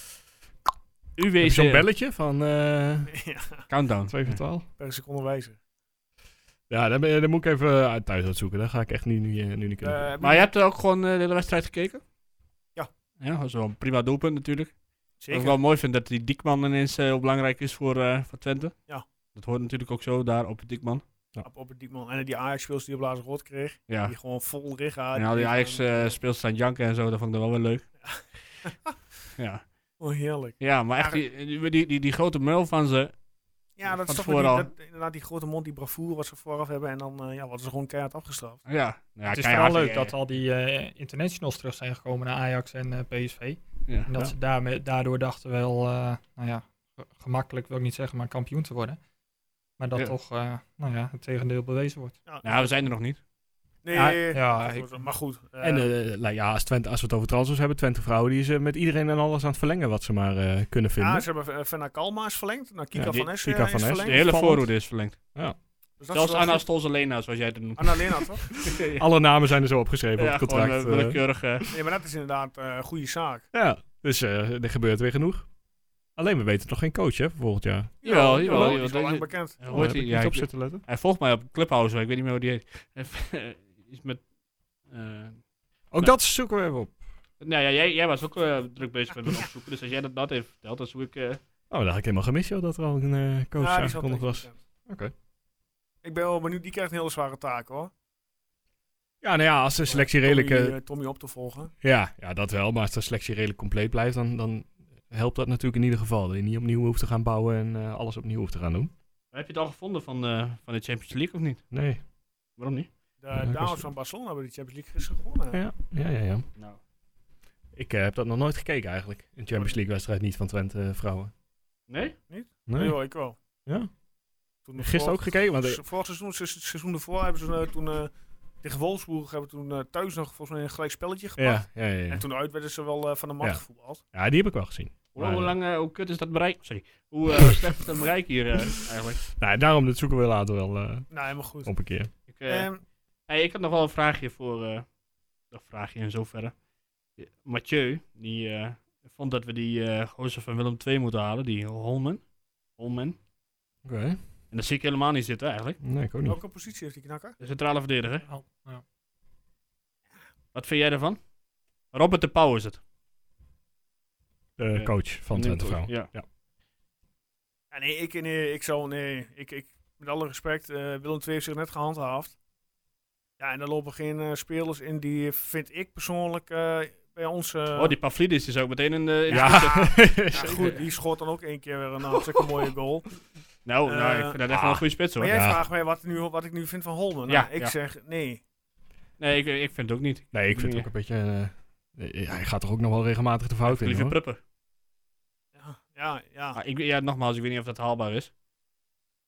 Speaker 5: Heb je Zo'n
Speaker 8: UWC
Speaker 5: belletje van eh
Speaker 4: ja,
Speaker 8: Countdown.
Speaker 5: 2 voor 12.
Speaker 4: per seconde wijzer.
Speaker 5: Ja, dan, ben je- dan moet ik even uit thuis uitzoeken. Dat ga ik echt nu, nu, eh, nu niet kunnen.
Speaker 4: Eh,
Speaker 8: Maar je hebt er ook gewoon eh, de hele wedstrijd gekeken?
Speaker 4: Ja.
Speaker 8: Ja, dat is wel een prima doelpunt natuurlijk. Wat
Speaker 4: zeker.
Speaker 8: ik wel mooi vind, dat die Diekman ineens eh, heel belangrijk is voor, eh, voor Twente.
Speaker 4: Ja.
Speaker 8: Dat hoort natuurlijk ook zo daar op Diekman.
Speaker 4: Op, op het diepman. En die Ajax-spelers die op laatst rood kreeg.
Speaker 8: Ja.
Speaker 4: Die gewoon vol rig hadden.
Speaker 8: En al die
Speaker 4: Die
Speaker 8: Ajax
Speaker 4: gewoon-
Speaker 8: eh speelt staan janken en zo, dat vond ik dan wel weer leuk. ja.
Speaker 4: Oh, heerlijk.
Speaker 8: ja, maar echt die, die, die, die, die grote muil van ze.
Speaker 4: Ja, dat is toch
Speaker 8: Van tevoren
Speaker 4: weer die,
Speaker 8: al.
Speaker 4: dat- inderdaad die grote mond, die bravoure wat ze vooraf hebben. En dan eh, ja, wat ze gewoon keihard afgestraft.
Speaker 8: Ja, ja
Speaker 7: het is
Speaker 8: keihard,
Speaker 7: vooral
Speaker 8: eh,
Speaker 7: leuk dat al die eh, internationals terug zijn gekomen naar Ajax en eh, PSV.
Speaker 8: ja.
Speaker 7: En dat ze daarmee, daardoor dachten wel, eh, nou ja, ge- gemakkelijk wil ik niet zeggen, maar kampioen te worden. Maar dat
Speaker 8: Ja.
Speaker 7: toch, eh, nou ja, het tegendeel bewezen wordt.
Speaker 8: Nou, we zijn er nog niet.
Speaker 4: Nee,
Speaker 7: Ja,
Speaker 4: ja,
Speaker 7: ja, ik-
Speaker 4: maar goed. eh,
Speaker 5: en eh, nou ja, als, Twente, als we het over transfers hebben, Twente vrouwen, die is eh, met iedereen en alles aan het verlengen wat ze maar eh, kunnen vinden.
Speaker 4: ja, ze hebben eh, Fena Kalma is verlengd. Nou, Kika
Speaker 5: Ja, die-
Speaker 4: van Essen
Speaker 5: Kika
Speaker 4: eh,
Speaker 5: van
Speaker 4: is
Speaker 5: Essen.
Speaker 8: De
Speaker 4: verlengd.
Speaker 8: hele
Speaker 5: Spannend.
Speaker 8: voorhoede is verlengd.
Speaker 4: Dus dat is
Speaker 8: Zelfs
Speaker 4: wel
Speaker 8: Anna
Speaker 4: goed.
Speaker 8: Stolzelena, zoals jij het noemt.
Speaker 4: Anna Lena, toch?
Speaker 5: Alle namen zijn er zo opgeschreven
Speaker 8: Ja,
Speaker 5: op het contract.
Speaker 8: gewoon, eh,
Speaker 5: eh.
Speaker 8: willekeurig. eh,
Speaker 4: Nee, maar dat is inderdaad eh, een goede zaak.
Speaker 5: ja, dus eh, er gebeurt weer genoeg. Alleen we weten nog geen coach hè, voor volgend jaar.
Speaker 8: Jawel,
Speaker 4: Ja, Die
Speaker 8: jawel.
Speaker 4: is
Speaker 8: jawel.
Speaker 4: al lang
Speaker 8: Dat-
Speaker 4: bekend.
Speaker 8: eh, hoe heet
Speaker 5: Heb ik
Speaker 8: die?
Speaker 5: niet
Speaker 8: Ja,
Speaker 5: op
Speaker 8: ik-
Speaker 5: zitten letten.
Speaker 8: Hij volgt mij op Clubhouse, maar ik weet niet meer hoe die heet. Eh, Iets met... eh,
Speaker 5: Ook dat zoeken we even op.
Speaker 8: nou ja, jij, jij was ook eh, druk bezig met het opzoeken, dus als jij dat, dat heeft verteld, dan zoek ik... eh,
Speaker 5: Oh, dat had ik helemaal gemist joh, dat er al een eh, coach
Speaker 4: Ja, die is al
Speaker 5: aangekondigd was.
Speaker 4: bekend.
Speaker 5: Oké.
Speaker 4: Ik ben wel benieuwd, die krijgt een hele zware taak hoor.
Speaker 5: Ja, nou ja, als de selectie redelijk... eh,
Speaker 4: Tommy, eh, Tommy op te volgen.
Speaker 5: ja, ja, dat wel. Maar als de selectie redelijk compleet blijft, dan, dan helpt dat natuurlijk in ieder geval. Dat je niet opnieuw hoeft te gaan bouwen en eh, alles opnieuw hoeft te gaan doen.
Speaker 8: heb je het al gevonden van, eh, van de Champions League of niet?
Speaker 5: Nee.
Speaker 8: Waarom niet?
Speaker 4: De
Speaker 5: Ja, ik was-
Speaker 4: dames van Barcelona hebben de Champions League gisteren gewonnen.
Speaker 5: Ja, ja, ja. ja.
Speaker 8: Nou.
Speaker 5: Ik eh, heb dat nog nooit gekeken eigenlijk. Een Champions League wedstrijd niet van Twente eh, vrouwen.
Speaker 8: Nee?
Speaker 5: Nee.
Speaker 4: Jawel, ik wel.
Speaker 5: Ja.
Speaker 4: Toen
Speaker 5: Gisteren ook gekeken, want eh,
Speaker 4: Dus Vorig, vorig seizoen, se- se- seizoen ervoor, hebben ze eh, toen eh, tegen Wolfsburg hebben we toen eh, thuis nog volgens mij een gelijk spelletje gepakt.
Speaker 5: ja, ja, ja, ja.
Speaker 4: En toen uit werden ze wel eh, van de mat
Speaker 5: Ja.
Speaker 4: gevoetbald.
Speaker 5: ja, die heb ik wel gezien.
Speaker 8: Hoe,
Speaker 5: Maar,
Speaker 8: hoe
Speaker 5: eh,
Speaker 8: lang, eh, hoe kut is dat bereik? Sorry. Hoe eh, slecht is dat bereik hier eh, eigenlijk?
Speaker 5: Nou, daarom dat zoeken we later wel eh,
Speaker 4: Nou, helemaal goed.
Speaker 5: op een keer.
Speaker 8: Ik, eh,
Speaker 4: Ehm,
Speaker 8: Hey, ik had nog wel een vraagje voor. eh een vraagje in zoverre. Eh, Mathieu, die eh, vond dat we die eh gozer van Willem II moeten halen, die Holman. Holman.
Speaker 5: Oké.
Speaker 8: En dat zie ik helemaal niet zitten eigenlijk.
Speaker 5: Nee, ik ook niet.
Speaker 4: welke positie heeft die knakker?
Speaker 8: De centrale verdediger.
Speaker 7: Ja, ja.
Speaker 8: Wat vind jij ervan? Robert de Pauw is het.
Speaker 5: De
Speaker 8: Ja.
Speaker 5: coach van Twente vrouwen.
Speaker 8: Ja.
Speaker 4: Ja, nee, ik, nee, ik zou, nee, ik, ik, met alle respect, eh, Willem II heeft zich net gehandhaafd. Ja, en daar lopen geen eh, spelers in die, vind ik persoonlijk, eh, bij ons... eh,
Speaker 8: oh, die Pavlidis is ook meteen in de. in de spits.
Speaker 5: Ja.
Speaker 4: ja, goed, die schoot dan ook één keer weer een hartstikke mooie goal.
Speaker 8: Nou, nou,
Speaker 4: Eh,
Speaker 8: ik vind dat echt wel
Speaker 5: Ah.
Speaker 8: een goede spits hoor.
Speaker 4: Maar jij
Speaker 5: Ja.
Speaker 4: vraagt mij wat, nu, wat ik nu vind van Holmen.
Speaker 8: Ja,
Speaker 4: Nou, ik
Speaker 8: ja.
Speaker 4: zeg nee.
Speaker 8: Nee, ik, ik vind het ook niet. Ik
Speaker 5: Nee, ik vind het ook een beetje... eh, eh, hij gaat toch ook nog wel regelmatig de fout
Speaker 8: vind
Speaker 5: in,
Speaker 8: liever
Speaker 5: hoor.
Speaker 8: Prupper.
Speaker 4: Ja, ja. ja.
Speaker 8: Ah, ik, ja, nogmaals, ik weet niet of dat haalbaar is.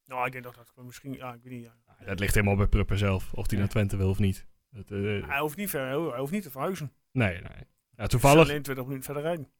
Speaker 4: Nou, ik denk dat dat misschien, ja, ik weet niet. ja.
Speaker 5: Dat ligt helemaal bij Prupper zelf, of hij naar Twente wil of niet. Dat, eh,
Speaker 4: Hij hoeft niet ver, hij hoeft niet te verhuizen.
Speaker 5: nee, nee. Ja,
Speaker 4: Hij
Speaker 5: toevallig,
Speaker 4: is alleen 20 minuten verder rijden.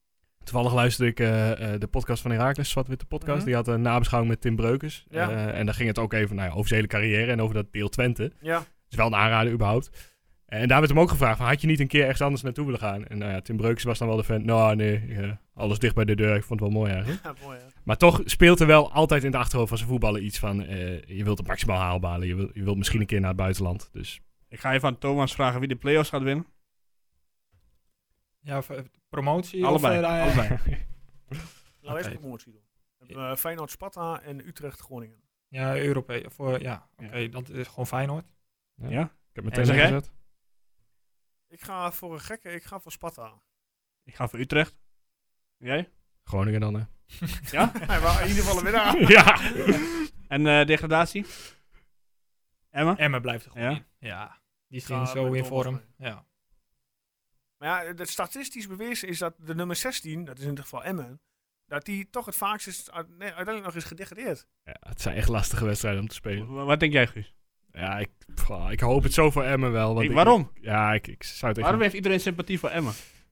Speaker 5: toevallig luisterde ik eh, eh, de podcast van Herakles, Zwart-Witte Podcast.
Speaker 4: Mhm.
Speaker 5: Die had een nabeschouwing met Tim Breukers.
Speaker 4: Ja.
Speaker 5: Eh, en daar ging het ook even nou ja, over zijn hele carrière en over dat deel Twente.
Speaker 4: Ja,
Speaker 5: is wel een aanrader überhaupt. En daar werd hem ook gevraagd, van, had je niet een keer ergens anders naartoe willen gaan? En nou ja, Tim Breukers was dan wel de fan. Nou nee, eh, alles dicht bij de deur. Ik vond het wel mooi eigenlijk.
Speaker 4: ja mooi hè.
Speaker 5: Maar toch speelt er wel altijd in het achterhoofd van zijn voetballen iets van... eh, je wilt het maximaal haalbalen. Je wilt, je wilt misschien een keer naar het buitenland. Dus
Speaker 8: Ik ga even aan Thomas vragen wie de play-offs gaat winnen.
Speaker 7: Ja, v- promotie
Speaker 8: Allebei,
Speaker 7: of... eh,
Speaker 8: allebei.
Speaker 4: Laten we
Speaker 7: Oké.
Speaker 4: eerst promotie doen. We hebben, eh, Feyenoord Sparta en Utrecht Groningen.
Speaker 7: ja, Europees. Voor, ja, oké, dat is gewoon Feyenoord.
Speaker 8: Ja?
Speaker 5: Ik heb meteen
Speaker 8: zeg jij?
Speaker 5: ingezet.
Speaker 4: Ik ga voor een gekke, ik ga voor Sparta.
Speaker 8: Ik ga voor Utrecht. Jij?
Speaker 5: Groningen dan, hè.
Speaker 4: Hij wou in ieder geval een winnaar.
Speaker 8: ja. en eh, degradatie? Emma?
Speaker 7: Emmen blijft er gewoon
Speaker 8: Ja?
Speaker 7: in. Ja, die
Speaker 4: ga
Speaker 7: zien zo
Speaker 4: met
Speaker 7: in
Speaker 4: Thomas
Speaker 7: vorm.
Speaker 4: mee.
Speaker 7: Ja.
Speaker 4: Maar ja, het statistisch bewezen is dat de nummer 16, dat is in dit geval Emmen, dat die toch het vaakst is, uit- nee, uiteindelijk nog is gedegradeerd.
Speaker 5: Ja, het zijn echt lastige wedstrijden om te spelen.
Speaker 8: Wa- Wat denk jij, Guus?
Speaker 5: Ja, ik, pff, ik hoop het zo voor Emmen wel. Want
Speaker 8: Ik-
Speaker 5: ik-
Speaker 8: waarom?
Speaker 5: ja, ik, ik zou het echt...
Speaker 8: Waarom heeft iedereen sympathie voor Emma?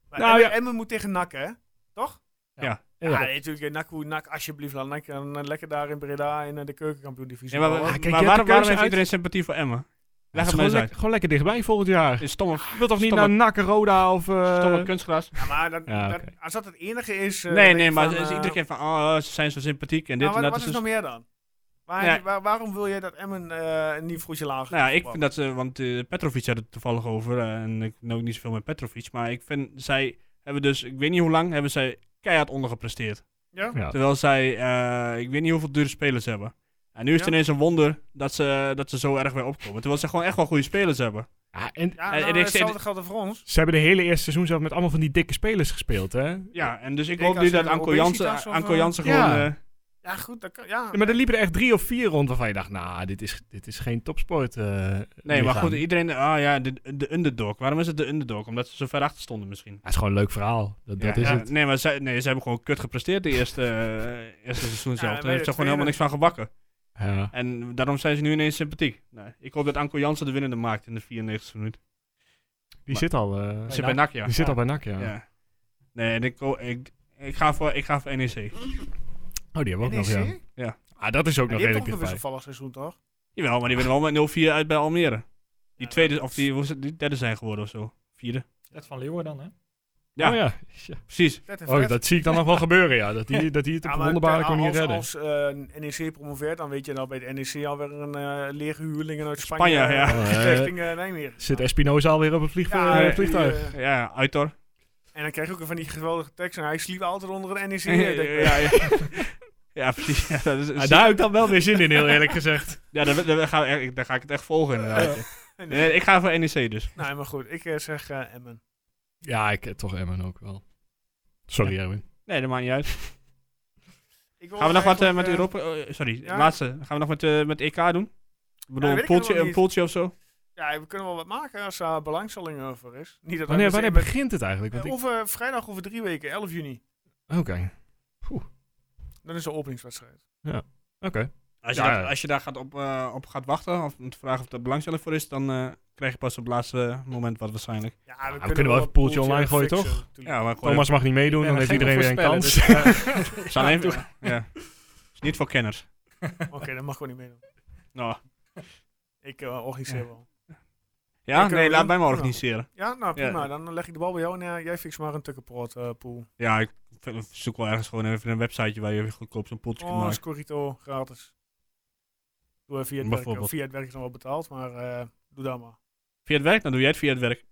Speaker 4: Maar
Speaker 8: Nou,
Speaker 4: Emmen,
Speaker 8: ja.
Speaker 4: Emmen moet tegen NAC, hè? Toch? Ja,
Speaker 5: Ja.
Speaker 4: nee, natuurlijk. eh, NAC, hoe- NAC, alsjeblieft. Laat NAC eh, lekker daar in Breda in eh, de keukenkampioen-divisie.
Speaker 8: maar
Speaker 4: voetballen.
Speaker 5: kijk, je hebt
Speaker 8: waarom,
Speaker 5: de keuze
Speaker 8: waarom heeft
Speaker 5: uit.
Speaker 8: iedereen sympathie voor Emma?
Speaker 5: Het
Speaker 8: Leg
Speaker 5: is
Speaker 8: hem
Speaker 5: gewoon,
Speaker 8: eens
Speaker 5: lek-
Speaker 8: uit.
Speaker 5: gewoon lekker dichtbij volgend jaar.
Speaker 8: Is stomme,
Speaker 5: Je wilt toch niet
Speaker 8: stomme-
Speaker 5: naar Nakken, Roda of... eh,
Speaker 8: stomme kunstgras?
Speaker 4: Ja, maar dat,
Speaker 5: Ja,
Speaker 4: dat- als dat het enige is... eh,
Speaker 8: nee,
Speaker 4: dan
Speaker 8: nee,
Speaker 4: denk
Speaker 8: maar
Speaker 4: ik van,
Speaker 8: ze- ze-
Speaker 4: eh,
Speaker 8: iedere keer van, oh, ze zijn zo sympathiek en dit
Speaker 4: maar wat,
Speaker 8: en dat.
Speaker 4: wat
Speaker 8: is
Speaker 4: is
Speaker 8: dus-
Speaker 4: nog meer dan? Waar-
Speaker 8: Ja.
Speaker 4: waar- waarom wil je dat Emmen eh, een niveautje lager
Speaker 8: Nou ja, ik
Speaker 4: voetbalt?
Speaker 8: vind dat ze, want eh, Petrovic had het toevallig over eh, en ik ben ook niet zoveel met Petrovic, maar ik vind zij hebben dus, ik weet niet hoe lang, hebben zij keihard ondergepresteerd.
Speaker 4: Ja?
Speaker 5: Ja.
Speaker 8: Terwijl zij, eh, ik weet niet hoeveel dure spelers hebben. En nu is het
Speaker 4: Ja.
Speaker 8: ineens een wonder dat ze, dat ze zo erg weer opkomen. Terwijl ze gewoon echt wel goede spelers hebben.
Speaker 5: Ja, en
Speaker 4: Ja,
Speaker 8: En-
Speaker 4: nou,
Speaker 8: eh, en ik-
Speaker 4: hetzelfde geldt er voor ons.
Speaker 5: ze hebben de hele eerste seizoen zelf met allemaal van die dikke spelers gespeeld, hè?
Speaker 8: Ja, en dus ik
Speaker 4: Denk
Speaker 8: hoop nu
Speaker 4: als je
Speaker 8: dat
Speaker 4: de
Speaker 8: Anko
Speaker 4: obesitas
Speaker 8: Jansen,
Speaker 4: of,
Speaker 8: Anko
Speaker 4: eh,
Speaker 8: Jansen
Speaker 5: Ja.
Speaker 8: gewoon... eh,
Speaker 4: Ja, goed. Dat kan, ja.
Speaker 5: Ja, maar er liepen er echt drie of vier rond waarvan je dacht, nou, dit, is, dit is geen topsport. eh,
Speaker 8: nee, maar
Speaker 5: lichaam.
Speaker 8: goed, iedereen, ah ja, de, de underdog. Waarom is het de underdog? Omdat ze zo ver achter stonden misschien.
Speaker 5: Ja, het is gewoon een leuk verhaal. Dat, dat
Speaker 8: Ja,
Speaker 5: is
Speaker 8: ja.
Speaker 5: het.
Speaker 8: Nee, maar zij, nee, ze hebben gewoon kut gepresteerd de eerste, eh, eerste seizoen zelf.
Speaker 4: bij
Speaker 8: Daar heeft
Speaker 4: de
Speaker 8: ze gewoon helemaal niks
Speaker 4: tweede-
Speaker 8: van gebakken.
Speaker 5: Ja.
Speaker 8: En daarom zijn ze nu ineens sympathiek. Nee, ik hoop dat Anko Jansen de winnende maakt in de 94e minuut.
Speaker 5: Die zit al, eh,
Speaker 8: Ze zit bij NAC, ja.
Speaker 5: die zit al bij NAC, ja.
Speaker 8: Ja. Nee, en ik, ho- ik, ik, ga voor, ik ga voor E NEC.
Speaker 5: Oh, die hebben we ook nog, ja.
Speaker 4: NEC?
Speaker 5: Ah, dat is ook
Speaker 4: Ja,
Speaker 5: nog
Speaker 4: die heeft toch
Speaker 5: redelijk
Speaker 4: een
Speaker 5: dichtbij.
Speaker 4: wisselvallig seizoen, toch?
Speaker 8: Jawel, maar die winnen wel met 0-4 uit bij Almere.
Speaker 4: Ja,
Speaker 8: Die tweede,
Speaker 4: dat-
Speaker 8: of die, hoe is het, die derde zijn geworden of zo. Vierde.
Speaker 7: Dat van Leeuwen dan, hè?
Speaker 8: Ja.
Speaker 5: Oh, ja. Ja.
Speaker 8: Precies.
Speaker 4: Vet en
Speaker 5: Oh,
Speaker 4: vet.
Speaker 5: dat zie ik dan nog wel gebeuren, ja. Dat die, dat die het op
Speaker 4: Ja,
Speaker 5: een
Speaker 4: maar
Speaker 5: wonderbare
Speaker 4: te-
Speaker 5: manier
Speaker 4: als,
Speaker 5: redden.
Speaker 4: Als eh, NEC promoveert, dan weet je dan bij het NEC alweer een eh lege huurling uit Spanje.
Speaker 8: Spanje, ja.
Speaker 4: eh,
Speaker 5: Oh, eh,
Speaker 4: richting eh, Nijmegen.
Speaker 5: Zit Espinoza alweer op het vlieg-
Speaker 4: Ja,
Speaker 5: eh,
Speaker 4: eh,
Speaker 5: vliegtuig?
Speaker 4: die, eh,
Speaker 8: Ja, uit hoor.
Speaker 4: en dan krijg je ook weer van die geweldige tekst. En hij sliep altijd onder een NEC.
Speaker 8: Ja,
Speaker 4: eh, denk ik.
Speaker 8: ja, ja. Ja, precies. Ja, dat is,
Speaker 5: Ah, daar heb ik dan wel weer zin in, heel eerlijk gezegd.
Speaker 8: ja, daar, daar, ga, ik- daar ga ik het echt volgen inderdaad.
Speaker 4: Nee,
Speaker 8: Nee, ik ga voor NEC dus.
Speaker 4: Nee, maar goed. Ik eh, zeg eh, Emmen.
Speaker 5: Ja, ik eh, toch Emmen ook wel. Sorry, Erwin.
Speaker 8: Nee, dat maakt niet uit.
Speaker 4: Ik wil
Speaker 8: Gaan we nog wat eh,
Speaker 4: eigenlijk,
Speaker 8: met
Speaker 4: eh,
Speaker 8: Europa... oh, sorry,
Speaker 4: ja.
Speaker 8: laatste. Gaan we nog met, eh, met EK doen? Ik bedoel,
Speaker 4: weet
Speaker 8: een,
Speaker 4: ik nog
Speaker 8: poeltje,
Speaker 4: wel
Speaker 8: een
Speaker 4: niet.
Speaker 8: poeltje of zo?
Speaker 4: Ja, we kunnen wel wat maken als daar belangstelling over is. Niet dat
Speaker 5: Wanneer,
Speaker 4: we
Speaker 5: wanneer
Speaker 4: meteen
Speaker 5: begint het eigenlijk?
Speaker 4: met-
Speaker 5: Want ik...
Speaker 4: over, vrijdag over drie weken, 11 juni.
Speaker 5: Oké, oké.
Speaker 4: Dan is de openingswedstrijd.
Speaker 8: Als je,
Speaker 5: Ja,
Speaker 8: daar,
Speaker 5: ja.
Speaker 8: als je daar gaat op, eh, op gaat wachten, of om te vragen of er belangstelling voor is, dan eh, krijg je pas op het laatste eh, moment wat waarschijnlijk.
Speaker 4: Ja,
Speaker 5: we kunnen wel even
Speaker 4: wat
Speaker 5: poeltje online gooien,
Speaker 4: fixen,
Speaker 5: toch?
Speaker 4: natuurlijk.
Speaker 8: Ja, maar gewoon
Speaker 5: Thomas mag niet meedoen,
Speaker 7: Ik
Speaker 5: dan
Speaker 7: ben
Speaker 5: heeft
Speaker 7: een
Speaker 5: iedereen weer een
Speaker 7: gekke
Speaker 5: kans.
Speaker 7: voorspeller, dus,
Speaker 8: even- staan even... ja. Is niet voor kenners.
Speaker 4: Oké, dat mag gewoon niet meedoen.
Speaker 8: Nou,
Speaker 4: Ik eh, organiseer wel.
Speaker 8: ja,
Speaker 4: Ik, eh,
Speaker 8: nee, laat
Speaker 4: Willem?
Speaker 8: mij maar
Speaker 4: Ja.
Speaker 8: organiseren.
Speaker 4: Ja, nou
Speaker 8: Ja.
Speaker 4: prima. Dan leg ik de bal bij jou en eh, jij fix maar een tukkenproot eh pool.
Speaker 8: Ja, ik v- zoek wel ergens gewoon even een websiteje waar je even goedkoop zo'n poeltje kunt
Speaker 4: Oh,
Speaker 8: maken.
Speaker 4: Scorito, gratis. Doe eh, via het werk.
Speaker 8: Bijvoorbeeld.
Speaker 4: Via het werk is nog wel betaald, maar eh, doe dat maar.
Speaker 8: Via het werk? Dan doe jij het via het werk.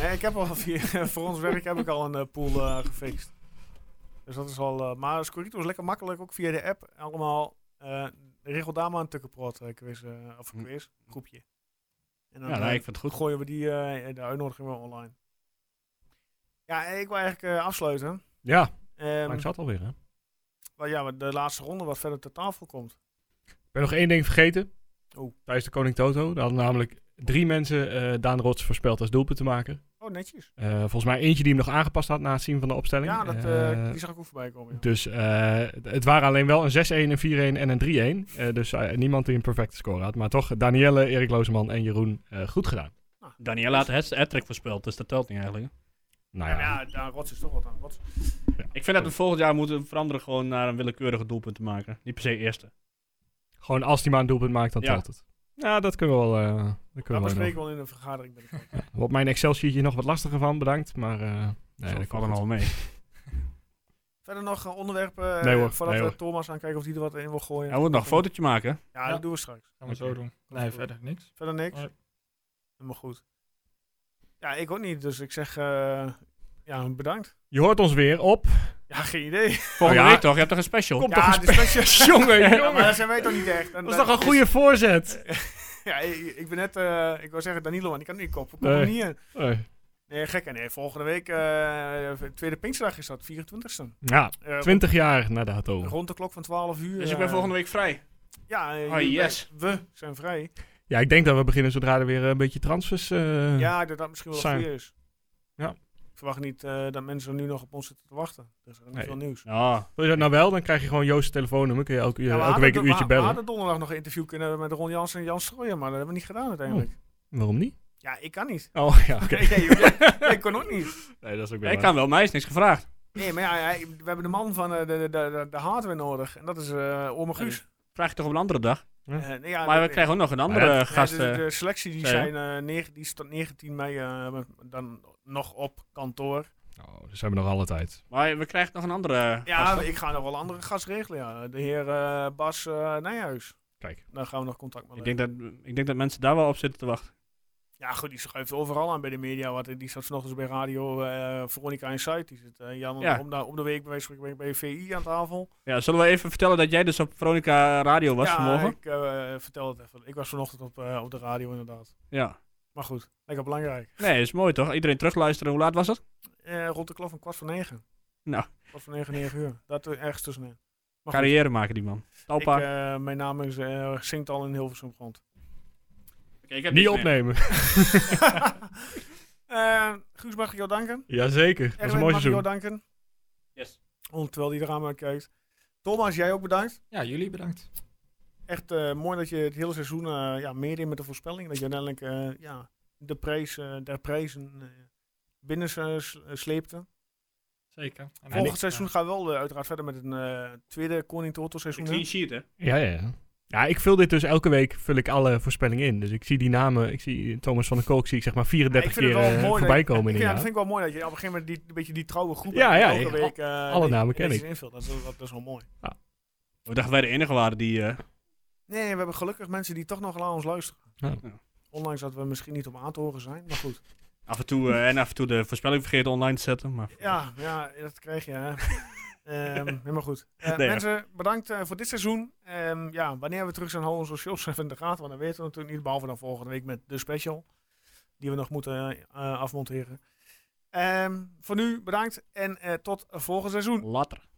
Speaker 4: Nee, ik heb al via, voor ons werk heb ik al een eh, pool eh, gefixt. Dus dat is al... eh, maar Scorito is lekker makkelijk, ook via de app. Allemaal, eh regel daar maar een tukkenproot eh, quiz, eh, of
Speaker 8: Hm.
Speaker 4: quiz, groepje. En dan,
Speaker 8: Ja,
Speaker 4: eh,
Speaker 8: nee, ik vind het goed.
Speaker 4: gooien we die, eh, de uitnodiging wel online. Ja, ik wil eigenlijk eh, afsluiten.
Speaker 5: Ja,
Speaker 4: Ehm,
Speaker 5: maar ik zat alweer, hè.
Speaker 4: Wel ja, maar de laatste ronde wat verder ter tafel komt.
Speaker 5: Ik ben nog één ding vergeten.
Speaker 4: Oh.
Speaker 5: Tijdens de Koning Toto. Daar hadden namelijk drie mensen eh, Daan Rots voorspeld als doelpuntenmaker.
Speaker 4: Oh, netjes.
Speaker 5: Eh volgens mij eentje die hem nog aangepast had na het zien van de opstelling.
Speaker 4: Ja, dat, eh,
Speaker 5: Eh,
Speaker 4: die zag ik ook voorbij komen. ja.
Speaker 5: Dus eh, het waren alleen wel een 6-1, een 4-1 en een 3-1. Eh, dus eh, niemand die een perfecte score had. Maar toch, Danielle, Erik Lozeman en Jeroen eh, goed gedaan.
Speaker 8: Daniela had het hat-trick voorspeld, dus dat telt niet eigenlijk.
Speaker 5: Nou
Speaker 4: Ja,
Speaker 5: ja,
Speaker 4: maar ja, daar rots is toch wat aan. Rots.
Speaker 8: Ik vind dat we volgend jaar moeten veranderen gewoon naar een willekeurige doelpunt te maken. Niet per se eerste.
Speaker 5: gewoon als die maar een doelpunt maakt, dan
Speaker 8: Ja.
Speaker 5: telt het. Ja, dat kunnen we wel. eh, dat
Speaker 4: Dat
Speaker 5: kunnen we wel
Speaker 4: bespreken
Speaker 5: doen.
Speaker 4: we wel in een vergadering. binnenkort.
Speaker 5: Wat mijn Excel-sheetje nog wat lastiger van, bedankt. Maar eh, nee,
Speaker 8: Zo
Speaker 5: dat
Speaker 8: valt
Speaker 5: komt
Speaker 8: er
Speaker 5: goed.
Speaker 8: nog mee.
Speaker 4: verder nog eh, onderwerpen eh,
Speaker 5: Nee hoor,
Speaker 4: voordat
Speaker 5: nee
Speaker 4: we
Speaker 5: hoor.
Speaker 4: Thomas aankijken of die er wat in wil gooien.
Speaker 8: Hij moet nog een fotootje maken.
Speaker 4: Ja,
Speaker 7: Ja.
Speaker 4: dat doen we straks.
Speaker 7: Gaan we zo doen. Nee, verder niks.
Speaker 4: Verder niks.
Speaker 7: Nee.
Speaker 4: Maar goed. Ja, ik ook niet. Dus ik zeg, eh, ja, bedankt.
Speaker 5: Je hoort ons weer op. Oh
Speaker 4: Ja, geen idee.
Speaker 6: Volgende
Speaker 5: ja.
Speaker 6: week toch? Je hebt toch een special?
Speaker 5: Komt
Speaker 4: ja,
Speaker 5: toch een
Speaker 4: dus dat je-
Speaker 5: jongen,
Speaker 4: Ja,
Speaker 5: jongen.
Speaker 4: maar dat zijn wij toch niet echt. En eh,
Speaker 5: Dat is toch een goede voorzet?
Speaker 4: Ja, ik, ik ben net, eh, ik wil zeggen Danilo, maar die kan niet koppen. Kom
Speaker 5: Nee.
Speaker 4: er niet in.
Speaker 5: Eh,
Speaker 4: Nee, gek. En nee, volgende week, eh, tweede Pinksterdag is dat, 24e.
Speaker 5: Ja,
Speaker 4: Eh,
Speaker 5: 20 jaar na dato.
Speaker 4: Rond de klok van 12 uur.
Speaker 6: Dus ik ben
Speaker 4: eh,
Speaker 6: volgende week vrij.
Speaker 4: Ja, eh,
Speaker 5: Ah,
Speaker 6: Oh,
Speaker 4: jullie-
Speaker 6: yes.
Speaker 4: we zijn vrij.
Speaker 5: Ja, ik denk dat we beginnen zodra er weer een beetje transfers... eh,
Speaker 4: Ja, dat dat misschien wel
Speaker 5: zijn.
Speaker 4: vrij is.
Speaker 5: Ja.
Speaker 4: Ik verwacht niet eh, dat mensen nu nog op ons zitten te wachten. Er is nog niet
Speaker 5: Nee.
Speaker 4: veel nieuws.
Speaker 6: Ja.
Speaker 5: Wil je dat nou wel, dan krijg je gewoon Joost's telefoonnummer. Kun je elke,
Speaker 4: Ja, we
Speaker 5: elke
Speaker 4: hadden
Speaker 5: week
Speaker 4: do-
Speaker 5: een uurtje
Speaker 4: we- We
Speaker 5: bellen.
Speaker 4: hadden donderdag nog een interview kunnen met Ron Jans en Jan Strooijer, maar dat hebben we niet gedaan uiteindelijk.
Speaker 5: Waarom niet?
Speaker 4: Ja, ik kan niet.
Speaker 5: Oh, ja, Oh. oké.
Speaker 4: Nee, nee, joh, jij- ik kon ook niet.
Speaker 5: Nee, dat is ook
Speaker 6: Ik kan wel, mij is niks gevraagd.
Speaker 4: Nee, maar ja, hij- we hebben de man van eh, de, de, de, de hardware nodig. En dat is eh Oma Guus.
Speaker 6: Vraag je toch op een andere dag?
Speaker 4: Eh, nee, ja,
Speaker 6: Maar we
Speaker 4: dat-
Speaker 6: krijgen ook nog een
Speaker 5: Maar
Speaker 6: andere
Speaker 5: ja, dus
Speaker 6: eh, gast.
Speaker 4: Ja, de- de,
Speaker 6: eh.
Speaker 4: de selectie die,
Speaker 6: zei, hè?
Speaker 4: zijn, eh, negen- die is tot 19 mei eh, dan nog op kantoor.
Speaker 5: Oh, dus hebben we nog alle tijd.
Speaker 6: Maar we krijgen nog een andere eh,
Speaker 4: Ja,
Speaker 6: gast.
Speaker 4: ik ga nog wel andere gast regelen. Ja. De heer eh, Bas eh, Nijhuis.
Speaker 5: Kijk.
Speaker 4: Daar gaan we nog contact mee
Speaker 6: Ik
Speaker 4: leggen.
Speaker 6: denk, dat, ik denk dat mensen daar wel op zitten te wachten.
Speaker 4: Ja, goed, die schuift overal aan bij de media. Want die zat vanochtend bij radio eh Veronica Insight. Die zit eh, Jan
Speaker 6: Ja.
Speaker 4: om, de, om de week bij, wijze van spreken bij VI aan tafel.
Speaker 6: Ja, zullen we even vertellen dat jij dus op Veronica Radio was
Speaker 4: ja,
Speaker 6: vanmorgen?
Speaker 4: ik eh, vertel het even. Ik was vanochtend op, eh, op de radio inderdaad.
Speaker 6: Ja.
Speaker 4: Maar goed, lekker belangrijk.
Speaker 6: Nee, is mooi toch? Iedereen terugluisteren. Hoe laat was dat?
Speaker 4: Eh, rond de klok van kwart voor negen.
Speaker 6: Nou.
Speaker 4: Kwart voor negen, negen uur. Dat er ergens tussenin. Maar goed.
Speaker 6: Carrière maken die man.
Speaker 4: Ik,
Speaker 6: Talpa.
Speaker 4: eh, mijn naam is eh zingt al in Hilversum rond.
Speaker 5: Niet opnemen.
Speaker 4: Eh Guus, mag ik jou danken?
Speaker 5: Jazeker, dat is een
Speaker 4: Erwin,
Speaker 5: mooi
Speaker 4: mag ik jou
Speaker 5: seizoen.
Speaker 4: danken?
Speaker 6: Yes.
Speaker 4: Oh, terwijl die eraan maar kijkt. Thomas, jij ook bedankt.
Speaker 7: Ja, jullie bedankt.
Speaker 4: Echt eh, mooi dat je het hele seizoen eh, ja, meer in met de voorspelling. Dat je uiteindelijk eh, ja, de prijs eh, der prijzen eh, binnen eh, s- eh, sleepte.
Speaker 7: Zeker. En
Speaker 4: Volgend
Speaker 7: ik-
Speaker 4: seizoen
Speaker 7: ja.
Speaker 4: gaan we wel eh, uiteraard verder met een eh, tweede Koning Toto seizoen. hè?
Speaker 6: Clean sheet, hè?
Speaker 5: Ja, ja, ja. Ja, ik vul dit dus elke week vul ik alle voorspellingen in. Dus ik zie die namen, ik zie Thomas van der Kolk, zie ik zeg maar
Speaker 4: Ja, ik
Speaker 5: 34
Speaker 4: vind
Speaker 5: keer
Speaker 4: het wel
Speaker 5: eh,
Speaker 4: mooi dat-
Speaker 5: voorbij komen in
Speaker 4: Ik
Speaker 5: een
Speaker 4: vind, ja, dat
Speaker 5: jaar.
Speaker 4: vind ik wel mooi dat je op een gegeven moment die, een beetje die trouwe groep
Speaker 5: Ja,
Speaker 4: hebt
Speaker 5: ja,
Speaker 4: die elke
Speaker 5: ja.
Speaker 4: week, eh,
Speaker 5: alle
Speaker 4: die-
Speaker 5: namen
Speaker 4: die
Speaker 5: ken
Speaker 4: deze
Speaker 5: ik.
Speaker 4: invult. Dat, is- dat is wel mooi.
Speaker 6: We dachten wij de enige waren die... eh,
Speaker 4: Nee, we hebben gelukkig mensen die toch nog naar ons luisteren.
Speaker 5: Ja.
Speaker 6: Ja.
Speaker 4: Ondanks dat we misschien niet om aan te horen zijn, maar goed.
Speaker 6: af en toe, eh, en af en toe de voorspelling vergeten online te zetten. Maar
Speaker 4: Ja, ja dat krijg je. Hè. Ehm, helemaal goed. Eh,
Speaker 6: Nee, ja.
Speaker 4: mensen, bedankt eh, voor dit seizoen. Ehm, ja, wanneer we terug zijn, houden we onze shows even in de gaten. Want dan weten we natuurlijk niet, behalve dan volgende week met de special. Die we nog moeten eh, afmonteren. Ehm, voor nu bedankt en eh, tot volgend seizoen.
Speaker 6: later.